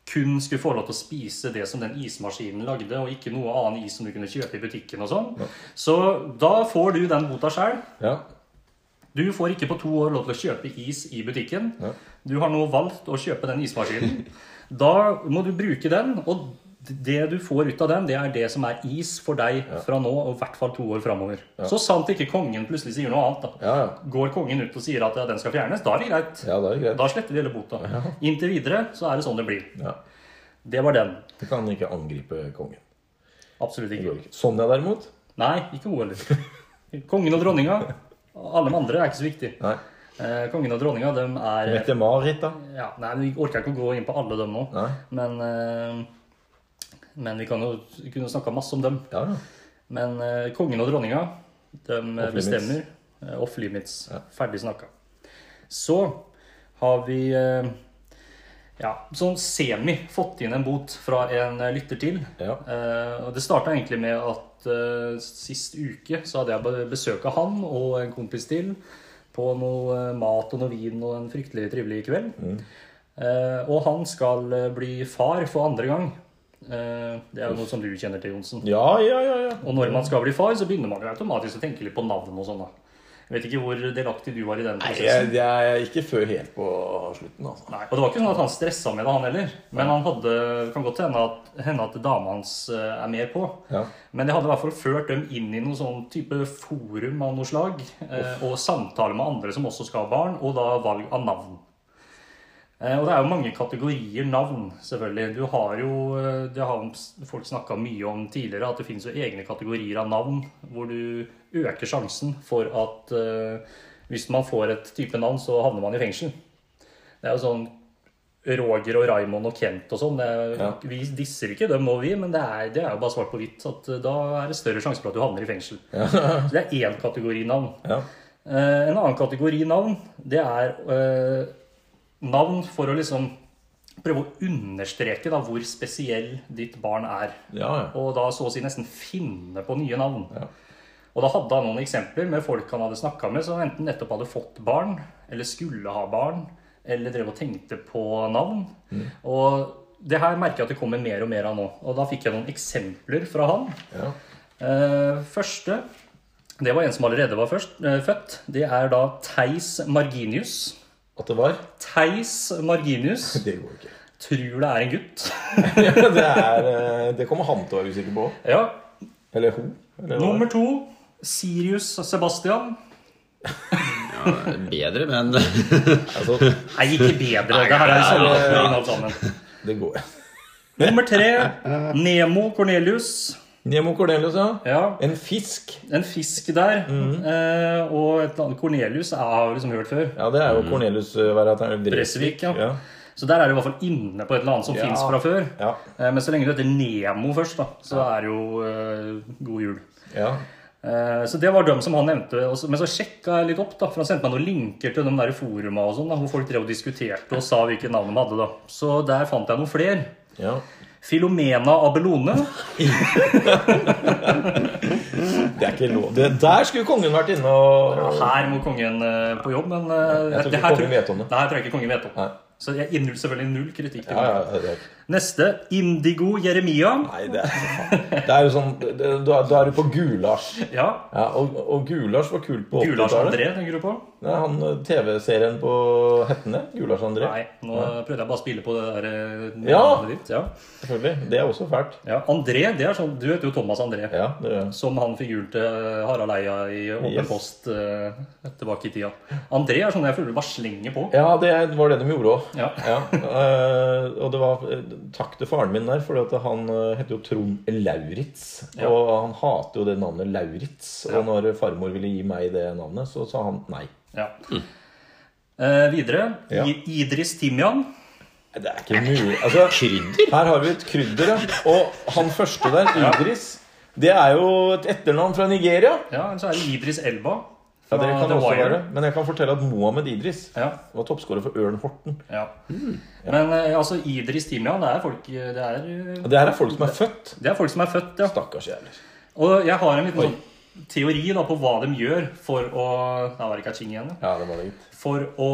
Speaker 1: kun skulle få lov til å spise det som den ismaskinen lagde, og ikke noe annen is som du kunne kjøpe i butikken og sånn. Så da får du den bota sjøl.
Speaker 2: Ja.
Speaker 1: Du får ikke på to år lov til å kjøpe is i butikken.
Speaker 2: Ja.
Speaker 1: Du har nå valgt å kjøpe den ismaskinen. Da må du bruke den, og det du får ut av den, det er det som er is for deg fra nå og i hvert fall to år framover. Så sant ikke kongen plutselig sier noe annet, da.
Speaker 2: Ja, ja.
Speaker 1: Går kongen ut og sier at ja, den skal fjernes, da er det greit.
Speaker 2: Ja, da er det greit.
Speaker 1: Da sletter vi hele bota. Inntil videre så er det sånn det blir.
Speaker 2: Ja.
Speaker 1: Det var den.
Speaker 2: Du kan ikke angripe kongen.
Speaker 1: Absolutt
Speaker 2: Det
Speaker 1: ikke.
Speaker 2: går ikke. Sonja derimot
Speaker 1: Nei, ikke hun heller. Kongen og dronninga, alle de andre er ikke så viktig.
Speaker 2: Nei.
Speaker 1: Eh, kongen og dronninga, de er
Speaker 2: Mette-Marit, da.
Speaker 1: ja, Nei, vi orker ikke å gå inn på alle dem nå.
Speaker 2: Nei.
Speaker 1: Men, eh, men vi kan jo vi kunne snakka masse om dem.
Speaker 2: Ja, ja.
Speaker 1: Men eh, kongen og dronninga, de
Speaker 2: Off-limits.
Speaker 1: bestemmer. Eh, Off limits. Ferdig snakka. Så har vi eh, ja, sånn semi fått inn en bot fra en eh, lytter til.
Speaker 2: Ja.
Speaker 1: Eh, og det starta egentlig med at eh, sist uke så hadde jeg be- besøk av han og en kompis til på noe eh, mat og noe vin og en fryktelig trivelig kveld. Eh, og han skal eh, bli far for andre gang. Eh, det er jo noe som du kjenner til, Johnsen.
Speaker 2: Ja, ja, ja, ja.
Speaker 1: Og når man skal bli far, så begynner man jo automatisk å tenke litt på navn og sånn. da. Jeg vet ikke hvor delaktig du var i den prosessen.
Speaker 2: Jeg, jeg er ikke før helt på slutten, altså.
Speaker 1: Nei, og det var ikke sånn at han stressa med det, han heller. Men han hadde, kan godt hende at, hende at dama hans eh, er mer på.
Speaker 2: Ja.
Speaker 1: Men det hadde i hvert fall ført dem inn i noen sånn type forum av noe slag. eh, Og samtale med andre som også skal ha barn, og da valg av navn. Eh, Og det er jo mange kategorier navn, selvfølgelig. Du har jo, eh, Det har jo folk snakka mye om tidligere, at det finnes jo egne kategorier av navn hvor du øker sjansen for at eh, hvis man får et type navn, så havner man i fengsel. Det er jo sånn Roger og Raymond og Kent og sånn. det er-
Speaker 2: Ja.
Speaker 1: Vi disser ikke dem og vi, men det er, det er jo bare svart på hvitt. at eh, Da er det større sjanse for at du havner i fengsel. Så det er én kategori navn.
Speaker 2: Ja.
Speaker 1: Eh, en annen kategori navn, det er eh, navn for å liksom prøve å understreke da, hvor spesiell ditt barn er.
Speaker 2: Ja, ja.
Speaker 1: Og da så å si nesten finne på nye navn. Og da hadde han noen eksempler med folk han hadde snakka med, som enten nettopp hadde fått barn, eller skulle ha barn, eller drev og tenkte på navn. Og det her merker jeg at det kommer mer og mer av nå. Og da fikk jeg noen eksempler fra han.
Speaker 2: ja.
Speaker 1: Eh, første Det var en som allerede var først, eh, født. Det er da Theis Marginius.
Speaker 2: At det var?
Speaker 1: Theis Marginius
Speaker 2: Det går ikke.
Speaker 1: tror det er en gutt.
Speaker 2: Det, er, eh, det kommer han til å være usikker på.
Speaker 1: ja.
Speaker 2: Eller hun. Eller hva?
Speaker 1: Nummer to Sirius Sebastian.
Speaker 3: Bedre, men
Speaker 2: Altså,
Speaker 1: Nei, ikke bedre. Det her er sånn jo samme oppføring alt sammen.
Speaker 2: det går.
Speaker 1: Nummer tre Nemo Cornelius.
Speaker 2: Nemo Cornelius, ja.
Speaker 1: Ja,
Speaker 2: En fisk.
Speaker 1: en fisk der. Eh, og et eller annet Cornelius jeg har jo liksom hørt før.
Speaker 2: Ja, det er jo Cornelius eh, hver at han er
Speaker 1: Bresvik, ja.
Speaker 2: Ja.
Speaker 1: Så der er du i hvert fall inne på et eller annet som
Speaker 2: Ja.
Speaker 1: finnes fra før.
Speaker 2: Ja.
Speaker 1: Eh, Men så lenge du heter Nemo først, da, så er det jo eh, god jul.
Speaker 2: ja.
Speaker 1: Eh, så det var dem som han nevnte. og så- Men så sjekka jeg litt opp, da, for han sendte meg noen linker til de der foruma og sånn, da, hvor folk drev og diskuterte og sa hvilke navn de hadde. da. Så der fant jeg noen flere.
Speaker 2: ja.
Speaker 1: Filomena Abelone.
Speaker 2: Det er ikke lov. Det der skulle kongen vært inne og
Speaker 1: Her må kongen eh, på jobb, men eh,
Speaker 2: Jeg tror
Speaker 1: det
Speaker 2: ikke
Speaker 1: her
Speaker 2: kongen vet om det.
Speaker 1: Nei, jeg tror ikke kongen vet om
Speaker 2: Nei.
Speaker 1: Så jeg gir null- selvfølgelig null kritikk. til
Speaker 2: ja,
Speaker 1: kongen.
Speaker 2: ja, det er,
Speaker 1: Neste Indigo Jeremia.
Speaker 2: Nei, det er, det er jo sånn det, det- Da da er du på gulasj.
Speaker 1: Ja.
Speaker 2: Ja, og, og gulasj var kult på
Speaker 1: Gulars
Speaker 2: 80-tallet.
Speaker 1: André, tenker du på?
Speaker 2: Det er han eh, TV-serien på Hettene. Gulasj André.
Speaker 1: Nei, nå prøvde jeg bare å spille på det der eh,
Speaker 2: Ja.
Speaker 1: navnet ditt. Ja.
Speaker 2: Selvfølgelig. Det er også fælt.
Speaker 1: ja. André, det er sånn Du heter jo Thomas André.
Speaker 2: Ja, det er
Speaker 1: Som han figuren til eh, Harald Eia i Åpen
Speaker 2: Yes.
Speaker 1: post eh, tilbake i tida. André er sånn jeg føler du bare slenger på.
Speaker 2: Ja, det er- var det de gjorde òg.
Speaker 1: Ja.
Speaker 2: eh, og det var eh, takk til faren min der, for at han eh, heter jo Trond Lauritz.
Speaker 1: Ja.
Speaker 2: Og han hater jo det navnet Lauritz. Og når farmor ville gi meg det navnet, så sa han nei.
Speaker 1: Ja. Eh, videre
Speaker 2: Hm. Ja.
Speaker 1: I, Idris Timian.
Speaker 2: Det er ikke mulig. Altså,
Speaker 3: krydder?
Speaker 2: her har vi et krydder, ja. Og han første der, Idris, det er jo et etternavn fra Nigeria.
Speaker 1: Ja, eller så er det Idris Elba.
Speaker 2: Ja, det
Speaker 1: fra
Speaker 2: kan
Speaker 1: The
Speaker 2: også
Speaker 1: Wire.
Speaker 2: være det. Men jeg kan fortelle at Mohammed Idris
Speaker 1: Ja,
Speaker 2: var toppskårer for Ørn Horten.
Speaker 1: ja. Men eh, altså, Idris Timian, det er folk eh, det er, eh,
Speaker 2: Og det her er folk som er født.
Speaker 1: det er folk som er født, ja.
Speaker 2: Stakkars jævler.
Speaker 1: Og jeg har en liten
Speaker 2: Oi.
Speaker 1: sånn teori da, på hva de gjør for å Da var det kaching igjen, ja.
Speaker 2: Ja, det var det gitt.
Speaker 1: For å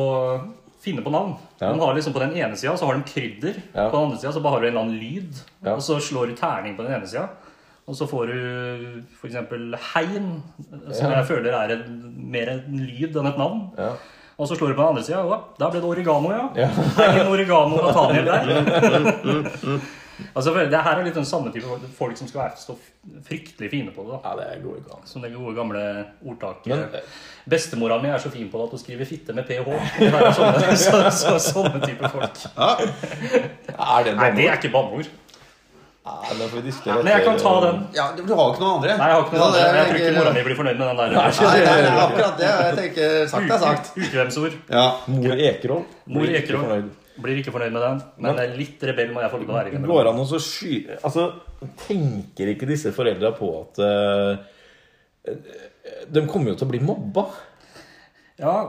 Speaker 1: finne på navn.
Speaker 2: Ja.
Speaker 1: De har liksom På den ene sida så har de krydder,
Speaker 2: Ja.
Speaker 1: på den andre sida så bare har du en eller annen lyd.
Speaker 2: Ja.
Speaker 1: Og så slår du terning på den ene sida, og så får du f.eks. heim, som
Speaker 2: Ja.
Speaker 1: jeg føler er en, mer en lyd enn et navn.
Speaker 2: Ja.
Speaker 1: Og så slår du på den andre sida, og da ble det oregano, ja.
Speaker 2: Ja.
Speaker 1: Egen oregano Nathaniel der. altså, føler jeg- det her er litt den samme type folk som skal være så fryktelig fine på det. da.
Speaker 2: ja, det går ikke altså. an.
Speaker 1: Som det gode gamle ordtaket.
Speaker 2: Men-
Speaker 1: Bestemora mi er så fin på det at hun skriver 'fitte' med ph. Det er sånne, så, så, sånne type folk.
Speaker 3: Ja.
Speaker 2: Er det
Speaker 1: Nei, det er
Speaker 2: banneord?
Speaker 1: ikke banneord.
Speaker 2: Nei, den får vi diskutere
Speaker 1: Men jeg kan ta
Speaker 2: etter- eh,
Speaker 1: den.
Speaker 3: ja, du du har jo ikke noen andre.
Speaker 1: Nei, jeg har ikke noe
Speaker 3: Ja,
Speaker 1: annet. Jeg tror
Speaker 3: tenker-
Speaker 1: ikke mora mi blir fornøyd med den der.
Speaker 3: Nei, nei, det er akkurat det. Jeg tenker sagt er sagt.
Speaker 1: Uke- Ukvemsord.
Speaker 3: Ja.
Speaker 2: Mor Ekerhold.
Speaker 1: Mor
Speaker 2: Blir ikke
Speaker 1: Ekerhol
Speaker 2: fornøyd.
Speaker 1: blir ikke fornøyd med den, men
Speaker 2: Men-
Speaker 1: litt rebell må jeg få lov til å være.
Speaker 2: Det
Speaker 1: innimellom.
Speaker 2: går an å så sky... Altså, tenker ikke disse foreldra på at eh, De kommer jo til å bli mobba.
Speaker 1: Ja,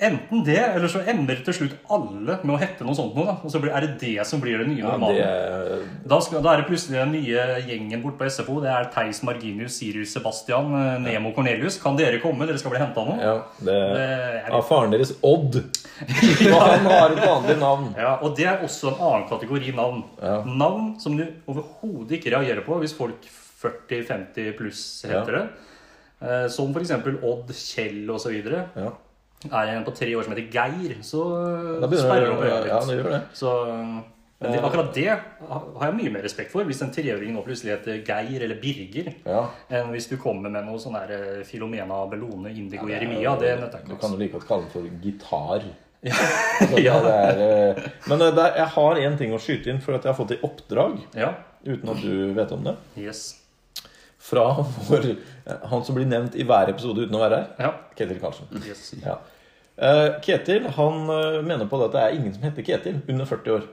Speaker 1: enten det, eller så ender til slutt alle med å hette noe sånt noe. da. Og så blir, er det det som blir det nye normalen.
Speaker 2: det,
Speaker 1: Da, skal, da er det plutselig den nye gjengen bort på SFO. Det er Theis, Marginius, Sirius, Sebastian, eh, Nemo, Cornelius. Kan dere komme? Dere skal bli henta nå.
Speaker 2: ja, det,
Speaker 1: Det er-
Speaker 2: Av faren deres Odd. Og han har et vanlig navn.
Speaker 1: Ja, og det er også en annen kategori navn.
Speaker 2: Ja.
Speaker 1: Navn som du overhodet ikke reagerer på hvis folk 40-50 pluss heter
Speaker 2: Ja.
Speaker 1: det. Eh, Som f.eks. Odd, Kjell osv.
Speaker 2: Ja,
Speaker 1: Er det en på tre år som heter Geir, så
Speaker 2: da
Speaker 1: eh,
Speaker 2: begynner
Speaker 1: sperrer
Speaker 2: det
Speaker 1: du opp
Speaker 2: å
Speaker 1: øynene litt.
Speaker 2: Ja, det gjør det.
Speaker 1: Så, men det, akkurat det har jeg mye mer respekt for. Hvis en treåring nå plutselig heter Geir eller Birger,
Speaker 2: Ja.
Speaker 1: enn hvis du kommer med noe sånn der eh, Filomena Bellone, Indigo
Speaker 2: Ja,
Speaker 1: Jeremia. Det nøtter
Speaker 2: Du
Speaker 1: jeg
Speaker 2: kan
Speaker 1: ikke.
Speaker 2: jo like godt kalle den for gitar.
Speaker 1: altså.
Speaker 2: Altså,
Speaker 1: Ja.
Speaker 2: det er, eh, men eh, der, jeg har én ting å skyte inn, for at jeg har fått i oppdrag,
Speaker 1: ja.
Speaker 2: uten at du vet om det,
Speaker 1: Yes.
Speaker 2: fra vår, eh, han som blir nevnt i hver episode uten å være her,
Speaker 1: Ja.
Speaker 2: Ketil Karlsen.
Speaker 1: Yes.
Speaker 2: Ja. Eh, Ketil han eh, mener på det at det er ingen som heter Ketil under 40 år.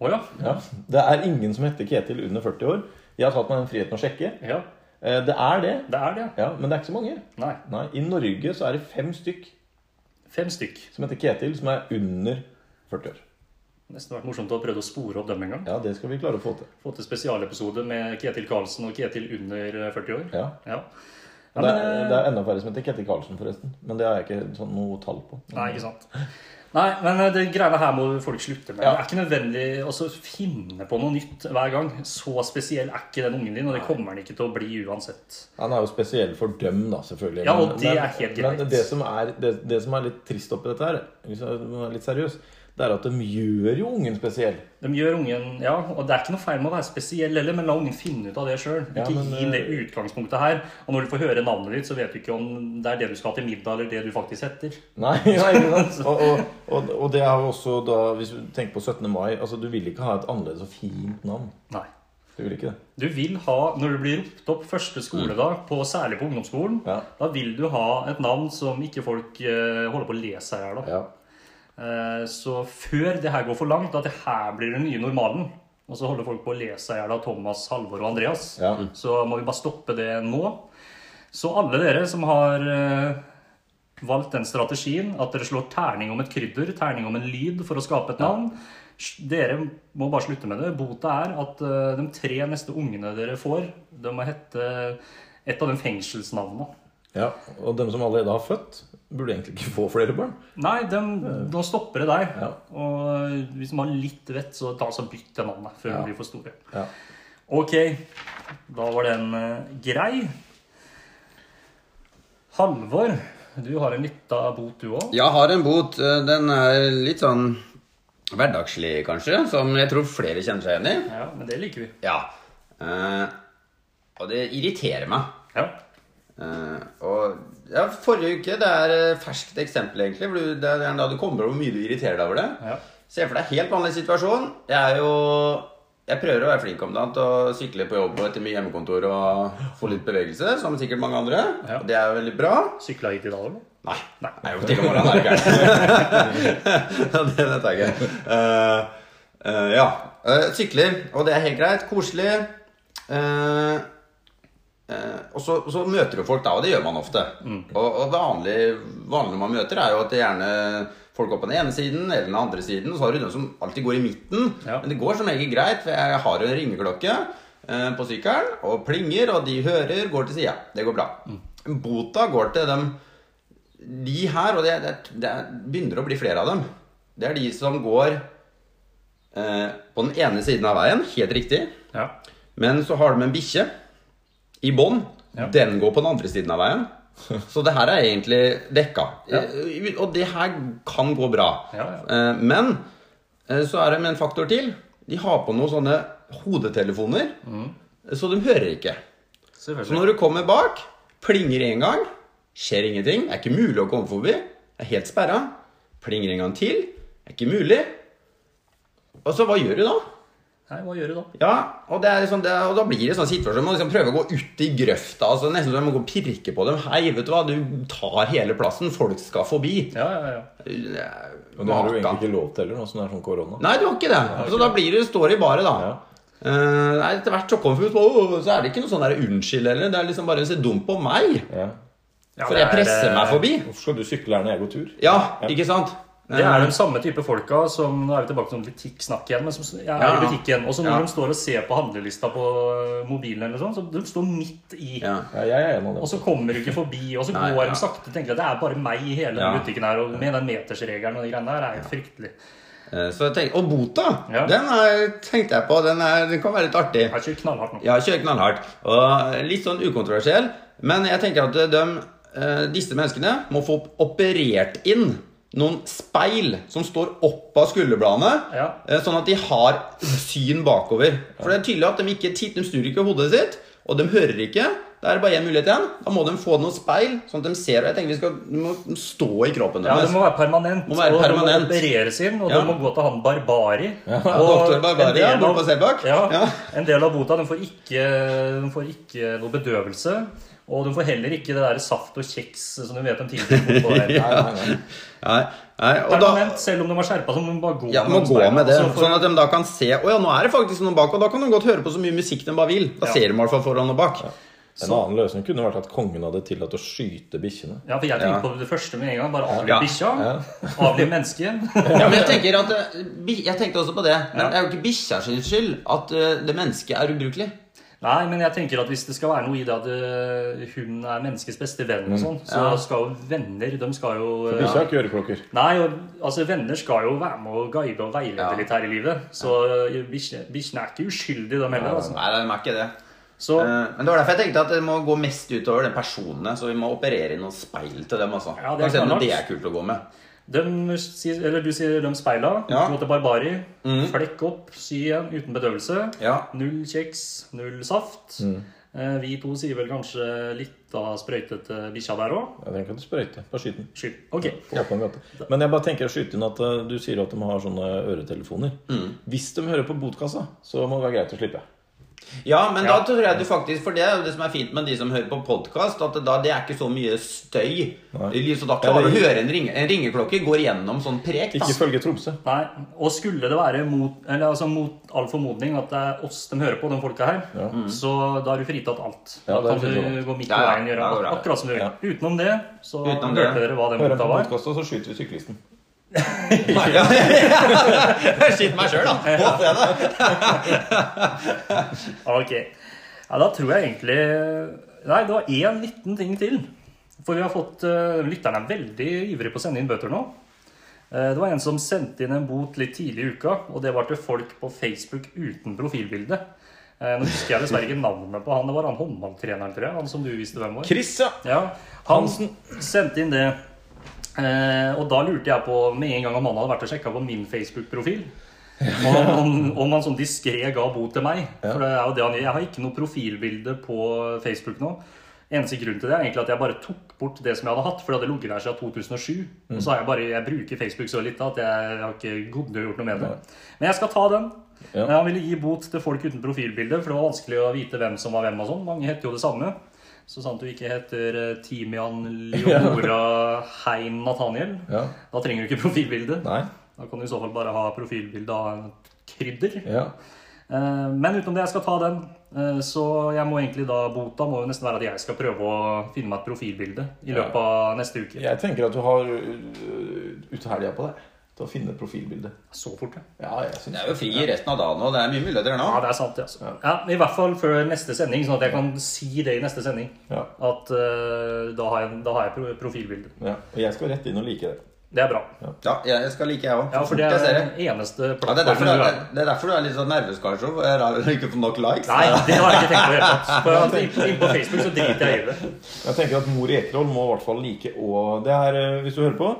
Speaker 1: Å ja.
Speaker 2: Ja. Det er ingen som heter Ketil under 40 år. Jeg har tatt meg den friheten å sjekke.
Speaker 1: ja.
Speaker 2: Eh, det er det,
Speaker 1: Det er det.
Speaker 2: ja, men det er ikke så mange.
Speaker 1: Nei.
Speaker 2: Nei, I Norge så er det fem stykk
Speaker 1: Fem stykk.
Speaker 2: som heter Ketil, som er under 40 år.
Speaker 1: Nesten vært morsomt å prøve å spore opp dem en gang.
Speaker 2: Ja, det skal vi klare å få til.
Speaker 1: Få til spesialepisode med Ketil Karlsen og Ketil under eh, 40 år.
Speaker 2: Ja.
Speaker 1: Ja. Ja,
Speaker 2: Det
Speaker 1: men,
Speaker 2: er,
Speaker 1: eh,
Speaker 2: det er enda færre som heter Ketil Karlsen, forresten. Men det har jeg ikke sånn, noe tall på.
Speaker 1: Nei, ikke sant. Nei, men eh, det greiene her må folk slutte med.
Speaker 2: Ja.
Speaker 1: Det er ikke nødvendig å så finne på noe nytt hver gang. Så spesiell er ikke den ungen din, og det kommer han ikke til å bli uansett.
Speaker 2: Han er jo spesiell for dem, da, selvfølgelig.
Speaker 1: Ja, og
Speaker 2: Men-
Speaker 1: det er
Speaker 2: men-
Speaker 1: helt greit.
Speaker 2: Men det som er, det, det som er litt trist oppi dette her, hvis jeg må være litt seriøs, det er at de gjør jo ungen spesiell.
Speaker 1: De gjør ungen, ja, og Det er ikke noe feil med å være spesiell heller, men la ungen finne ut av det sjøl.
Speaker 2: Ja,
Speaker 1: Ikke
Speaker 2: men,
Speaker 1: gi det
Speaker 2: eh,
Speaker 1: utgangspunktet her. Og når du får høre navnet ditt, så vet du ikke om det er det du skal ha til middag, eller det du faktisk heter.
Speaker 2: Nei, nei ikke sant? Og, og, og, og det er jo også da, hvis du tenker på 17. mai altså Du vil ikke ha et annerledes og fint navn.
Speaker 1: Nei.
Speaker 2: Du vil ikke det.
Speaker 1: Du vil ha, når du blir ropt opp første skoledag, på, særlig på ungdomsskolen,
Speaker 2: Mm. Ja.
Speaker 1: da vil du ha et navn som ikke folk eh, holder på å le seg i hjel av.
Speaker 2: Ja.
Speaker 1: Eh, Så før det her går for langt, at det her blir den nye normalen, og så holder folk på å le seg i hjel av Thomas, Halvor og Andreas,
Speaker 2: Ja.
Speaker 1: så må vi bare stoppe det nå. Så alle dere som har eh, valgt den strategien, at dere slår terning om et krydder, terning om en lyd for å skape et navn, sj- dere må bare slutte med det. Bota er at eh, de tre neste ungene dere får, de må hette et av de fengselsnavnene.
Speaker 2: ja. Og dem som allerede har født, burde egentlig ikke få flere barn.
Speaker 1: Nei, den, nå stopper det der.
Speaker 2: Ja.
Speaker 1: Og eh, hvis man har litt vett, så ta så bytt det navnet før
Speaker 2: Ja.
Speaker 1: de blir for store.
Speaker 2: Ja.
Speaker 1: Ok, da var den eh, grei. Halvor, du har en lita bot, du òg.
Speaker 3: Jeg har en bot. eh, Den er litt sånn hverdagslig, kanskje, som jeg tror flere kjenner seg igjen i.
Speaker 1: Ja, men det liker vi.
Speaker 3: Ja. Eh, og det irriterer meg.
Speaker 1: Ja.
Speaker 3: Eh, og ja, Forrige uke det er eh, ferskt eksempel, egentlig. For du- det er gjerne da du kommer over hvor mye du irriterer deg over det.
Speaker 1: Ja.
Speaker 3: Se for deg helt vanlig situasjon. Jeg er jo Jeg prøver å være flink om dagen til å sykle på jobb og etter mye hjemmekontor og få litt bevegelse, som sikkert mange andre.
Speaker 1: Ja.
Speaker 3: Og det er jo veldig bra.
Speaker 1: Sykla hit i dag, eller?
Speaker 3: Nei.
Speaker 1: Nei.
Speaker 3: Nei, jo, til og med morgenen er det ikke Det vet jeg ikke. Eh, eh, ja. Eh, sykler, og det er helt greit. Koselig. Eh, eh, og så, og så møter du folk da, og det gjør man ofte.
Speaker 1: Mm.
Speaker 3: Og, og det vanlige, vanlige man møter, er jo at det gjerne folk går på den ene siden eller den andre siden. Og så har du den som alltid går i midten.
Speaker 1: Ja.
Speaker 3: Men det går som regel greit, for jeg har jo en ringeklokke eh, på sykkelen og plinger, og de hører, går til sida. Det går bra.
Speaker 1: Mm.
Speaker 3: Bota går til dem de her, og det, det, det begynner å bli flere av dem. Det er de som går eh, på den ene siden av veien, helt riktig.
Speaker 1: Ja.
Speaker 3: Men så har de en bikkje i bånd.
Speaker 1: Ja.
Speaker 3: Den går på den andre siden av veien. Så det her er egentlig dekka.
Speaker 1: Ja.
Speaker 3: Eh, Og det her kan gå bra.
Speaker 1: Ja,
Speaker 3: Eh, Men eh, så er det med en faktor til. De har på noen sånne hodetelefoner,
Speaker 1: Mm.
Speaker 3: så de hører ikke. Så
Speaker 1: Selvfølgelig.
Speaker 3: når du kommer bak, plinger en gang, skjer ingenting. Det er ikke mulig å komme forbi. Det er helt sperra. Plinger en gang til. Det er ikke mulig. Og så hva gjør du da?
Speaker 1: Nei, hva gjør du da?
Speaker 3: Ja, og, det er liksom, det er, og da blir det sånn situasjon. Man må liksom prøve å gå ut i grøfta. Altså, nesten som man går og pirke på dem. Hei, vet du hva, du tar hele plassen. Folk skal forbi.
Speaker 1: Ja, ja, ja.
Speaker 2: Men det har du jo
Speaker 3: Maka.
Speaker 2: egentlig ikke lov til heller, nå som det er sånn korona.
Speaker 3: Nei, du har ikke det. Så da blir det står i bare, da.
Speaker 2: Ja.
Speaker 3: Eh, nei, etter hvert så kommer vi ut på «Åh», Så er det ikke noe sånn der unnskyld heller. Det er liksom bare se dumt på meg.
Speaker 2: Ja.
Speaker 1: ja
Speaker 3: For
Speaker 1: det
Speaker 3: jeg
Speaker 1: er,
Speaker 3: presser
Speaker 1: eh,
Speaker 3: meg forbi.
Speaker 2: Hvorfor skal du sykle her når jeg går tur?
Speaker 3: Ja, ikke sant?
Speaker 1: Det
Speaker 3: Eh,
Speaker 1: er den samme type folka som Nå er vi tilbake til noen butikksnakk igjen. Men som s- ja, er
Speaker 3: Ja.
Speaker 1: i butikken Og så når
Speaker 3: Ja.
Speaker 1: de står og ser på handlelista på eh, mobilen, eller sånn, så de står midt i.
Speaker 3: ja.
Speaker 2: Ja, jeg er en av
Speaker 1: Og
Speaker 2: dem.
Speaker 1: så kommer du ikke forbi, og så
Speaker 3: Nei,
Speaker 1: går
Speaker 3: ja.
Speaker 1: de sakte. Tenker at det er bare meg i hele
Speaker 3: Ja.
Speaker 1: butikken her. Og med den metersregelen og de greiene der er jo fryktelig.
Speaker 3: Eh, Så jeg tenk- og bota,
Speaker 1: Ja.
Speaker 3: den er, tenkte jeg på. Den, er, den kan være litt artig.
Speaker 1: Det er ikke knallhardt nok.
Speaker 3: Ja, kjør knallhardt. Og litt sånn ukontroversiell. Men jeg tenker at de, eh, disse menneskene må få operert inn noen speil som står opp av skulderbladene,
Speaker 1: Ja.
Speaker 3: eh, sånn at de har syn bakover. For det er tydelig at de ikke titt- de snur ikke hodet sitt, og de hører ikke. Det er bare én mulighet igjen. Da må de få noen speil, sånn at de ser. Og jeg tenker vi skal de må stå i kroppen
Speaker 1: Ja,
Speaker 3: deres.
Speaker 1: det må være permanent.
Speaker 3: Må være
Speaker 1: Og det
Speaker 3: permanent.
Speaker 1: må opereres inn, og
Speaker 3: Ja.
Speaker 1: det må gå til han Barbari.
Speaker 3: Dr. Barbari,
Speaker 1: en del
Speaker 3: ja, borte
Speaker 1: av-
Speaker 3: på Selbakk.
Speaker 1: Ja,
Speaker 3: Ja.
Speaker 1: En del av bota, den får ikke, den får ikke noe bedøvelse. Og du får heller ikke det der saft og kjeks som du vet de tidligere på. der.
Speaker 2: Nei, nei, nei.
Speaker 3: Nei, nei, og da-
Speaker 1: Permanent, selv om de har skjerpa, så må de bare gå
Speaker 3: Ja, må
Speaker 1: langs
Speaker 3: gå
Speaker 1: beina,
Speaker 3: med det,
Speaker 1: og så får-
Speaker 3: sånn at de da kan se Å ja, nå er det faktisk noen bak, og da kan de godt høre på så mye musikk de bare vil. Da
Speaker 1: Ja.
Speaker 3: ser de i hvert fall foran og bak.
Speaker 2: En annen løsning kunne vært at kongen hadde tillatt å skyte bikkjene.
Speaker 1: Ja, for jeg tenkte
Speaker 3: Ja.
Speaker 1: på det første med en gang. Bare avliv
Speaker 3: Ja.
Speaker 1: bikkja.
Speaker 2: Ja.
Speaker 1: Avliv mennesket.
Speaker 3: Ja, men jeg tenker at eh, bi- Jeg tenkte også på det. Men det er jo ikke bikkja sin skyld at eh, det mennesket er ubrukelig.
Speaker 1: Nei, men jeg tenker at hvis det skal være noe i det at øh, hun er menneskets beste venn og
Speaker 3: Mm.
Speaker 1: sånn, så
Speaker 3: Ja.
Speaker 1: skal jo venner De skal jo øh,
Speaker 2: Bikkja har ikke øreklokker.
Speaker 1: Nei, og, altså venner skal jo være med og guide og veilede
Speaker 3: Ja.
Speaker 1: litt her i livet. Så øh, bikkjene bikkjene er ikke uskyldige, de heller. Altså.
Speaker 3: Nei, de er ikke det.
Speaker 1: Så
Speaker 3: Eh, Men det var derfor jeg tenkte at det må gå mest utover de personene. Så vi må operere inn noen speil til dem, altså.
Speaker 1: Ja, det er
Speaker 3: Kan se om
Speaker 1: klart.
Speaker 3: det er kult å gå med.
Speaker 1: de, sier- eller du sier de speila.
Speaker 3: Ja. Mm.
Speaker 1: Gå til Barbari. Flekk opp, sy igjen uten bedøvelse.
Speaker 3: Ja. Mm.
Speaker 1: Null kjeks, null saft. Eh, vi to sier vel kanskje litt av sprøytete bikkja der òg.
Speaker 2: Jeg trenger ikke at du sprøyter. Bare skyt den.
Speaker 1: Skyld. Ok.
Speaker 2: På åpen gate. Men jeg bare tenker å skyte inn at eh, du sier at de har sånne øretelefoner. Hvis de hører på botkassa, så må det være greit å slippe.
Speaker 3: Ja, men
Speaker 1: Ja.
Speaker 3: da tror jeg du faktisk For det er jo det som er fint med de som hører på podkast, at det da, det er ikke så mye støy.
Speaker 2: Nei.
Speaker 3: I lys, Så da klarer
Speaker 2: Eller-
Speaker 3: du å høre en, ringe, en ringeklokke går gjennom sånn prek. da.
Speaker 2: Ikke følge Tromsø.
Speaker 1: Nei, og skulle det være mot, eller altså mot all formodning at det er oss de hører på, de folka her,
Speaker 2: Ja.
Speaker 1: så da er du fritatt alt. da
Speaker 2: Ja, det er
Speaker 1: kan
Speaker 2: fritatt alt.
Speaker 1: du gå midt på
Speaker 3: Mm. Ja, ja,
Speaker 1: veien og gjøre
Speaker 3: da går det.
Speaker 1: akkurat som du vil.
Speaker 2: Ja.
Speaker 1: Utenom det, så
Speaker 3: Utenom
Speaker 1: hørte
Speaker 3: det.
Speaker 1: dere hva den
Speaker 2: Hører de
Speaker 1: bota
Speaker 2: på
Speaker 1: var.
Speaker 2: botkassa, så skyter vi syklisten.
Speaker 3: Ja. Skitt meg sjøl, da. På scenen.
Speaker 1: Ok. Ja, da tror jeg egentlig Nei, det var én liten ting til. For vi har fått eh, Lytterne er veldig ivrige på å sende inn bøter nå. Eh, Det var en som sendte inn en bot litt tidlig i uka, og det var til folk på Facebook uten profilbilde. Eh, Nå husker jeg dessverre ikke navnet på han. Det var han håndballtreneren, tror jeg. Han som du visste hvem var.
Speaker 2: Chris, ja!
Speaker 1: Ja, han sendte inn det. Eh, og da lurte jeg på med en gang om han hadde vært og sjekka på min Facebook-profil. Om, om, om han sånn diskré ga bot til meg. For det er jo det han gjør. Jeg har ikke noe profilbilde på Facebook nå. Eneste grunn til det er egentlig at jeg bare tok bort det som jeg hadde hatt. For det hadde ligget der siden 2007.
Speaker 2: Mm.
Speaker 1: Og så har jeg bare, jeg bruker Facebook så litt at jeg har ikke godgjort noe med det. Men jeg skal ta den.
Speaker 2: Ja.
Speaker 1: Men Han ville gi bot til folk uten profilbilde, for det var vanskelig å vite hvem som var hvem. og sånn. Mange heter jo det samme. Så sant du ikke heter eh, Timian Leonora Hein Nathaniel,
Speaker 2: Ja.
Speaker 1: da trenger du ikke profilbilde.
Speaker 2: Nei.
Speaker 1: Da kan du i så fall bare ha profilbilde av en krydder.
Speaker 2: Ja.
Speaker 1: Eh, Men utenom det, jeg skal ta den. Eh, Så jeg må egentlig da bota må jo nesten være at jeg skal prøve å finne meg et profilbilde i løpet av neste uke.
Speaker 2: Jeg tenker at du har øh, ut helga på deg til å finne profilbildet.
Speaker 1: Så fort, ja.
Speaker 2: Ja, jeg
Speaker 3: Det
Speaker 2: syns
Speaker 3: er jo fri resten av dagen, og det er mye muligheter nå.
Speaker 1: Ja, det er sant, det. altså. Ja, I hvert fall før neste sending, sånn at jeg kan si det i neste sending.
Speaker 2: Ja.
Speaker 1: At eh, da, har jeg, da har jeg pro- profilbilde.
Speaker 2: Ja. Og jeg skal rett inn og like det.
Speaker 1: Det er bra.
Speaker 3: Ja, jeg skal like, jeg òg.
Speaker 1: Ja, for det er den eneste
Speaker 3: Ja, det, er derfor,
Speaker 1: plattformen du er
Speaker 3: det, er, det er derfor du er litt sånn nervøs, kanskje. for Jeg har ikke fått nok likes.
Speaker 1: Nei, det har jeg ikke tenkt på i det hele tatt. For at inn- inn på Facebook så driter jeg i det.
Speaker 2: Jeg tenker at Mor Ekroll må i hvert fall like og Det her, eh, hvis du hører på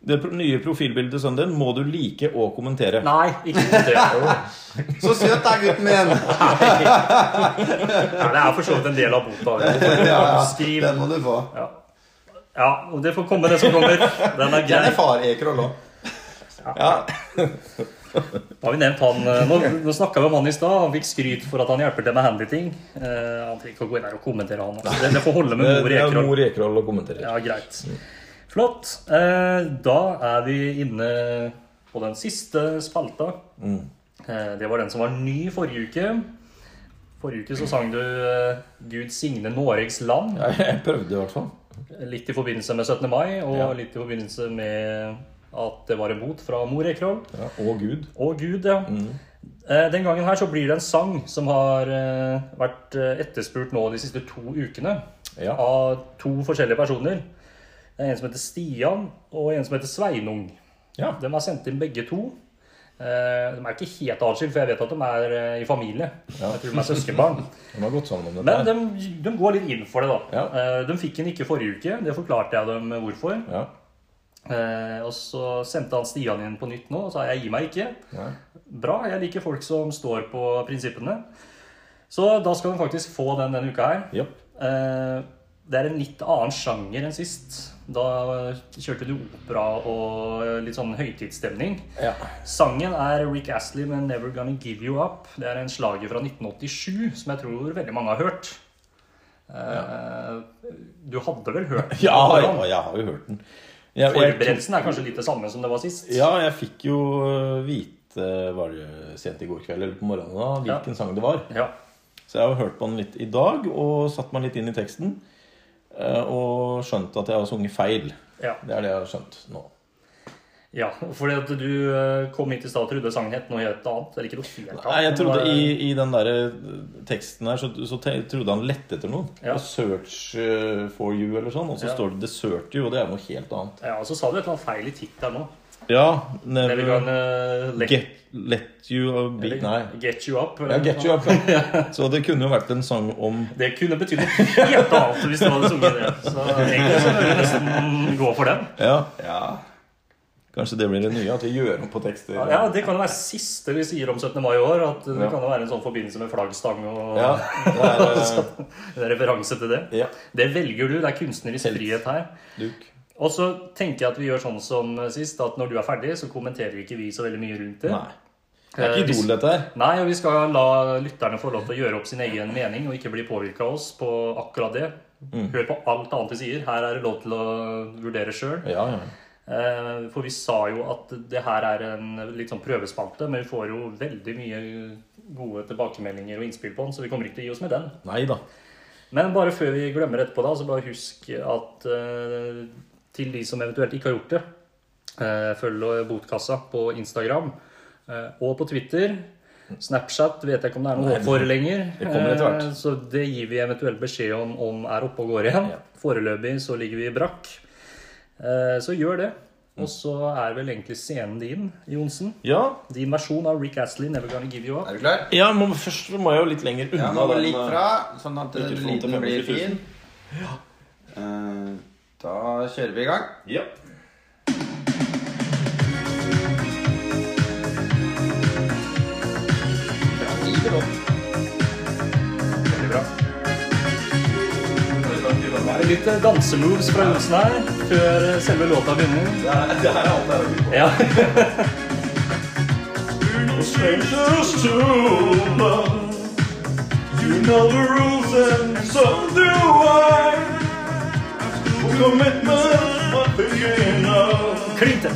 Speaker 2: Det pro- nye profilbildet til sønnen din må du like og kommentere.
Speaker 1: Nei, ikke det. Nei,
Speaker 3: Så søt er gutten min!
Speaker 1: det er for så vidt en del av bota.
Speaker 3: Ja, ja.
Speaker 1: Skriv.
Speaker 3: Den må du få.
Speaker 1: Ja. ja, og det får komme det som kommer. Den er grei.
Speaker 3: Den er far Ekroll òg.
Speaker 2: Ja,
Speaker 1: Da har vi nevnt han, eh, Nå, nå snakka vi om han i stad. Han fikk skryt for at han hjelper til med handyting. Eh, han trenger ikke å gå inn her og kommentere, han. altså. Det, det får holde med
Speaker 2: Eh, det
Speaker 1: mor
Speaker 2: det er
Speaker 1: Ekroll.
Speaker 2: Mor Ekroll å kommentere.
Speaker 1: Ja, greit. Flott. Eh, da er vi inne på den siste spalta.
Speaker 2: Mm.
Speaker 1: Eh, det var den som var ny forrige uke. Forrige uke så sang du eh, 'Gud signe Noregs land'.
Speaker 2: Jeg prøvde i hvert fall.
Speaker 1: Litt i forbindelse med 17. mai, og
Speaker 2: Ja.
Speaker 1: litt i forbindelse med at det var en bot fra mor Ekroll.
Speaker 2: Ja, og Gud.
Speaker 1: Å Gud, ja.
Speaker 2: Mm.
Speaker 1: Eh, Den gangen her så blir det en sang som har eh, vært eh, etterspurt nå de siste to ukene.
Speaker 2: Ja.
Speaker 1: Av to forskjellige personer. Det er En som heter Stian, og en som heter Sveinung.
Speaker 2: Ja.
Speaker 1: De har sendt inn begge to. Eh, De er ikke helt atskilt, for jeg vet at de er eh, i familie.
Speaker 2: Ja.
Speaker 1: Jeg tror de er søskenbarn.
Speaker 2: De har gått sammen om
Speaker 1: Men
Speaker 2: dette. her.
Speaker 1: de, de går litt inn for det, da.
Speaker 2: Ja.
Speaker 1: Eh, De fikk den ikke forrige uke. Det forklarte jeg dem hvorfor.
Speaker 2: Ja.
Speaker 1: Eh, Og så sendte han Stian inn på nytt nå og sa jeg gir meg ikke.
Speaker 2: Nei.
Speaker 1: Bra. Jeg liker folk som står på prinsippene. Så da skal du faktisk få den denne uka her.
Speaker 2: Japp.
Speaker 1: Eh, Det er en litt annen sjanger enn sist. Da kjørte du opera og litt sånn høytidsstemning.
Speaker 2: Ja.
Speaker 1: Sangen er Rick Astley med 'Never Gonna Give You Up'. Det er en slager fra 1987 som jeg tror veldig mange har hørt. Eh, Du hadde vel hørt den?
Speaker 2: Ja, ja, jeg har jo hørt den. Jeg, jeg,
Speaker 1: Forberedelsen er kanskje litt det samme som det var sist.
Speaker 2: ja, jeg fikk jo øh, vite, var det sent i går kveld eller på morgenen, da, hvilken sang det var.
Speaker 1: Ja.
Speaker 2: Så jeg har hørt på den litt i dag og satt meg litt inn i teksten. eh, Og skjønt at jeg har sunget feil.
Speaker 1: ja.
Speaker 2: Det er det jeg har skjønt nå.
Speaker 1: Ja, fordi at du eh, kom hit i stad og trodde sangen het noe helt annet. Eller ikke noe helt annet.
Speaker 2: Nei, jeg trodde
Speaker 1: men,
Speaker 2: I,
Speaker 1: eh,
Speaker 2: i den der eh, teksten her så, så te, trodde han lette etter noe.
Speaker 1: Ja.
Speaker 2: Og 'Search eh, for you' eller sånn. Og så
Speaker 1: Ja.
Speaker 2: står det 'Desert you', og det er noe helt annet.
Speaker 1: Ja, og så sa du et eller annet feil i tittelen nå.
Speaker 2: Ja,
Speaker 1: Det vi
Speaker 2: never
Speaker 1: kan eh, let,
Speaker 2: Ehm, get, let you be
Speaker 1: eller
Speaker 2: Nei.
Speaker 1: get you up. eller
Speaker 2: Ja,
Speaker 1: noe
Speaker 2: get you up. Så det kunne jo vært en sang om
Speaker 1: sånt. Det kunne betydd noe helt annet hvis du hadde sunget det. Så egentlig så bør du nesten gå for den.
Speaker 2: Ja,
Speaker 3: Ja.
Speaker 2: kanskje det blir det nye. At vi gjør om på tekster.
Speaker 1: Ja, Det kan jo være siste vi sier om 17. mai i år. At det
Speaker 2: Ja.
Speaker 1: kan jo være en sånn forbindelse med flaggstang og
Speaker 2: Ja, det er eh,
Speaker 1: en referanse til det.
Speaker 2: ja,
Speaker 1: Det velger du. Det er kunstnerisk
Speaker 2: Helt.
Speaker 1: frihet her.
Speaker 2: Luke.
Speaker 1: Og så tenker jeg at vi gjør sånn som sist, at når du er ferdig, så kommenterer ikke vi så veldig mye rundt det. Eh,
Speaker 2: Nei. Det er ikke Idol, dette her.
Speaker 1: Nei, og vi skal la lytterne få lov til å gjøre opp sin egen mening og ikke bli påvirka av oss på akkurat det.
Speaker 2: Mm.
Speaker 1: Hør på alt annet vi sier. Her er det lov til å vurdere sjøl.
Speaker 2: Ja, ja.
Speaker 1: Eh, For vi sa jo at det her er en litt sånn prøvespalte, men vi får jo veldig mye gode tilbakemeldinger og innspill på den, så vi kommer ikke til å gi oss med den.
Speaker 2: Nei da.
Speaker 1: Men bare før vi glemmer etterpå, da, så bare husk at eh, til de som eventuelt ikke har gjort det, eh, følg Botkassa på Instagram eh, og på Twitter. Snapchat vet jeg ikke om det er noe
Speaker 2: Nei,
Speaker 1: håp for lenger.
Speaker 2: det kommer etter hvert.
Speaker 1: Eh, Så det gir vi eventuelt beskjed om om er oppe og går igjen.
Speaker 2: Ja.
Speaker 1: Foreløpig så ligger vi brakk. Eh, Så gjør det. Og så er vel egentlig scenen din, Johnsen.
Speaker 2: Ja,
Speaker 1: Din versjon av Rick Astley, 'Never Gonna Give You Up'.
Speaker 3: Er du klar?
Speaker 2: ja må, først må jeg jo litt lenger unna.
Speaker 3: Ja, nå må du
Speaker 2: den,
Speaker 3: ligge
Speaker 2: eh,
Speaker 3: fra, sånn at
Speaker 2: Ikke få til
Speaker 3: lyden blir
Speaker 2: 50 000.
Speaker 3: fin. Eh, Da kjører vi i gang.
Speaker 2: Ja.
Speaker 3: Bra, livet opp.
Speaker 1: Veldig bra. Det er Litt dansemoves fra Johnsen her før eh, selve låta begynner.
Speaker 2: Det er, det er alt jeg har gjort.
Speaker 1: Ja. Klinte.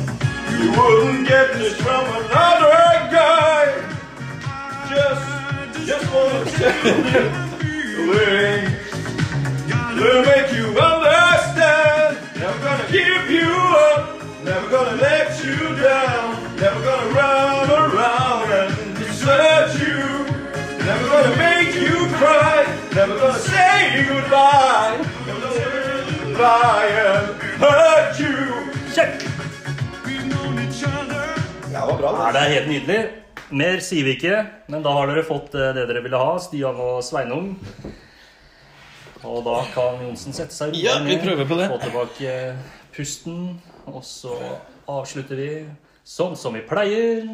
Speaker 1: Check.
Speaker 3: det var bra.
Speaker 1: Ja, det er helt nydelig. Mer sier vi ikke, men da har dere fått eh, det dere ville ha, Stian og Sveinung. Og da kan Johnsen sette seg rolig
Speaker 2: Ja, vi
Speaker 1: ned,
Speaker 2: prøver på det.
Speaker 1: få tilbake eh, pusten, og så avslutter vi sånn som vi pleier.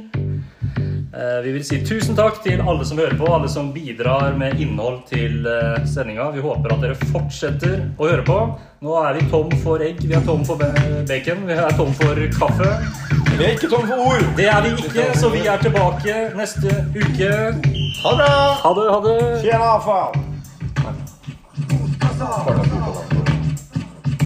Speaker 1: Eh, Vi vil si tusen takk til alle som hører på, alle som bidrar med innhold til eh, sendinga. Vi håper at dere fortsetter å høre på. Nå er vi tom for egg, vi er tom for ba- bacon, vi er tom for kaffe.
Speaker 2: Vi er ikke tom for ord!
Speaker 1: Det er vi ikke, så vi er tilbake neste uke.
Speaker 3: Ha det bra!
Speaker 1: Ha det, ha det.
Speaker 2: Tjena, faen!
Speaker 4: Passa!